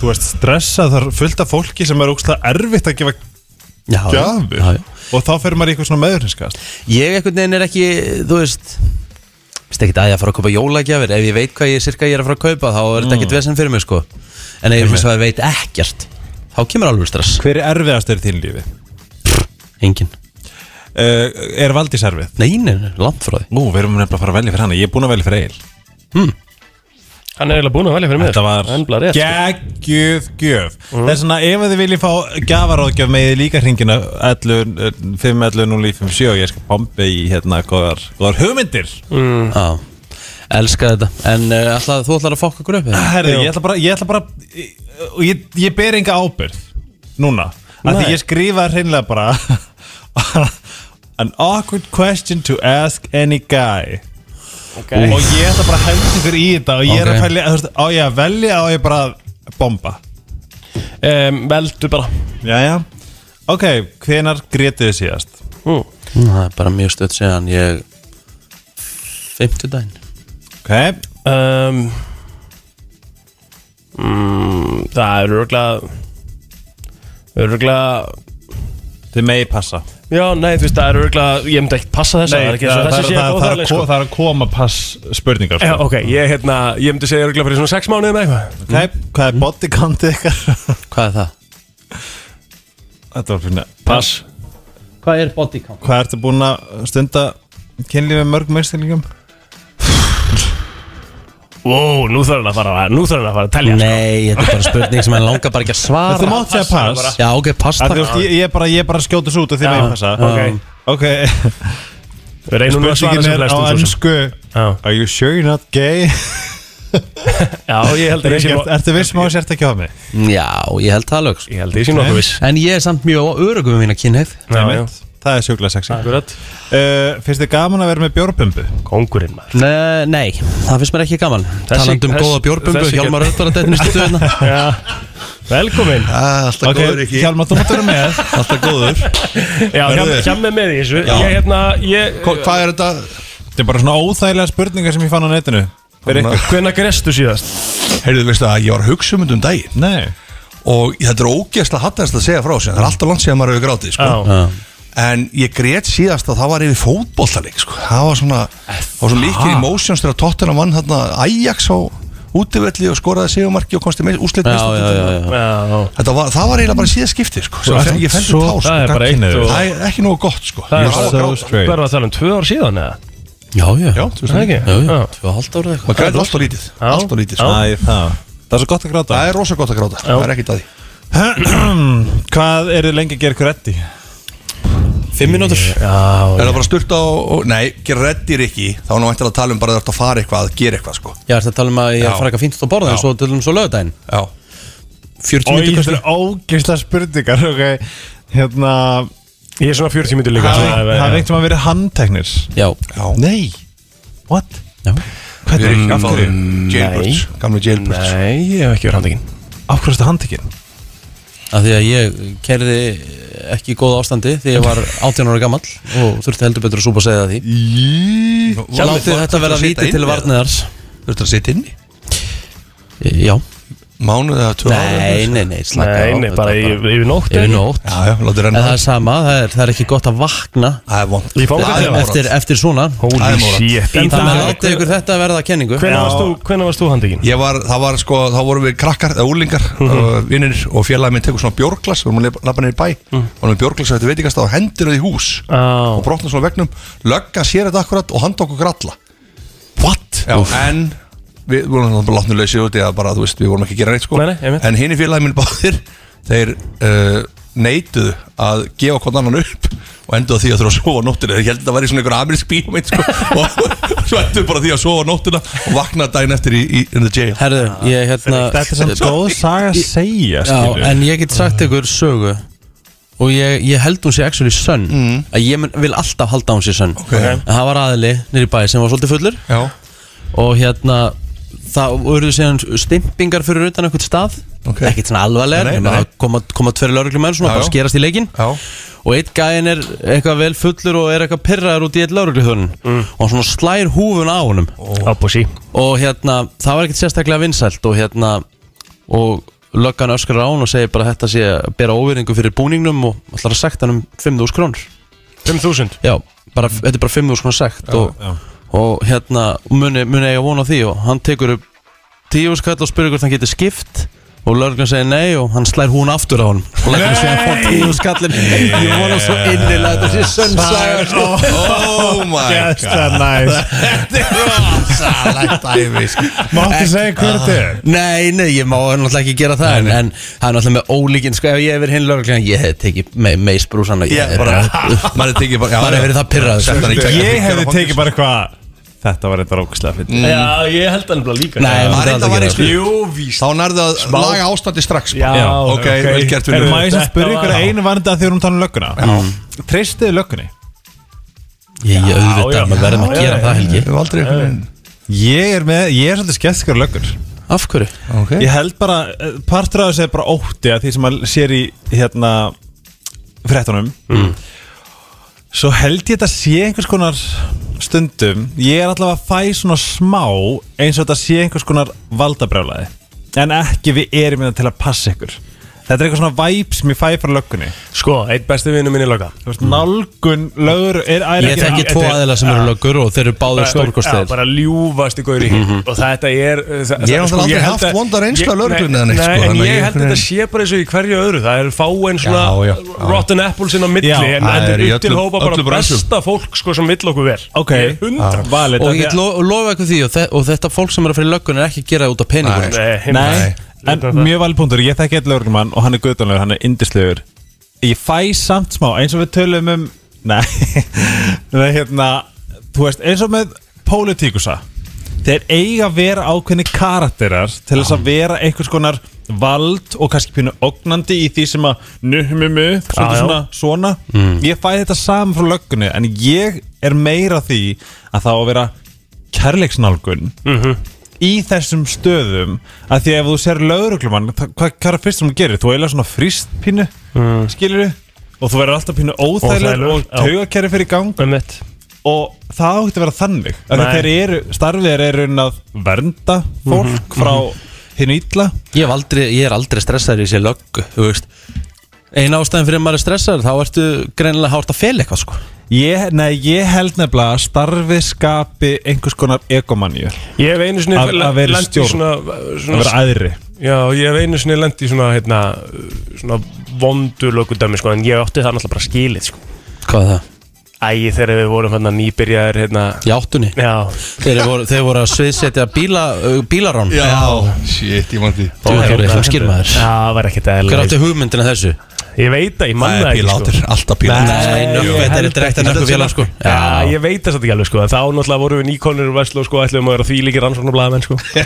[SPEAKER 4] Þú veist, stressað þar fullt af fólki sem er ógslag erfitt að gefa
[SPEAKER 1] já, já,
[SPEAKER 4] gjafir
[SPEAKER 1] já, já.
[SPEAKER 4] Og þá fer maður í eitthvað svona meðurinnskast
[SPEAKER 1] Ég einhvern veginn er ekki, þú veist
[SPEAKER 4] Mm.
[SPEAKER 1] Vist ekki að ég að fara að kaupa jólagjafir Ef ég veit hvað ég cirka ég er að fara að kaupa Þá er þetta ekkert vesen fyrir mig sko En ef þess að það veit ekkert Þá kemur alveg stress
[SPEAKER 4] Hver er erfiðast er í þín lífi?
[SPEAKER 1] Engin
[SPEAKER 4] Uh, er Valdís erfið?
[SPEAKER 1] Nei, nei, nei, langt frá því
[SPEAKER 4] Nú, við erum nefnilega að fara að velja fyrir hana Ég er búin að velja fyrir Egil
[SPEAKER 2] Hann er eiginlega búin að velja fyrir mér
[SPEAKER 4] Þetta var
[SPEAKER 2] Ennbla rétt sko. Mhm.
[SPEAKER 4] geggjöð gjöf Þess vegna ef þið viljið fá gafaráðgjöf með þið líka hringina 11, eh, 5, 11, 0, 5, 7 og ég skal bomba í hérna góðar, góðar hugmyndir Mm.
[SPEAKER 1] Já Elska þetta En uh, ætlaði, þú ætlar að fokka okkur upp eða?
[SPEAKER 4] Herri, ég ætla bara, ég ætla bara og ég, ég ber enga ábyrð núna, af því
[SPEAKER 2] Nei.
[SPEAKER 4] ég skrifa hreinlega bara an awkward question to ask any guy og ég ætla bara að henda ykkur í þetta og ég er
[SPEAKER 1] Ok.
[SPEAKER 4] að fælja, þú veist, á ég að velja á ég bara að bomba
[SPEAKER 2] um, Veldu bara
[SPEAKER 4] Jæja, ok, hvenar grétið þið síðast?
[SPEAKER 2] mm.
[SPEAKER 1] Það er bara mjög stöðt séðan ég Fimmtudaginn
[SPEAKER 4] Ok,
[SPEAKER 2] Um, mm, Það eru örgulega Örgulega
[SPEAKER 4] þið megi passa
[SPEAKER 2] Já, nei, þú veist, það eru örgulega Ég myndi ekkert passa þessa er ekki eins og
[SPEAKER 4] það, það,
[SPEAKER 2] þessi sé
[SPEAKER 4] það,
[SPEAKER 2] eitthvað
[SPEAKER 4] það,
[SPEAKER 2] óþarfleg,
[SPEAKER 4] það,
[SPEAKER 2] sko.
[SPEAKER 4] það er að koma pass spurningar
[SPEAKER 2] Já,
[SPEAKER 4] sko.
[SPEAKER 2] ok, ég, hérna, ég myndi segja örgulega fyrir svona sex mánuði með eitthvað
[SPEAKER 4] Ok, hvað
[SPEAKER 2] Mhm.
[SPEAKER 4] er body count ykkar?
[SPEAKER 1] Hvað er það?
[SPEAKER 4] Þetta var fyrir
[SPEAKER 2] Pass
[SPEAKER 1] Hvað er body count?
[SPEAKER 4] Hvað ertu búin að stunda kynlífi með mörg meðstælingum?
[SPEAKER 2] Ó, nú þarf hann að fara Nú þarf hann að fara að telja sko.
[SPEAKER 1] Nei, þetta er bara spurning sem hann langar bara ekki að svara
[SPEAKER 4] Þú mátt segja pass
[SPEAKER 1] Já, ok, pass það
[SPEAKER 4] Að Þú veist, ég, ég er bara, ég er bara að skjóta svo út og þið megin passa
[SPEAKER 2] ok.
[SPEAKER 4] Ok,
[SPEAKER 2] Við reynum nú að svara
[SPEAKER 4] spurningin
[SPEAKER 2] sem
[SPEAKER 4] er á
[SPEAKER 2] flestum svo sem.
[SPEAKER 4] ennsku
[SPEAKER 2] Já.
[SPEAKER 4] Are you sure you're not gay?
[SPEAKER 2] Já, ég held að ég sé
[SPEAKER 4] Ert-
[SPEAKER 2] nú-
[SPEAKER 4] Ertu viss má sért ekki á mig?
[SPEAKER 1] Já, ég held það lög sko.
[SPEAKER 2] Ég held að ég sé nokkuð viss
[SPEAKER 1] En ég er samt mjög örugum við mína kynhef
[SPEAKER 2] Já, já.
[SPEAKER 4] Einmitt. Það er sjúklega sexy uh,
[SPEAKER 2] Akkurat
[SPEAKER 4] Finnst þið gaman að vera með bjórbumbu?
[SPEAKER 2] Kongurinn maður
[SPEAKER 1] Nei, nei, það finnst mér ekki gaman
[SPEAKER 2] Þessi-
[SPEAKER 1] Talandi um
[SPEAKER 2] þess-
[SPEAKER 1] góða bjórbumbu
[SPEAKER 2] þessi-
[SPEAKER 1] Hjálmar Örn var að dætnist í stöðuna
[SPEAKER 2] Já, velkomin
[SPEAKER 1] Alltaf
[SPEAKER 4] Ok, Hjalmar, þú mátt vera með Alltaf góður
[SPEAKER 2] Já,
[SPEAKER 4] Verðu.
[SPEAKER 2] hjá með með í þessu Ég, hérna, ég
[SPEAKER 4] Hvað er þetta? Þetta er bara svona óþægilega spurningar sem ég fann á netinu Fyrir ykkur
[SPEAKER 2] Hvenær grestu síðast?
[SPEAKER 10] Heyrðu, veistu að ég var að hugsa um þetta um daginn
[SPEAKER 4] Nei
[SPEAKER 10] og þetta er ógeðslega hattast að segja frá sig það er alltaf langt síðan maður hefur grátið sko.
[SPEAKER 2] Já
[SPEAKER 10] en ég grét síðast að það var yfir fótbollalik sko. það var svona það var svona líkir í motions þegar Tottenham vann hérna Ajax á útivelli og skoraði sigumarki og komst í úslit
[SPEAKER 1] Já, já, já, já.
[SPEAKER 2] Já,
[SPEAKER 10] þetta var, það var eiginlega bara síðast skipti sko. svo, ég ég fendi
[SPEAKER 4] svo-
[SPEAKER 10] tár sko.
[SPEAKER 2] það er bara eitt
[SPEAKER 4] gagnkynhneigður.
[SPEAKER 2] og
[SPEAKER 10] það er ekki nógu gott sko.
[SPEAKER 2] Það er
[SPEAKER 10] Ég var að
[SPEAKER 4] so
[SPEAKER 10] gráta.
[SPEAKER 4] straight.
[SPEAKER 2] Hvað er það um tvö ár síðan eða?
[SPEAKER 1] Já, já,
[SPEAKER 10] Já,
[SPEAKER 1] já,
[SPEAKER 10] þú veist
[SPEAKER 2] Það
[SPEAKER 10] það
[SPEAKER 2] ekki?
[SPEAKER 1] já, já.
[SPEAKER 2] Já.
[SPEAKER 1] Tvö og hálft árið eitthvað
[SPEAKER 10] maður græði alltaf lítið
[SPEAKER 2] Já.
[SPEAKER 10] alltaf lítið sko.
[SPEAKER 4] Æ, það Það er svo gott að gráta
[SPEAKER 10] það er rosa gott að gráta það er ekki það
[SPEAKER 4] Hvað er þið lengi að gera ykkur reddi?
[SPEAKER 1] Fimm mínútur
[SPEAKER 10] er það bara styrta og, og nei, grættir ekki þá er nú eftir að tala um bara að þetta fara eitthvað að gera eitthvað sko.
[SPEAKER 1] Já, þetta tala um að ég er
[SPEAKER 10] Já.
[SPEAKER 1] að fara eitthvað fínt út á borða En
[SPEAKER 10] Já.
[SPEAKER 1] svo tölum um svo lögudaginn
[SPEAKER 10] já
[SPEAKER 1] 40
[SPEAKER 4] Ói,
[SPEAKER 1] mínútur kannski
[SPEAKER 4] þetta er ógeðslega spurningar ok, hérna
[SPEAKER 2] Ég er svona 40 minnur líka
[SPEAKER 4] það
[SPEAKER 2] svona,
[SPEAKER 4] er
[SPEAKER 2] já.
[SPEAKER 4] einhvern að vera handteknir
[SPEAKER 1] Já,
[SPEAKER 10] Já.
[SPEAKER 4] nei, what?
[SPEAKER 1] já
[SPEAKER 10] Við erum ekki
[SPEAKER 4] hvernig, af
[SPEAKER 10] að fá
[SPEAKER 4] hverju
[SPEAKER 10] jailbirds, gamlu jailbirds
[SPEAKER 2] Nei, ég hef ekki verið handekinn
[SPEAKER 4] af hverju er þetta handtekinn?
[SPEAKER 1] Af því að ég kerði ekki í góða ástandi Því ég var 18 ára gamall Og þurfti heldur betur að súpa að segja það því Látið þetta vera víti til varniðars
[SPEAKER 10] Þú ert að sitja inni
[SPEAKER 1] Já,
[SPEAKER 10] Mánuðið að tjóða
[SPEAKER 1] nei, nei, nei, slaka á,
[SPEAKER 2] Nei, nei,
[SPEAKER 1] þetta
[SPEAKER 2] bara yfir yfir nótt
[SPEAKER 1] Yfir nótt
[SPEAKER 10] Já, já, látið
[SPEAKER 1] En
[SPEAKER 10] renna
[SPEAKER 1] það er sama, það er, það er ekki gott að vakna
[SPEAKER 10] Það er vond
[SPEAKER 2] Í fangaklefa?
[SPEAKER 10] Það er
[SPEAKER 1] eftir, eftir svona
[SPEAKER 10] Það
[SPEAKER 2] Holy
[SPEAKER 10] er mórat.
[SPEAKER 2] shit
[SPEAKER 1] En það með látið ykkur þetta að verða að kenningu
[SPEAKER 2] Hvenær varst þú- hvenær varst þú handekinn?
[SPEAKER 10] Ég var, það var sko, þá vorum við krakkar, eða úlingar, uh, vinnir og félagið minn tekur svona bjórglas, við vorum að lappa niður í bæ, vorum við bjórglas eftir veitingast á hendina í hús
[SPEAKER 2] Á.
[SPEAKER 10] og brotnum svona á vegnum, löggan sér þetta akkurat og hann tók okkur alla. What? Já, en við vorum náttúrulega látnið lausið út í að bara, þú veist, við vorum ekki að gera neitt sko.
[SPEAKER 2] Nei, nei, einmitt.
[SPEAKER 10] en hinn í félagið minn báðir, þeir uh, neituðu að gefa hvort annan upp og endur því að þurfa að sofa á nóttina þeir heldur að vera í svona einhver amerísk bíómynd sko. og svo endur bara því að sofa á nóttina og vakna daginn eftir í, í in the jail
[SPEAKER 1] Herðu, ég hérna
[SPEAKER 4] þetta er samt góð saga að segja
[SPEAKER 1] Já,
[SPEAKER 4] skilur.
[SPEAKER 1] en ég get sagt ykkur sögu Og ég, ég held hún sé actually sönn Að ég mun, vil alltaf halda hún sé sönn En það var aðili nýri bæ sem var svolítið fullur
[SPEAKER 10] Já,
[SPEAKER 1] Og hérna Það voru síðan stimpingar fyrir utan einhvern stað
[SPEAKER 10] Ok.
[SPEAKER 1] Ekkert svona alvarlegar
[SPEAKER 10] Nei,
[SPEAKER 1] nema
[SPEAKER 10] nei.
[SPEAKER 1] að koma, koma tverri lauruglumenn Svona
[SPEAKER 10] Já,
[SPEAKER 1] bara
[SPEAKER 10] já.
[SPEAKER 1] skerast í leikinn
[SPEAKER 10] já
[SPEAKER 1] Og eitt gæðin er eitthvað vel fullur Og er eitthvað pirraður út í eitt laurugluhörn
[SPEAKER 10] Mm.
[SPEAKER 1] Og hann svona slær húfun á honum
[SPEAKER 2] Opposí
[SPEAKER 1] og hérna, það var ekkert sérstaklega vinsælt og hérna og löggan öskar á hún og segir bara að þetta sé að bera óveringu fyrir búningnum og ætlar að sekta hann um 5.000 krónur
[SPEAKER 2] 5000
[SPEAKER 1] já, bara, þetta er bara 5.000 krónur sekt og,
[SPEAKER 4] já.
[SPEAKER 1] og hérna, muni, muni eiga vona því og hann tekur upp 10.000 skall og spyrir hvort hann getur skipt og lörgum segir nei og hann slær hún aftur á hann og leggur síðan 40 skallin ég vona svo innilega að þetta sé sönnsaga sko.
[SPEAKER 10] Oh my god
[SPEAKER 4] Gæsta nice.
[SPEAKER 10] Þetta er rosalegt dæmi sko.
[SPEAKER 4] Máttu segja hver þetta er?
[SPEAKER 1] Nei, nei, ég má náttúrulega ekki gera það en, en hann er náttúrulega með ólíkin sko, ef ég hef verið hinn lörgum ég hef tekið me meisbrúsan og ég
[SPEAKER 10] Ég
[SPEAKER 1] hef
[SPEAKER 10] bara
[SPEAKER 1] bara-
[SPEAKER 10] Maður er tekið bara
[SPEAKER 1] Maður er verið það pirraður, sko.
[SPEAKER 4] Ég hefði tekið bara eitthvað Þetta var eitthvað rókislega fyrir
[SPEAKER 10] Mm.
[SPEAKER 2] Já, ég held hann bara líka
[SPEAKER 1] Nei,
[SPEAKER 10] Það er eitthvað
[SPEAKER 1] myndi aldrei
[SPEAKER 10] var
[SPEAKER 1] gera
[SPEAKER 10] í sko
[SPEAKER 1] það.
[SPEAKER 10] Jú, víst Þá nærðu að
[SPEAKER 4] Smá.
[SPEAKER 10] laga ástandi strax bara.
[SPEAKER 2] Já,
[SPEAKER 10] Ok, vel gert
[SPEAKER 4] Er
[SPEAKER 10] vinur.
[SPEAKER 4] maður sem spyrir
[SPEAKER 2] Þetta
[SPEAKER 4] ykkur
[SPEAKER 2] var-
[SPEAKER 4] einu vanda þegar hún tala um lögguna Treystiði löggunni?
[SPEAKER 1] Ég ég
[SPEAKER 2] Já, já.
[SPEAKER 1] auðvitað, maður verðum að
[SPEAKER 2] Já,
[SPEAKER 1] gera
[SPEAKER 2] já,
[SPEAKER 1] það helgi
[SPEAKER 10] Við höfum aldrei einhvern veginn
[SPEAKER 4] Ég er með, ég er svolítið skeptikur á löggur
[SPEAKER 1] Af hverju?
[SPEAKER 10] Ok
[SPEAKER 4] Ég held bara, eh, partur af þessu er bara ótti að því sem maður sér í hérna fréttunum Svo held ég þetta sé einhvers konar stundum Ég er allavega að fæ svona smá eins og þetta sé einhvers konar valdabrjálaði En ekki við erum minna til að passa ykkur Þetta er eitthvað svona væp sem ég fæ frá löggunni
[SPEAKER 2] Sko, einn besti vinnu minni loka
[SPEAKER 4] Þú veist, nálgun lögur er, er
[SPEAKER 1] Ég þekki tvo aðeila sem eru löggur og þeir eru báðir
[SPEAKER 2] Já,
[SPEAKER 1] stórkostleir
[SPEAKER 2] bara ljúfasti gaur í hinn og þetta er uh, það,
[SPEAKER 10] Mhm. Ég hef náttúrulega aldrei haft vonda reynslu af lögreglunni eða
[SPEAKER 2] Nei,
[SPEAKER 10] neitt, sko,
[SPEAKER 2] nei en
[SPEAKER 10] þannig að
[SPEAKER 2] ég
[SPEAKER 10] ég-
[SPEAKER 2] held að þetta sé bara eins og í hverju öðru það er fáin svona
[SPEAKER 10] Já, já, já.
[SPEAKER 2] rotten apples inn á milli
[SPEAKER 4] Já,
[SPEAKER 2] en
[SPEAKER 10] það
[SPEAKER 2] þetta
[SPEAKER 10] er
[SPEAKER 2] er
[SPEAKER 10] í
[SPEAKER 2] upp til
[SPEAKER 10] öllum-
[SPEAKER 2] hópa
[SPEAKER 10] öllum
[SPEAKER 2] bara
[SPEAKER 10] brannsum.
[SPEAKER 2] besta fólk sko sem vill okkur vel
[SPEAKER 4] Ok,
[SPEAKER 2] Ég er hundra
[SPEAKER 4] valið
[SPEAKER 1] Og
[SPEAKER 4] af því
[SPEAKER 1] ég
[SPEAKER 4] að-
[SPEAKER 1] ætla að lofa eitthvað því og, þe og þetta fólk sem er að fyrir löggun er ekki að gera það út af peningum sko.
[SPEAKER 2] Nei,
[SPEAKER 4] Nei, en mjög valið punktur Ég þekki eitthvað lögurmann og hann er guðdónlegur, hann er indislegur Ég fæ samt smá, eins og við tölum um Nei, nei hérna Þú veist, eins og með pólitíkusa Þeir eiga að vera ákveðni karakterar Til þess að vera einhvers konar vald Og kannski pínu ógnandi í því sem að Nuhumumu, svona,
[SPEAKER 2] Já, já.
[SPEAKER 4] svona, svona. Ég fæ þetta saman frá löggunni En ég er meira því Að það á að vera kærleiksnálgun í þessum stöðum að því að ef þú ser lauruglumann hvað, hvað er fyrst sem þú gerir? Þú eiginlega svona frýst pínu mm. skilur og þú verður alltaf pínu óþægilegur
[SPEAKER 2] Óþægilegur,
[SPEAKER 4] og
[SPEAKER 2] já.
[SPEAKER 4] taugakerri fyrir í gang
[SPEAKER 2] um mitt
[SPEAKER 4] og það átti að vera þannig af því
[SPEAKER 2] Nei.
[SPEAKER 4] að þeir eru, starfið þeir eru um að vernda fólk frá hinu ítla
[SPEAKER 1] Ég, hef aldrei, ég er aldrei stressaður í sér löggu þú veist. Ein ástæðin fyrir að maður er stressaður þá ertu greinilega hárt að fela eitthvað sko.
[SPEAKER 4] ég, nei, ég held nefnilega að starfið skapi einhvers konar egomanju
[SPEAKER 2] Ég hef einu sinni
[SPEAKER 4] Að- að vera í
[SPEAKER 2] lent í
[SPEAKER 4] stjórn.
[SPEAKER 2] svona,
[SPEAKER 4] að
[SPEAKER 2] svona
[SPEAKER 4] vera aðri
[SPEAKER 2] Já, ég hef einu sinni lent í svona hérna, svona vondur lögudæmi sko, en ég átti það náttúrulega bara skilið sko.
[SPEAKER 1] Hvað er það?
[SPEAKER 2] Æ, þegar við vorum hérna nýbyrjaðir hérna,
[SPEAKER 1] Í áttunni
[SPEAKER 2] Já,
[SPEAKER 1] Þeir voru, þeir voru að sviðsetja bíla, uh, bílarán
[SPEAKER 10] Já, shit, ég mandi
[SPEAKER 1] Þú
[SPEAKER 2] Ó,
[SPEAKER 1] er
[SPEAKER 2] hérna.
[SPEAKER 1] eitthvað skilmaður
[SPEAKER 2] Já, það var ekkert
[SPEAKER 1] Hver
[SPEAKER 2] eðlilega
[SPEAKER 1] átti hugmyndina að þessu?
[SPEAKER 2] Ég veit það, ég
[SPEAKER 10] Það
[SPEAKER 2] manna
[SPEAKER 10] er
[SPEAKER 2] ekki
[SPEAKER 10] pílátur,
[SPEAKER 2] sko.
[SPEAKER 10] alltaf pílátur
[SPEAKER 1] Nei, nökk, þetta er direkta nökku félag sko
[SPEAKER 2] Já, ég veit það satt ekki alveg sko en Þá náttúrulega vorum við nýkonir úr Vestló sko ætlum að vera því líkir rannsóknarblæðamenn sko Já,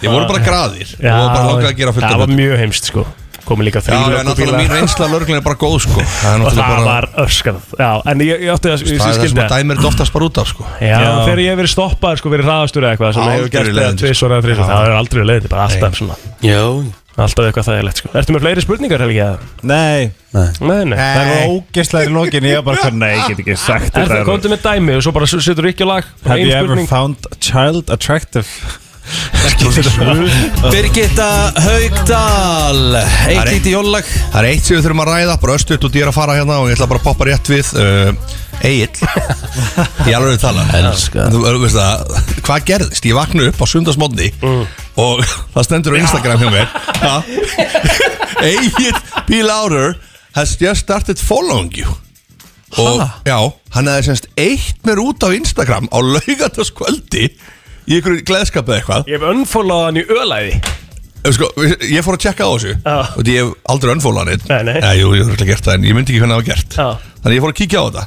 [SPEAKER 10] Ég voru bara graðir og bara langaði að gera fullt af
[SPEAKER 2] Það var
[SPEAKER 10] þetta.
[SPEAKER 2] mjög heimst sko Komið líka
[SPEAKER 10] Já,
[SPEAKER 2] þrý
[SPEAKER 10] en náttúrulega
[SPEAKER 2] löggubílar.
[SPEAKER 10] mín reynsla lögreglunni er bara góð sko Það er
[SPEAKER 2] Og
[SPEAKER 10] náttúrulega
[SPEAKER 2] það
[SPEAKER 10] bara
[SPEAKER 2] var öskað Já, en ég, ég átti að ég
[SPEAKER 10] Það er það
[SPEAKER 2] skildi
[SPEAKER 10] sem að
[SPEAKER 2] það
[SPEAKER 10] dæmir þetta oftast bara út af sko
[SPEAKER 2] Já, þegar ég hef verið stoppaður sko verið hraðastur eða eitthvað sem
[SPEAKER 10] Aldrei
[SPEAKER 2] hefur gert eða
[SPEAKER 10] leiðindi, sko.
[SPEAKER 2] tvisvar eða þrisvar það er aldrei leiðið, bara alltaf svona
[SPEAKER 1] Já,
[SPEAKER 2] alltaf eitthvað þægilegt sko. Ertu með fleiri spurningar Helgi? eða?
[SPEAKER 4] nei,
[SPEAKER 2] Nei, nei.
[SPEAKER 4] það er ógeðslega í lokin ég er bara, hvað, nei, ég get ekki sagt
[SPEAKER 2] Er það
[SPEAKER 4] þetta.
[SPEAKER 2] komdu með dæmi og svo bara setur ekki lag
[SPEAKER 4] Have
[SPEAKER 2] ein
[SPEAKER 4] you ever
[SPEAKER 2] spurning.
[SPEAKER 4] found a child attractive?
[SPEAKER 1] Birgitta Haugdal Eitt lítið jólag
[SPEAKER 10] Það er eitt sem við þurfum að ræða, bara östuðt og dýr að fara hérna og ég ætla bara að poppa rétt við uh, Egil Ég alveg að tala
[SPEAKER 1] Elska.
[SPEAKER 10] Þú þú veist það, hvað gerðist? Ég vakna upp á sundarsmóndi og það stendur á Instagram hjá mér Egil P. Lauder has just started following you og já, hann hefði semst eitt mér út á Instagram á laugataskvöldi í ykkur gleðskapu eða eitthvað
[SPEAKER 2] Ég hef unfollowað hann í ölaði
[SPEAKER 10] Ef Sko, ég fór að tjekka á þessu
[SPEAKER 2] Já.
[SPEAKER 10] og því ég hef aldrei önfólað hann
[SPEAKER 2] Nei, nei.
[SPEAKER 10] Jú, ég hef alltaf gert það en ég myndi ekki hvernig það var gert
[SPEAKER 2] Já.
[SPEAKER 10] Þannig ég fór að kíkja á þetta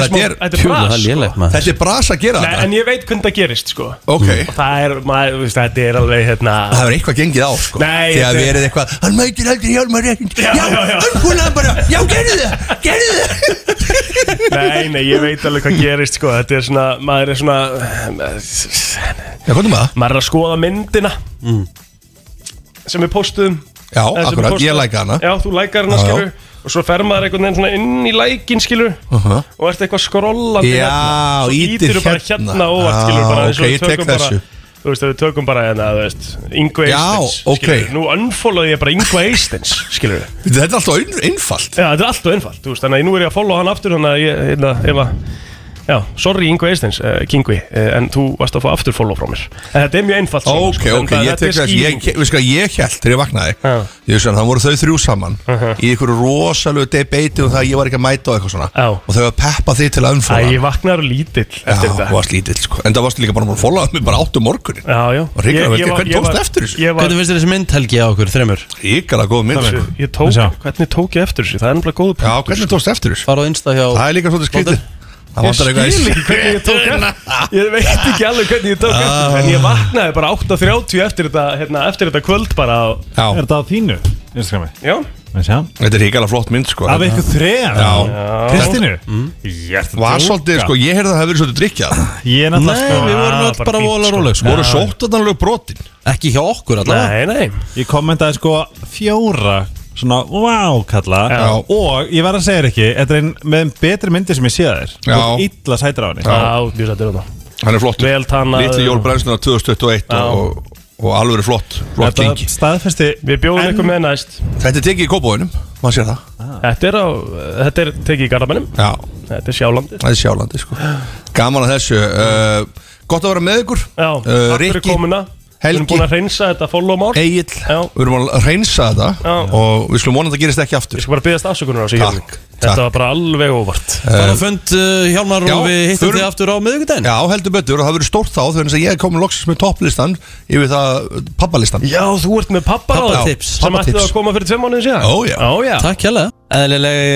[SPEAKER 10] Og
[SPEAKER 2] er smá- þetta er
[SPEAKER 10] Tjú,
[SPEAKER 2] bras,
[SPEAKER 1] Það er lélegt maður
[SPEAKER 10] Þetta er bras að gera
[SPEAKER 2] Nei,
[SPEAKER 10] þetta
[SPEAKER 2] En ég veit hvernig það gerist sko
[SPEAKER 10] Ok,
[SPEAKER 2] Það er, maður, þú veist, þetta er alveg hérna
[SPEAKER 10] það hefur eitthvað gengið á sko
[SPEAKER 2] Nei,
[SPEAKER 10] Þegar
[SPEAKER 2] þetta-
[SPEAKER 10] verið eitthvað, hann mætir aldrei hjálmar rétt Já,
[SPEAKER 2] já, já.
[SPEAKER 10] önfólaði bara, já, gerðu það, gerðu það
[SPEAKER 2] Nei, nei, ég veit alveg hvað gerist sko Þetta er svona, maður er svona
[SPEAKER 10] Já, komdu með það
[SPEAKER 2] Maður er að skoða myndina Sem við postuðum
[SPEAKER 10] Mm. Já,
[SPEAKER 2] eða sem við
[SPEAKER 10] akkurat, ég
[SPEAKER 2] postuðum.
[SPEAKER 10] læka hana
[SPEAKER 2] Já, þú lækar
[SPEAKER 10] Já,
[SPEAKER 2] hana
[SPEAKER 10] já.
[SPEAKER 2] skilur Og svo fer maður einhvern veginn svona inn í lækin skilur
[SPEAKER 10] Uh-huh.
[SPEAKER 2] Og ert eitthvað skrollandi
[SPEAKER 10] Já,
[SPEAKER 2] hérna. Svo
[SPEAKER 10] ítir
[SPEAKER 2] ítirðu bara
[SPEAKER 10] hérna.
[SPEAKER 2] hérna, hérna óvart skilur
[SPEAKER 10] Já,
[SPEAKER 2] bara eins og
[SPEAKER 10] ok,
[SPEAKER 2] við
[SPEAKER 10] ég tek
[SPEAKER 2] tökum bara-
[SPEAKER 10] þessu.
[SPEAKER 2] Þú veist, ef við tökum bara hérna, þú veist Yngve
[SPEAKER 10] Já,
[SPEAKER 2] Eistens,
[SPEAKER 10] ok.
[SPEAKER 2] skilurðu. Nú unfollowði ég bara Yngve Eistens, skilur
[SPEAKER 10] Þetta er alltaf inn- einfalt
[SPEAKER 2] Já, þetta er alltaf einfalt, þú veist, þannig að nú er ég að followa hann aftur þannig að ég, hérna, ef að Já, sorry Ingo Eisteins, uh, Kingvi uh, En þú varst að fá aftur follow frá mér En þetta er mjög einfalt svona,
[SPEAKER 10] Ok,
[SPEAKER 2] sko, en
[SPEAKER 10] ok, ég
[SPEAKER 2] það- þetta er
[SPEAKER 10] tek þess Ég,
[SPEAKER 2] skýringin.
[SPEAKER 10] ég, sko, ég held þegar ég vaknaði Ég veist að það voru þau þrjú saman Í einhverju rosalegu debati um það að ég var ekki að mæta og eitthvað svona
[SPEAKER 2] Já.
[SPEAKER 10] Og þau var að peppa þig til að
[SPEAKER 2] Æ,
[SPEAKER 10] umfóla
[SPEAKER 2] ég vaknar lítill
[SPEAKER 10] Já,
[SPEAKER 2] eftir þetta
[SPEAKER 10] þú varst lítill sko En það varst líka bara búin að fólaða mig bara áttu morgunin
[SPEAKER 2] Já, já
[SPEAKER 10] Og hrikalega vel, hvernig tókstu eftir þessu?
[SPEAKER 1] Hvernig finnst þér þessi mynd helgi á okkur, þremur?
[SPEAKER 10] Ríkala góð
[SPEAKER 1] mynd,
[SPEAKER 2] Þessu-
[SPEAKER 1] sko.
[SPEAKER 2] Ég tók,
[SPEAKER 1] Sjá.
[SPEAKER 2] hvernig tók ég eftir þessu? Það er nefnilega góðu punktur
[SPEAKER 10] Já, hvernig tókst eftir þessu?
[SPEAKER 1] Fara á insta hjá
[SPEAKER 10] Það er líka svolítið skrítið Það
[SPEAKER 2] Ég
[SPEAKER 10] vantar
[SPEAKER 2] skil
[SPEAKER 10] eitthvað í-
[SPEAKER 2] ekki hvernig ég tók eftir Ég veit ekki alveg hvernig ég tók eftir En ég vaknaði bara 8.30 eftir þetta, hérna, eftir þetta kvöld bara á
[SPEAKER 10] Já.
[SPEAKER 4] Er þetta á þínu, Instagrami?
[SPEAKER 2] Já
[SPEAKER 10] Þetta er ríkala flott mynd sko
[SPEAKER 4] Af ykkur þrejum?
[SPEAKER 10] Já
[SPEAKER 4] Kristínu?
[SPEAKER 10] Þetta Var svolítið, sko, ég heyrði að það hefði verið svolítið drikkjað
[SPEAKER 4] Ég er náttúrulega
[SPEAKER 1] Nei, við vorum öll bara vola róleg, sko.
[SPEAKER 10] Voru
[SPEAKER 1] Já.
[SPEAKER 10] sóttatanlög brotin
[SPEAKER 1] Ekki hjá okkur allavega
[SPEAKER 2] nei
[SPEAKER 4] Ég kommentaði sko fjóra svona wow kalla
[SPEAKER 10] Já.
[SPEAKER 4] og ég verð að segja þér ekki þetta er einn með einn betri myndi sem ég sé þér
[SPEAKER 10] Já.
[SPEAKER 4] og illa sætir á henni
[SPEAKER 2] Já, mjög sættir á það
[SPEAKER 10] Hann er flott
[SPEAKER 2] Vel tannað.
[SPEAKER 10] Lítið Jól Brænslunar 2021
[SPEAKER 2] Já.
[SPEAKER 10] og, og alveg flott Flott
[SPEAKER 4] Þetta
[SPEAKER 10] gengi
[SPEAKER 4] staðfesti
[SPEAKER 2] Við bjóðum ykkur með næst
[SPEAKER 10] Þetta er tekið í kópóinum Maður sér það
[SPEAKER 2] Þetta er, á, þetta er tekið í garðabænum
[SPEAKER 10] Já
[SPEAKER 2] Þetta er sjálandi
[SPEAKER 10] Það er sjálandi sko Gaman að þessu uh, Gott að vera með ykkur
[SPEAKER 2] Já,
[SPEAKER 10] uh,
[SPEAKER 2] takk fyrir
[SPEAKER 10] Rikki
[SPEAKER 2] komuna Við erum
[SPEAKER 10] Helgi.
[SPEAKER 2] búin að reynsa þetta follow-mál
[SPEAKER 10] Egil
[SPEAKER 2] Já
[SPEAKER 10] Við erum að reynsa þetta
[SPEAKER 2] Já.
[SPEAKER 10] Og við slum vonandi að það gerist ekki aftur
[SPEAKER 2] Ég skal bara byggast afsökunar á sig
[SPEAKER 10] Takk,
[SPEAKER 2] Jörgen. Þetta var bara alveg óvart
[SPEAKER 1] Fara á fund uh, Hjálmar og við hittum
[SPEAKER 10] förum-
[SPEAKER 1] þig aftur á miðvikudaginn
[SPEAKER 10] Já, heldur betur og það verður stórt þá Þegar þess að ég er komin loksins með topplistan Yfir það pappalistan
[SPEAKER 2] Já, þú ert með papparáðtips
[SPEAKER 10] Pappa-
[SPEAKER 2] sem ætti
[SPEAKER 10] pappatips.
[SPEAKER 2] að koma fyrir tveim mánuðin síðan
[SPEAKER 10] Ó, já.
[SPEAKER 2] já.
[SPEAKER 1] Takk hérlega Eðlileg,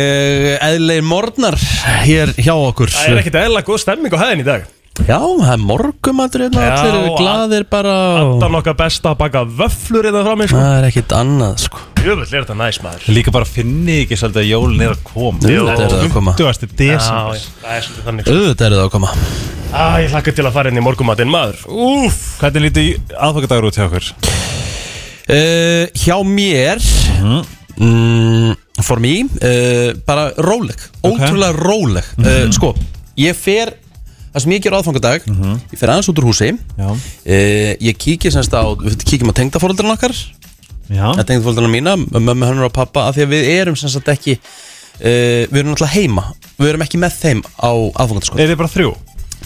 [SPEAKER 1] eðlileg morgnar hér hjá okkur
[SPEAKER 2] Það er ekkert eðla góð stemming á hæðin í dag
[SPEAKER 1] Já, það er morgumatur hérna
[SPEAKER 2] Já,
[SPEAKER 1] Allir eru
[SPEAKER 2] að-
[SPEAKER 1] glaðir bara og-
[SPEAKER 2] Andan okkar best að baka vöflur innan frá mig sko.
[SPEAKER 1] Það er ekkert annað sko
[SPEAKER 2] Jöfull er þetta næs maður
[SPEAKER 4] Líka bara finni ekki svolítið að jólin er að koma
[SPEAKER 1] Jú, þetta er það að koma.
[SPEAKER 4] 20.
[SPEAKER 2] Já,
[SPEAKER 4] desember
[SPEAKER 2] já, það er svolítið þannig sko.
[SPEAKER 1] Auðvitað eru það að koma
[SPEAKER 2] Æ, ég hlakka til að fara inn í morgumatinn maður Úf
[SPEAKER 4] Hvernig lítið aðfokadagur út hjá okkur?
[SPEAKER 1] uh, Hjá mér mm, For me uh, Bara róleg Ótrúlega róleg uh,
[SPEAKER 4] Mhm.
[SPEAKER 1] Sko, ég fer Það sem ég ger á aðfangadag Ég fer aðeins út úr húsi
[SPEAKER 4] Mhm. Já,
[SPEAKER 1] Uh, ég kíkja semst á, við kíkjum á tengdaforeldrarna okkar
[SPEAKER 4] já,
[SPEAKER 1] að tengdaforeldrarna mína, mömmu hennar og pappa af því að við erum semst að ekki uh, við erum náttúrulega heima, við erum ekki með þeim á sko. aðfangandaskot,
[SPEAKER 4] er þið bara þrjú?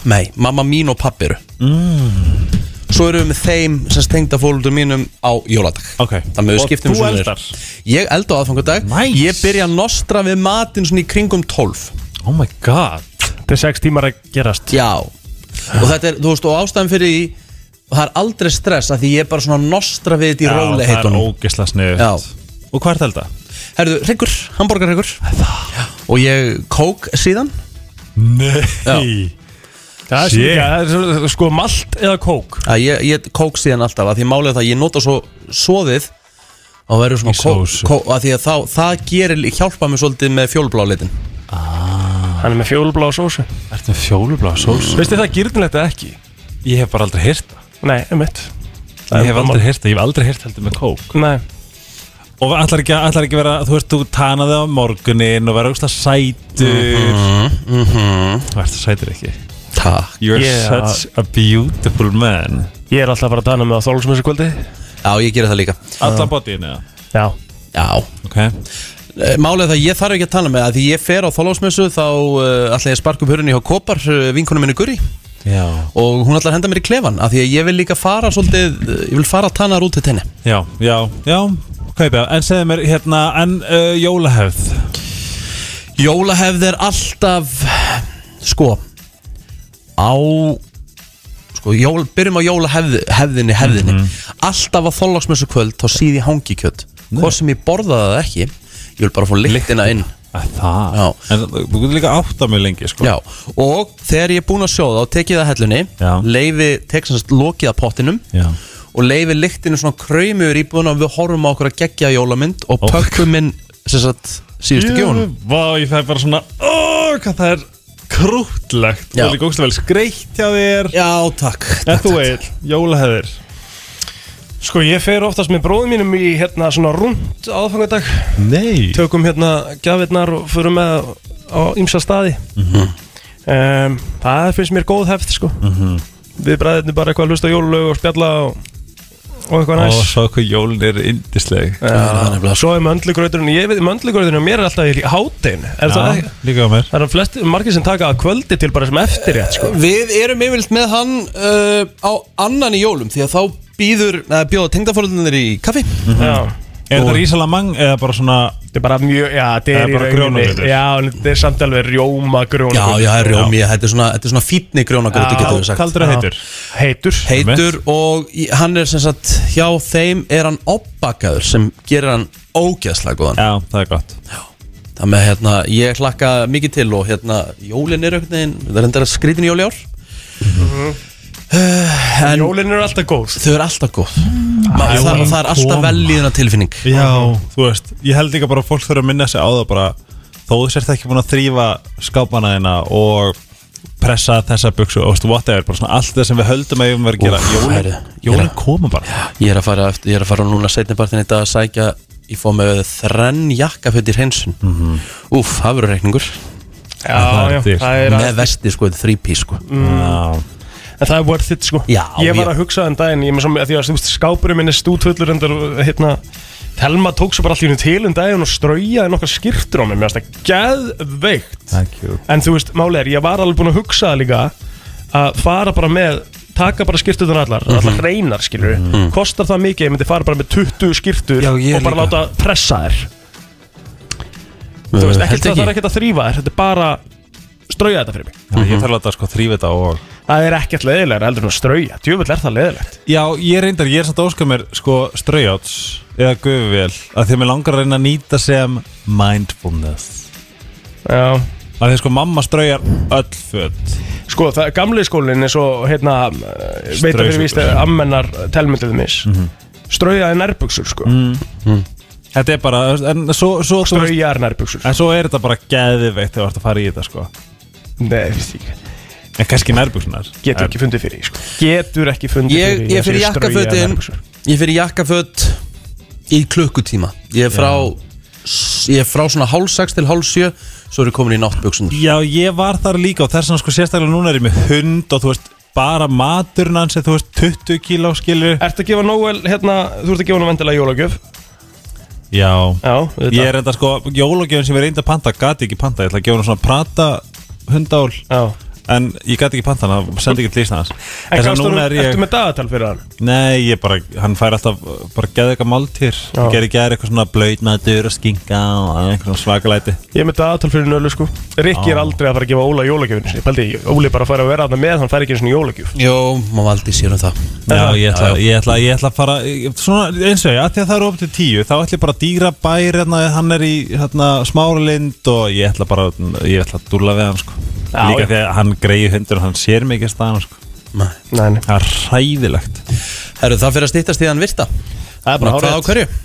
[SPEAKER 1] nei, mamma mín og pappi eru mm. svo erum við með þeim semst tengdaforeldrarna mínum á jóladag
[SPEAKER 4] Ok
[SPEAKER 1] þannig að við
[SPEAKER 4] Og
[SPEAKER 1] skiptum
[SPEAKER 4] þú
[SPEAKER 1] svona niður.
[SPEAKER 4] eldar?
[SPEAKER 1] ég elda á aðfangandag,
[SPEAKER 4] Nice.
[SPEAKER 1] ég byrja að nostra við matinn svona í kringum 12
[SPEAKER 4] Oh my god
[SPEAKER 2] Þetta er sex tímar að gerast
[SPEAKER 1] Já Og þetta er, þú veist, og ástæðan fyrir því Það er aldrei stress að því ég er bara svona að nostra við þetta í
[SPEAKER 4] Já,
[SPEAKER 1] róli
[SPEAKER 4] Það er
[SPEAKER 1] heitunum
[SPEAKER 4] ógisla sniðut
[SPEAKER 1] Já.
[SPEAKER 4] Og hvað er þetta?
[SPEAKER 1] Herðu, hryggur, hambúrgarhryggur Og ég kók síðan
[SPEAKER 4] Nei
[SPEAKER 2] Það er
[SPEAKER 4] Shit.
[SPEAKER 2] svona- það er svona- sko malt eða kók
[SPEAKER 1] að ég, ég kók síðan alltaf að Því málið er það, að ég nota svo soðið Og verður svona
[SPEAKER 4] Í
[SPEAKER 1] kók,
[SPEAKER 4] sósu.
[SPEAKER 1] kók að Því að þá, það gerir, hjálpa mér svolítið með fjólblá litin
[SPEAKER 2] Hann er með fjólblá sósu
[SPEAKER 4] Ertu með fjólublá sós?
[SPEAKER 2] Veistu það gyrnilegt eða ekki?
[SPEAKER 4] Ég hef bara aldrei heyrt það
[SPEAKER 2] Nei, einmitt Það er
[SPEAKER 4] Ég hef
[SPEAKER 2] bara
[SPEAKER 4] aldrei
[SPEAKER 2] mál.
[SPEAKER 4] heyrt það, ég hef aldrei heyrt heldur með kók
[SPEAKER 2] Nei
[SPEAKER 4] Og allar ekki, allar ekki vera, þú ert, þú tanaði á morgunin og vera ógstlega sætur Þú ert sætur ekki
[SPEAKER 1] Takk
[SPEAKER 4] Mhm, You're
[SPEAKER 2] Yeah.
[SPEAKER 4] such a beautiful man
[SPEAKER 2] Ég er alltaf bara að dana með að þólsum þessu kvöldi
[SPEAKER 1] Já, ég gerir það líka
[SPEAKER 4] Alla bodyinu, já
[SPEAKER 2] Já
[SPEAKER 1] Já,
[SPEAKER 4] Ok
[SPEAKER 1] Eh, Málið er það, að ég þarf ekki að tala með það Því ég fer á þólásmessu þá uh, ætla ég að sparka upp hurðinni hjá Kopar, uh, vinkunum minni Guri
[SPEAKER 4] Já
[SPEAKER 1] og hún ætlar að henda mér í klefan af því að ég vil líka fara svolítið eh, ég vil fara tannar út til tenni
[SPEAKER 4] Já, já, já Kaupið, en segðu mér hérna, en uh, jólahefð
[SPEAKER 1] Jólahefð er alltaf sko á sko, jól, byrjum á jólahefðinni hefðinni, hefðinni
[SPEAKER 4] Mhm.
[SPEAKER 1] alltaf á þóllagsmessu kvöld þá síði hangi kjött hvort sem ég borðaði það ekki ég vil bara fá lyktina inn
[SPEAKER 4] Að Það
[SPEAKER 1] Já.
[SPEAKER 4] En þú þú getur líka átta mig lengi, sko
[SPEAKER 1] Já, og þegar ég er búinn að sjóða og tekið það hellunni
[SPEAKER 4] Já.
[SPEAKER 1] leifi, teksast lokið að pottinum
[SPEAKER 4] Já.
[SPEAKER 1] og leifi lyktinu svona kraumur íbúðun og við horfum á okkur að gegja jólamynd og pökkum inn sem sagt síðustu gjónum
[SPEAKER 4] Vá, ég fæ bara svona, ó, hvað það er krútlegt
[SPEAKER 1] Já.
[SPEAKER 4] Og líka ógstlega vel skreitt hjá þér
[SPEAKER 1] Já, takk
[SPEAKER 4] En þú Egil, jólahefðir
[SPEAKER 2] Sko ég fer oftast með bróðum mínum í hérna svona rúnd aðfangadag
[SPEAKER 4] Nei
[SPEAKER 2] Tökum hérna gafirnar og förum með á ymsa staði um, Það finnst mér góð hefð sko Við bræðirni bara eitthvað að hlusta á jólalög og spjalla og og eitthvað næs
[SPEAKER 4] Ó, svo hvað jólin er indisleg
[SPEAKER 2] Já, svo er möndlugröðurinn, ég veit, möndlugröðurinn á mér er alltaf í hátinn er það ekki?
[SPEAKER 4] líka á mér
[SPEAKER 2] Það eru flest, margir sem taka að kvöldi til bara sem eftir rétt sko
[SPEAKER 1] Við erum yfirlt með hann uh, á annan í jólum Því að þá býður, neða bjóða tengdafórlunir í kaffi
[SPEAKER 4] Er þetta rísalamang eða bara svona
[SPEAKER 2] Þetta er bara mjög, já, þetta er
[SPEAKER 4] Það er
[SPEAKER 2] í
[SPEAKER 4] bara
[SPEAKER 2] rauninni
[SPEAKER 4] grjónagrautur.
[SPEAKER 2] Já, en þetta er samt alveg rjóma grjóna
[SPEAKER 1] Já, já, það er rjómi, þetta er svona, þetta er svona fítni grjónagrötu getur við sagt
[SPEAKER 4] kaldur og heitur.
[SPEAKER 2] Heitur
[SPEAKER 1] Heitur og í- hann er sem sagt hjá þeim er hann opbakaður sem gerir hann ógeðslega góðan
[SPEAKER 4] Já, það er gott
[SPEAKER 1] Það með hérna, ég hlakka mikið til og hérna, jólin er einhvern veginn, það er endara skrítin jóli ár
[SPEAKER 4] Mhm.
[SPEAKER 1] en
[SPEAKER 2] Jólin eru alltaf góð sko.
[SPEAKER 1] Þau eru alltaf góð Ma, það, það er alltaf velliðuna tilfinning
[SPEAKER 4] Já, þú veist, ég held líka bara að fólk þurfa að minna sig á það bara þó þú sért ekki búin að þrýfa skápana þína og pressa þessa buksu og veist, whatever, bara svona allt það sem við höldum að við verðum að gera
[SPEAKER 1] Úff,
[SPEAKER 4] jólin,
[SPEAKER 1] herri, ég er
[SPEAKER 4] jólin
[SPEAKER 1] að-
[SPEAKER 4] koma bara
[SPEAKER 1] Ég er að fara, eftir, ég er að fara núna setnipartin í dag að sækja Ég fóð með þrenn jakka fyrir hreinsun
[SPEAKER 2] Mhm.
[SPEAKER 1] Úf, það verður reikningur
[SPEAKER 2] Já, já, það er Mm.
[SPEAKER 1] Með vesti sko, þetta þrípí sko
[SPEAKER 4] Já,
[SPEAKER 2] En það er worth it sko
[SPEAKER 1] Já,
[SPEAKER 2] Ég var
[SPEAKER 1] ég-
[SPEAKER 2] að hugsa þann daginn, ég með svona, því að þú veist, skápurinn minn er stúthullur endar, hérna Telma tók svo bara allt í hennu til um daginn og straujaði nokkar skýrtur á mig, mér finnst það geðveikt
[SPEAKER 4] thank you
[SPEAKER 2] En þú veist, máli er, ég var alveg búinn að hugsa það líka að fara bara með taka bara skýrtunar allar,
[SPEAKER 1] Mhm.
[SPEAKER 2] allar hreinar skilur kostar það mikið, ég myndi fara bara með 20 skýrtur
[SPEAKER 1] Já,
[SPEAKER 2] og
[SPEAKER 1] ég
[SPEAKER 2] bara
[SPEAKER 1] líka.
[SPEAKER 2] láta pressa þær þú veist, ekkert það þarf ekkert að þrýfa þær þetta er bara strauja þetta fyrir mig
[SPEAKER 4] Já, ég þarf að láta sko þrýfa þetta og
[SPEAKER 2] það er ekkert leðilegar heldur en að strauja djúvill er það leðilegt
[SPEAKER 4] Já, ég reyndar, ég er samt að óska mér sko straujáts eða gufuvél að því að mér langar að reyna að nýta sem mindfulness
[SPEAKER 2] Já.
[SPEAKER 4] að því sko mamma straujar öll föt
[SPEAKER 2] sko, það, gamli skólinn er svo hérna, veit að fyrir víst
[SPEAKER 4] Straujasjúkur.
[SPEAKER 2] ammennar telmyndið mis mm -hmm. strauja er nærbuksur sko
[SPEAKER 4] Þetta er bara, en svo, svo þú veist-
[SPEAKER 2] strauja er nærbuksur
[SPEAKER 4] En svo er þetta bara geðveikt þegar þú ert að fara í þetta sko
[SPEAKER 2] Nei, veist ekki
[SPEAKER 4] En kannski nærbúksunar
[SPEAKER 2] getur ekki fundið fyrir því, sko. getur ekki fundið
[SPEAKER 1] Ég, ég
[SPEAKER 2] fyrir því að sé
[SPEAKER 1] fyrir
[SPEAKER 2] strauja
[SPEAKER 1] jakkafötin
[SPEAKER 2] nærbuxur.
[SPEAKER 1] Ég fyrir jakkaföt Í klukkutíma Ég er frá Ég er frá svona hálf 6 til hálf 7 Svo er ég komin í náttbuksundur
[SPEAKER 4] Já, ég var þar líka og þess vegna sko sérstaklega núna er ég með hund og þú veist bara maturinn hans er þú veist 20 kíló skilur
[SPEAKER 2] Ertu að gefa Noel, hérna, þú ert að gefa hann vendilega jólagjöf
[SPEAKER 4] Já
[SPEAKER 2] Já, þetta
[SPEAKER 4] Ég er enda sko, jólagjöfin sem ég reyndi að panta gati ekki panta, ég ætla að gefa hann svona prata hundál
[SPEAKER 2] Já
[SPEAKER 4] En ég gati ekki panta hann, það sendi ekki til Íslands
[SPEAKER 2] En
[SPEAKER 4] Þess
[SPEAKER 2] kannst
[SPEAKER 4] að
[SPEAKER 2] þú,
[SPEAKER 4] núna er ég
[SPEAKER 2] ertu með dagatal fyrir hann?
[SPEAKER 4] Nei, ég bara, hann fær alltaf uh, bara geða eitthvað máltýr
[SPEAKER 2] Já.
[SPEAKER 4] Gerði gerði eitthvað svona blautmatur og skinka og eitthvað svona svakalæti
[SPEAKER 2] Ég er með dagatal fyrir nölu, sko Rikki er
[SPEAKER 4] Já.
[SPEAKER 2] aldrei að fara að gefa Óla jólagjöfinu sinni Paldi, Óli bara fær að vera þarna með, hann fær ekki svona jólagjöf
[SPEAKER 1] Jó, maður valdi sér um það
[SPEAKER 4] Já, ég ætla, ég ætla, ég ætla að fara ég- svona, eins og ég, að því að það eru upp til tíu þá ætla ég bara að dýra bæri hérna, hann er í hérna, smáralind og ég ætla bara, ég ætla að dúlla við hann sko.
[SPEAKER 2] Já,
[SPEAKER 4] líka
[SPEAKER 2] já.
[SPEAKER 4] því að hann greiði hundur og hann sér mig ekki staðan sko.
[SPEAKER 1] Nei.
[SPEAKER 2] Nei, nei
[SPEAKER 4] það er hræðilegt
[SPEAKER 1] Herru, það fyrir að stýttast í þann virta
[SPEAKER 2] Það er
[SPEAKER 1] Bara
[SPEAKER 2] bara
[SPEAKER 1] hvað á
[SPEAKER 2] hárið
[SPEAKER 1] hverju?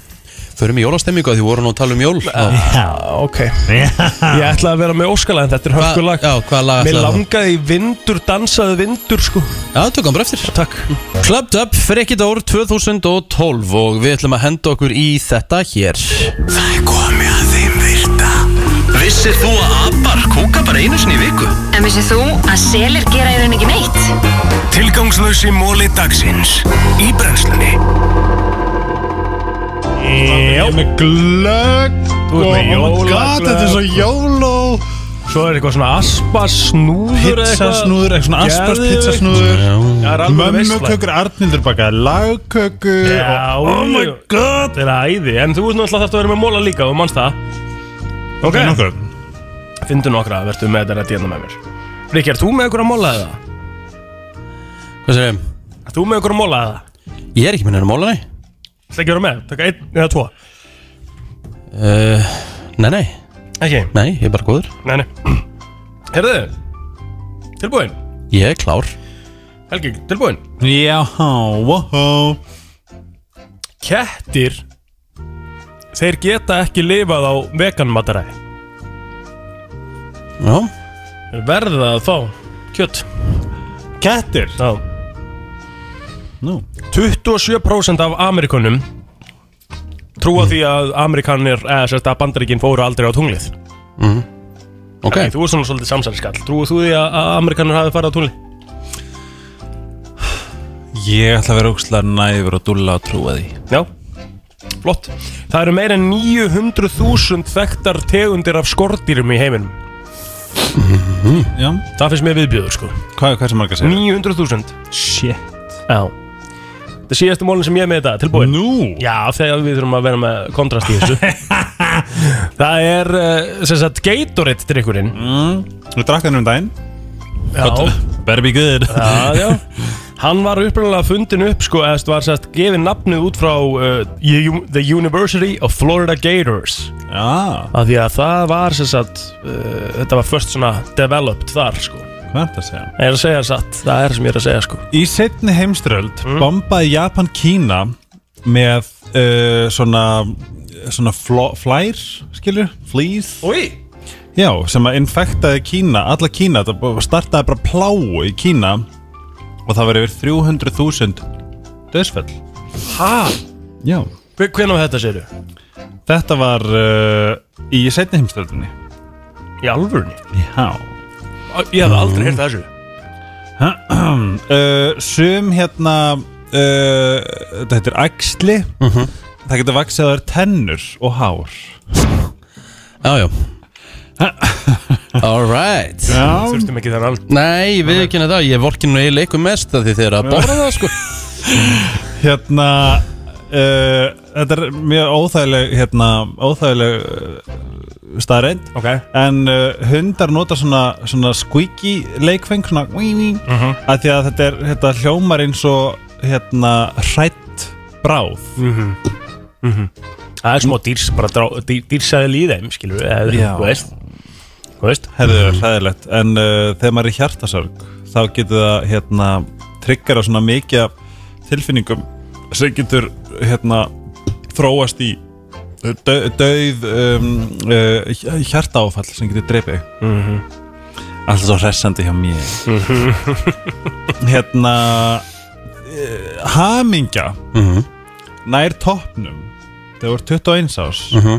[SPEAKER 1] Förum í jólastemmingu að því voru nú að tala um jól Hvað-
[SPEAKER 4] Já,
[SPEAKER 2] Ok Ég ætla að vera með Óskala en þetta er hörkulag
[SPEAKER 1] Já, hvað laga
[SPEAKER 2] Mér
[SPEAKER 1] ætlaðu það?
[SPEAKER 2] langaði í vindur, dansaði vindur, sko
[SPEAKER 1] Já, tökum bara eftir
[SPEAKER 2] Takk
[SPEAKER 1] Clubbed Up, frekkit ár 2012 og við ætlum að henda okkur í þetta hér
[SPEAKER 11] Það er komið að þeim virta Vissir þú að abar kúka bara einu sinni í viku?
[SPEAKER 7] En vissið þú að selir gera í raun ekki neitt?
[SPEAKER 11] Tilgangslösi móli dagsins Í brennslunni
[SPEAKER 2] Jó,
[SPEAKER 4] með glögg
[SPEAKER 2] Þú
[SPEAKER 4] Oh
[SPEAKER 2] ert með jólaglögg.
[SPEAKER 4] jóló
[SPEAKER 2] Svo er eitthvað svona aspasnúður eða eitthvað.
[SPEAKER 4] pizzasnúður, eitthvað svona aspas
[SPEAKER 2] Geðveikt.
[SPEAKER 4] pizzasnúður
[SPEAKER 2] Það er alveg veistla
[SPEAKER 4] mömmukökur, artnindur bakaði lagkökur
[SPEAKER 2] Já,
[SPEAKER 4] og, oh my god
[SPEAKER 2] Þetta er æði, en þú veist náttúrulega þarfst að vera með móla líka og mannst það Ok,
[SPEAKER 4] Ok, nokkur.
[SPEAKER 2] Fyndu nokkra, verður með þetta rétt hérna með mér Ríkki, ert þú með ykkur að móla eða?
[SPEAKER 1] Hvað sér ég?
[SPEAKER 2] Ert þú með ykkur að móla eða?
[SPEAKER 1] Ég er ekki með neina móla, nei
[SPEAKER 2] Það ekki vera með, taka einn eða tvo
[SPEAKER 1] uh, Nei, nei,
[SPEAKER 2] Ekki,
[SPEAKER 1] nei, ég er bara góður
[SPEAKER 2] nei, nei Herðu, tilbúin
[SPEAKER 1] Ég er klár
[SPEAKER 2] Helgi, tilbúin
[SPEAKER 4] Já, wow
[SPEAKER 2] Kettir Þeir geta ekki lifað á veganmataræði
[SPEAKER 1] Já,
[SPEAKER 2] Þeir Verða að fá kjött
[SPEAKER 4] Kettir
[SPEAKER 2] Já
[SPEAKER 4] Nú
[SPEAKER 2] 27% af Amerikunum trúa því að Amerikanir, eða sérst að bandaríkinn fóru aldrei á tunglið
[SPEAKER 1] ok
[SPEAKER 2] Nei, Þú er svona svolítið samsæriskall Trúa þú því að að Amerikanir hafi farið á tunglið?
[SPEAKER 4] Ég ætla að vera ógslag næfur og dúlla og trúa því
[SPEAKER 2] Já, flott Það eru meira en 900.000 þekktar tegundir af skordýrum í heiminum
[SPEAKER 4] Já
[SPEAKER 2] Það finnst mér viðbjöður sko
[SPEAKER 4] Hvað, hvað sem margar segir?
[SPEAKER 2] 900.000 Shit Já Það síðastu mólin sem ég er með þetta, tilbúin Nú Já, þegar við þurfum að vera með kontrast í þessu Það er, eh, sem sagt, Gatorade drikkurinn mm.
[SPEAKER 4] Þú drakk hann um daginn
[SPEAKER 2] Já
[SPEAKER 4] Better be good
[SPEAKER 2] Já, já Hann var upprunalega fundin upp, sko, eða þú veist, var sérst gefið nafnið út frá uh, U- The University of Florida Gators Já Af því að það var sérst, uh, þetta var först svona developed þar, sko
[SPEAKER 4] Hvað er þetta að segja?
[SPEAKER 2] Ég er að segja satt, það er sem ég er að segja, sko
[SPEAKER 4] Í setni heimströld bombaði Japan Kína með uh, svona svona fló, flær skilur, flýs
[SPEAKER 2] Úi
[SPEAKER 4] Já, sem að infektaði Kína, alla Kína það bara- startaði bara pláu í Kína og það var yfir 300.000 döðsfell
[SPEAKER 2] Hæ?
[SPEAKER 4] Já
[SPEAKER 2] Hvernig var þetta, segir
[SPEAKER 4] Þetta var uh, í setni heimströldinni
[SPEAKER 2] Í alvörni?
[SPEAKER 4] Já
[SPEAKER 2] Ég hef aldrei heyrt þessu
[SPEAKER 4] uh, Sum hérna uh, Þetta heitir æxli Það getur vaksið að það er tennur og hár
[SPEAKER 1] Já, já Alright
[SPEAKER 4] Já.
[SPEAKER 2] Þurftum ekki þar allt
[SPEAKER 1] Nei, ég við ekki henni það, ég vorkin nú eiginlega eitthvað mest af því þeir eru að borða það sko
[SPEAKER 4] Hérna uh, Þetta er mjög óþægileg hérna, óþægileg uh, staðreind
[SPEAKER 2] okay.
[SPEAKER 4] En uh, hundar nota svona, svona squeaky leikfeng svona wí, wí,
[SPEAKER 2] Mhm.
[SPEAKER 4] að því að þetta er hérna, hljómar eins og hérna hrætt bráð
[SPEAKER 2] Mhm. Mhm. Það er smá dýrs, bara drá, dýr, dýrsæðil í þeim, skilur við, eða,
[SPEAKER 4] Já.
[SPEAKER 2] þú veist Þú veist
[SPEAKER 4] Herðu,
[SPEAKER 1] Mhm.
[SPEAKER 4] hræðilegt En uh, þegar maður er í hjartasörg Þá getur það, hérna, triggera svona mikið af tilfinningum sem getur, hérna, þróast í dö- dauð um, uh, hj- hjartaáfall sem getur dreipið
[SPEAKER 2] Mhm.
[SPEAKER 4] Alltaf svo hressandi hjá mér
[SPEAKER 1] Mhm.
[SPEAKER 4] Hérna uh, Hamingja
[SPEAKER 1] Mhm.
[SPEAKER 4] Nær toppnum Þegar þú ert 21 árs
[SPEAKER 1] Mhm.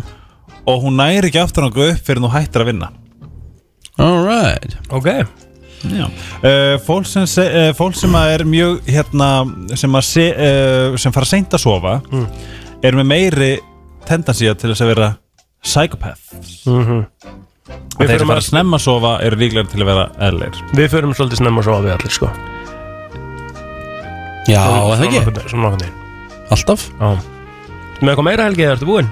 [SPEAKER 4] Og hún nær ekki aftur nokkuð upp fyrir þú hættir að vinna
[SPEAKER 1] Alright
[SPEAKER 2] Ok
[SPEAKER 4] Já. Uh, fólk sem, se, uh, fólk sem að er mjög hérna, sem, að se, uh, sem fara seint að sofa
[SPEAKER 2] Mm.
[SPEAKER 4] er með meiri tendansía til þess að vera psychopaths
[SPEAKER 2] Mhm. Við
[SPEAKER 4] og
[SPEAKER 2] förum
[SPEAKER 4] þeir sem
[SPEAKER 2] að-
[SPEAKER 4] fara snemma að sofa eru líklega til að vera eðlir
[SPEAKER 2] Við förum svolítið snemma svo að við allir, sko
[SPEAKER 1] Já,
[SPEAKER 2] Svona-
[SPEAKER 1] er það ekki?
[SPEAKER 2] svona- Svona nokkurn veginn
[SPEAKER 1] Alltaf?
[SPEAKER 2] Já Með eitthvað meira helgi, eða ertu búinn?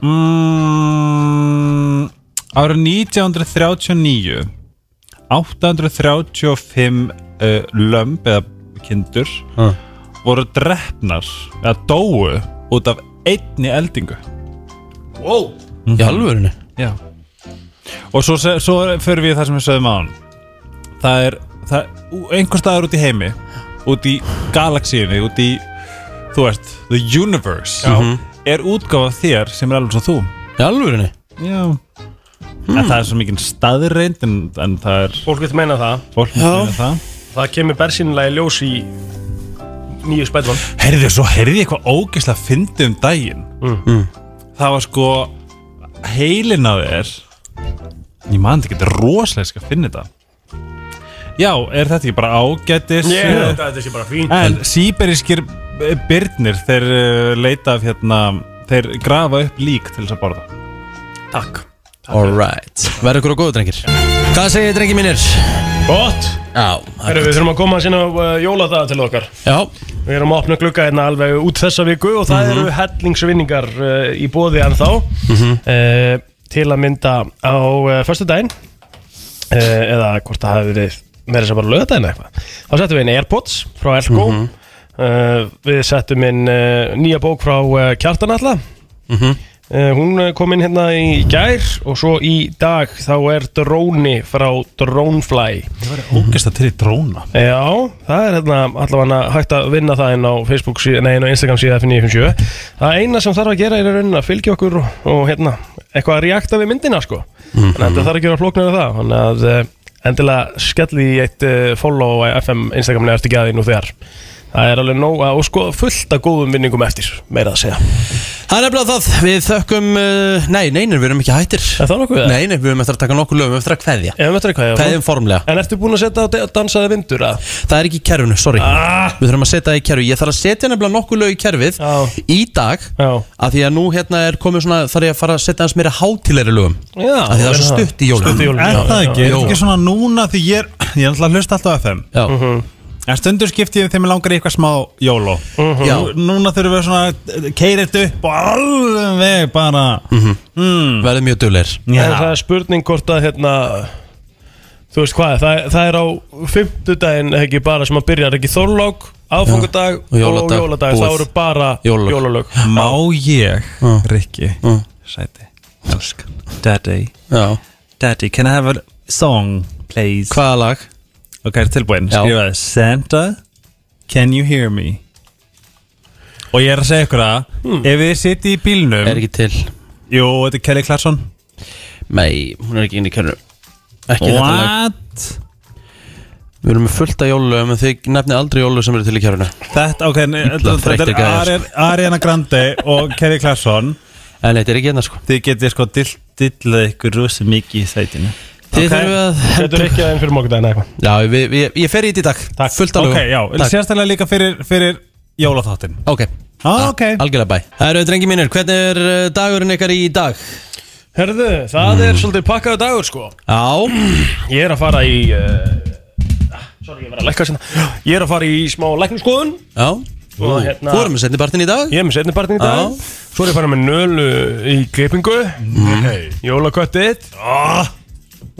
[SPEAKER 4] mm, Ára 1939 835 uh, lömb eða kindur
[SPEAKER 1] Ha.
[SPEAKER 4] voru drefnar eða dóu út af einni eldingu
[SPEAKER 2] Wow
[SPEAKER 1] Í
[SPEAKER 2] Mhm.
[SPEAKER 1] alvörinu?
[SPEAKER 4] Já Og svo, se- svo förum við í það sem við sögum á hann Það er það, ú- einhvers staðar út í heimi út í galaxíunni, út í þú veist, the universe Mhm.
[SPEAKER 1] Já.
[SPEAKER 4] er útgáfa af þér sem er alveg svo þú
[SPEAKER 1] Í alvörinu?
[SPEAKER 4] Já En það er svo mikið staðreind en, en það er
[SPEAKER 2] Fólk vil meina það
[SPEAKER 4] Fólk vill meina það.
[SPEAKER 2] Það kemur bersýnilega í ljós í nýju spætvan
[SPEAKER 4] Herðu, svo herði ég eitthvað ógeðslega fyndið um daginn
[SPEAKER 2] Mm.
[SPEAKER 4] Það var sko heilin á þér Ég man þetta getur rosalega skal finna þetta Já, er þetta ekki bara ágætis
[SPEAKER 2] Ég
[SPEAKER 4] uh,
[SPEAKER 2] held að þetta sé bara fínt.
[SPEAKER 4] En síberískir byrnir þeir uh, leita af hérna Þeir grafa upp lík til þess að borða
[SPEAKER 2] Takk
[SPEAKER 1] Alright Verður ykkur á góðu drengir Hvað segir þið drengir mínir?
[SPEAKER 2] Gott
[SPEAKER 1] Já
[SPEAKER 2] Herru, við þurfum að koma að sinna uh, jóladag til okkar
[SPEAKER 1] Já
[SPEAKER 2] Við erum að opna glugga hérna alveg út þessa viku og það eru hellingsvinningar uh, í bóði ennþá
[SPEAKER 1] Mhm.
[SPEAKER 2] uh, til að mynda á uh, förstu daginn uh, eða hvort það hafi verið meira sem bara lögadaginn eitthvað þá settum við inn Airpods frá Elko
[SPEAKER 1] Mhm.
[SPEAKER 2] uh, við settum inn uh, nýja bók frá uh, Kjartan alla
[SPEAKER 1] Mhm.
[SPEAKER 2] Uh, hún eh, kom inn hérna í gær og svo í dag þá er dróni frá Dronefly
[SPEAKER 4] Það var ógeðslega til í dróna
[SPEAKER 2] Já, það er hérna allavega hægt að vinna það inn á Facebook síðan, nei, inn á Instagram síðan F957 Það eina sem þarf að gera er í rauninni að fylgja okkur og, og hérna, eitthvað að reakta við myndina sko
[SPEAKER 1] Mhm.
[SPEAKER 2] Þannig að þetta þarf að gera flóknar við það Þannig eh, að eh, endilega skelli í eitt uh, follow á FM Instagram neðast í gæði nú þegar Það er alveg nóg að- og sko fullt af góðum vinningum eftir, meira að segja
[SPEAKER 1] Það er nefnilega það, við þökkum uh, Nei, neinir, við erum ekki hættir
[SPEAKER 2] Er það nokkuð?
[SPEAKER 1] Nei, nei, við erum eftir að taka nokkuð lögum, við erum eftir að kveðja
[SPEAKER 2] Ef við möttum eitthvað
[SPEAKER 1] Kveðjum formlega
[SPEAKER 2] En ertu búin að setja á de- dansaði vindur að?
[SPEAKER 1] Það er ekki í kerfinu, sorry Við þurfum að setja það í kerfi Ég þarf að setja nefnilega nokkuð lög í kerfið Í dag Já. Af því að nú hérna er komið svona Þarf ég að fara að setja hans meira hátilegri lögum
[SPEAKER 2] Já,
[SPEAKER 1] Af því það er svo stutt í jólum
[SPEAKER 4] Er það ekki? Er
[SPEAKER 1] Jó.
[SPEAKER 4] það ekki svona núna því ég er Ég er alltaf að hlusta alltaf á FM
[SPEAKER 1] Já
[SPEAKER 4] En stundur skipti ég þegar mig langar í eitthvað smá jóló
[SPEAKER 1] Já.
[SPEAKER 4] Nú- Núna þurfum við svona Keirið upp og alveg bara Hmm.
[SPEAKER 1] mm. Verðið mjög dugleir
[SPEAKER 2] En það er spurning hvort að hérna Þú veist hvað, það, það er á fimmtudaginn ekki bara sem að byrja, er ekki þorlók, aðfungadag
[SPEAKER 4] og jóladag,
[SPEAKER 2] og jóladag
[SPEAKER 4] búið.
[SPEAKER 2] það eru bara
[SPEAKER 4] Jólalög.
[SPEAKER 2] jólalög
[SPEAKER 4] Má ég, Rikki Sæti, elskan Daddy
[SPEAKER 1] Já.
[SPEAKER 4] Daddy, can I have a song, please?
[SPEAKER 1] Hvaða lag?
[SPEAKER 4] Ok, er tilbúin, skrifaði Santa, can you hear me? Og ég er að segja ykkur að Ef þið sitið í bílnum
[SPEAKER 1] Er ekki til
[SPEAKER 4] Jú, þetta er Kelly Clarkson
[SPEAKER 1] Nei, hún er ekki inn í kerfinu Ekki þetta lag
[SPEAKER 4] What?
[SPEAKER 1] Við erum með fullt af jólum En þið nefnið aldrei jólu sem eru til í kerfinu
[SPEAKER 4] Þetta, ok, nei,
[SPEAKER 1] Illa
[SPEAKER 4] þetta þetta
[SPEAKER 1] þreyttir
[SPEAKER 4] er
[SPEAKER 1] gæjar.
[SPEAKER 4] Ari- Ariana Grande og Kelly Clarkson
[SPEAKER 1] En þetta er ekki hérna sko
[SPEAKER 4] Þið getið sko dill- dillað ykkur rosa mikið í sætinu
[SPEAKER 1] Þið þurfum að
[SPEAKER 2] Þetta er ekki aðeins fyrir morgundaginn eitthvað
[SPEAKER 1] Já, við, við, ég fer í þetta í dag Takk. Fullt af
[SPEAKER 4] Ok,
[SPEAKER 1] lögum.
[SPEAKER 4] já,
[SPEAKER 1] Takk.
[SPEAKER 4] sérstaklega líka fyrir, fyrir jólaþáttin
[SPEAKER 1] Ok,
[SPEAKER 4] ah, ok
[SPEAKER 1] Algjörlega bæ Það eru drengi mínir, hvernig er uh, dagurinn ykkar í dag?
[SPEAKER 2] Herðu, það er svolítið pakkaðu dagur sko
[SPEAKER 1] Já
[SPEAKER 2] Ég er að fara í uh, Sorry, ég var að lækka sinna Ég er að fara í smá lækningsskoðun
[SPEAKER 1] Já
[SPEAKER 2] Og hérna-
[SPEAKER 1] Þú erum með setni partinn í dag?
[SPEAKER 2] Ég er með setni partinn í dag Svo er ég að fara með nölu í klippingu
[SPEAKER 1] Nei.
[SPEAKER 2] Jólaköttið Ah.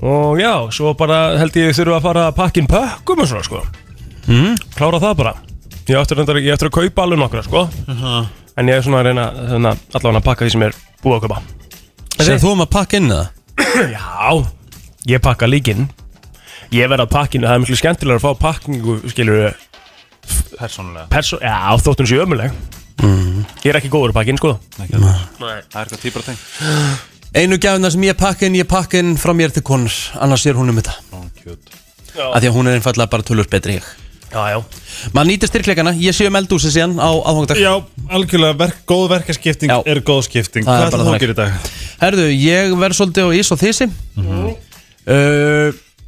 [SPEAKER 2] Og já, svo bara held ég þurfa að fara að pakkin pökkum og svona sko
[SPEAKER 1] mm.
[SPEAKER 2] Klára það bara Ég á eftir, reyndar- ég á eftir að kaupa alveg nokkra sko
[SPEAKER 1] Aha.
[SPEAKER 2] En ég er svona að reyna svona, allavega að pakka því sem er búið að kaupa
[SPEAKER 1] Segð þú um að pakka inn það?
[SPEAKER 2] Já, ég pakka líkin Ég verð að pakkinu, það er miklu skemmtilega að fá pakkingu, skilur
[SPEAKER 4] Persónulega
[SPEAKER 2] Perso Já, þóttun sé ömuleg Ég er ekki góður að pakkin, sko
[SPEAKER 4] Nei, það er eitthvað típar að teng
[SPEAKER 1] Einu gæfina sem ég pakka inn, ég pakka inn frá mér til konur Annars er hún um þetta Af því að hún er einfallega bara tölur betri en ég
[SPEAKER 2] Já, já
[SPEAKER 1] Maður nýtir styrkleikana, ég sé um eldúsi síðan á aðfangadag
[SPEAKER 4] Já, algjörlega, verk, góð verkaskipting já. er góð skipting
[SPEAKER 1] Það er bara
[SPEAKER 4] Hvað ætlar þú
[SPEAKER 1] þannig.
[SPEAKER 4] að gera í dag?
[SPEAKER 1] Herðu, ég verð svolítið á ís og þísi mm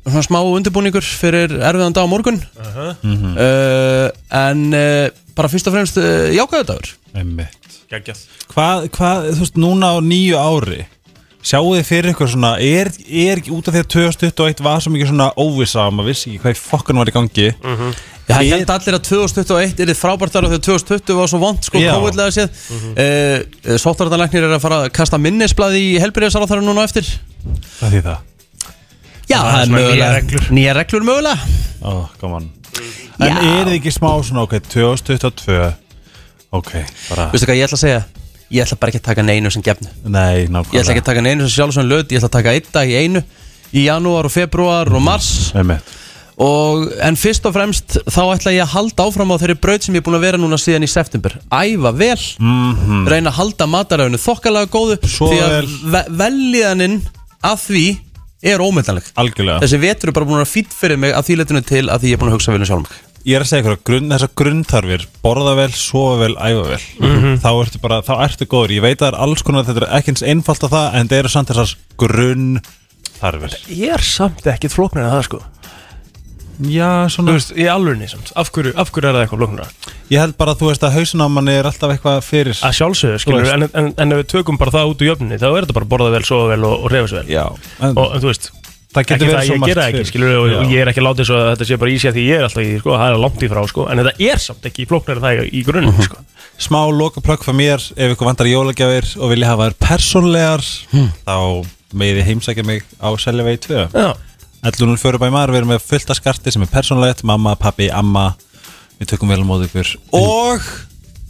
[SPEAKER 1] Svona smá undirbúningur fyrir erfiðan dag á morgun
[SPEAKER 2] Aha.
[SPEAKER 4] Mhm.
[SPEAKER 1] uh, En uh, bara fyrst og fremst uh, jákvæðu dagur
[SPEAKER 4] Einmitt.
[SPEAKER 2] Gægjað
[SPEAKER 4] Hvað, hvað, þú veist, núna á nýju ári Sjáu þið fyrir ykkur svona Er, er ekki út af því að 2021 var svo mikið svona óvissa og maður vissi ekki hvað í fokkan var í gangi
[SPEAKER 1] Já, ég held allir að 2021 er þið frábært þar og þegar 2020 var svo vond sko
[SPEAKER 4] Já.
[SPEAKER 1] kóvillega séð mm -hmm. uh, Sóttvartanlæknir er að fara að kasta minnisbladi í helbriðasáráþara núna á eftir
[SPEAKER 4] Hvað því það?
[SPEAKER 1] Já,
[SPEAKER 4] Það
[SPEAKER 1] það
[SPEAKER 4] er
[SPEAKER 1] er
[SPEAKER 4] svona nýjar
[SPEAKER 1] mögulega
[SPEAKER 4] reglur.
[SPEAKER 1] Nýja reglur mögulega
[SPEAKER 4] Ó, gaman En er þið ekki smá svona, ok, 2022 Ok, bara
[SPEAKER 1] Veistu hvað ég ætla að segja? Ég ætla bara ekki að taka neinu sem gefnu
[SPEAKER 4] Nei, nákvæmlega
[SPEAKER 1] Ég ætla ekki að taka neinu sem sjálfsögum löt Ég ætla að taka einn dag í einu Í janúar og februar og mars
[SPEAKER 4] Einmitt.
[SPEAKER 1] og, En fyrst og fremst þá ætla ég að halda áfram á þeirri braut sem ég er búin að vera núna síðan í september Æfa vel
[SPEAKER 4] Mhm.
[SPEAKER 1] Reyna að halda mataröfnu þokkalega góðu
[SPEAKER 4] Svo
[SPEAKER 1] Því
[SPEAKER 4] vel.
[SPEAKER 1] að ve veljiðaninn að því er ómyndanleg
[SPEAKER 4] Algjörlega
[SPEAKER 1] Þessi vetur er bara búin að vera fýtt fyrir mig að því letinu til að því ég er búin að hugsa vel um sjálf mig
[SPEAKER 4] ég er að segja ykkur að grunn, þessar grunnþarfir borða vel, sofa vel, æfa vel
[SPEAKER 1] Mhm.
[SPEAKER 4] þá ertu bara, þá ertu góður ég veit að það er alls konar, þetta er ekki eins einfalt að það en það eru samt þessar grunnþarfir
[SPEAKER 2] Ég er samt ekkit flóknar en það, sko
[SPEAKER 4] Já, svona
[SPEAKER 2] Þú veist, í alvörni samt Af hverju, af hverju er það eitthvað flóknar?
[SPEAKER 4] ég held bara að þú veist að hausin á manni er alltaf eitthvað fyrir
[SPEAKER 2] Að sjálfsögðu, skilur en, en, en ef við tökum bara það út úr jöfninni Þá er þetta bara borða vel, sofa vel og, og reyfa sér vel
[SPEAKER 4] Já
[SPEAKER 2] en, Og en þú veist
[SPEAKER 4] Það getur
[SPEAKER 2] ekki
[SPEAKER 4] verið svo
[SPEAKER 2] það, Ég
[SPEAKER 4] margt
[SPEAKER 2] gera það
[SPEAKER 4] fyrir.
[SPEAKER 2] ekki, skilur og, og
[SPEAKER 4] Já.
[SPEAKER 2] ég er ekki látið svo að þetta sé bara í sig Því ég er alltaf í, því, sko, það er langt í frá, sko En þetta er samt ekki flóknar en það í- í grunn,
[SPEAKER 1] Mhm.
[SPEAKER 2] sko
[SPEAKER 4] smá lokaplögg frá mér ef ykkur vantar jólagjafir og vilja hafa þær persónlegar
[SPEAKER 1] Hmm.
[SPEAKER 4] þá meði heimsækja mig á Seljavegi 2
[SPEAKER 2] Já.
[SPEAKER 4] 11.04 bæ maður, við erum með fullt af skarti sem er persónlegt, mamma, pappi, amma við tökum vel á móti ykkur og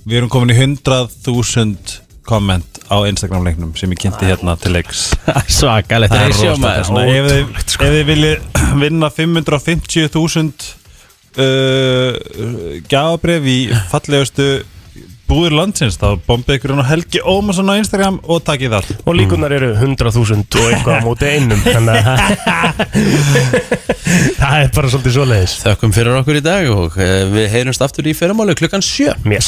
[SPEAKER 4] við erum komin í 100.000 komment á Instagram leiknum sem ég kynnti hérna til leiks
[SPEAKER 1] Svakalegt
[SPEAKER 4] Það er rosalega svona, ef þið- Ef þið viljið vinna 550.000 uh, gafabref í fallegustu búður landsins þá bombið ykkur hún á Helgi Ómarsson á Instagram og takkið það
[SPEAKER 2] Og líkunar eru 100.000 og eitthvað á móti einum Þannig að það er bara svolítið svoleiðis
[SPEAKER 1] Þökkum fyrir okkur í dag og eh, við heyrumst aftur í fyrramáli klukkan 7
[SPEAKER 2] Yes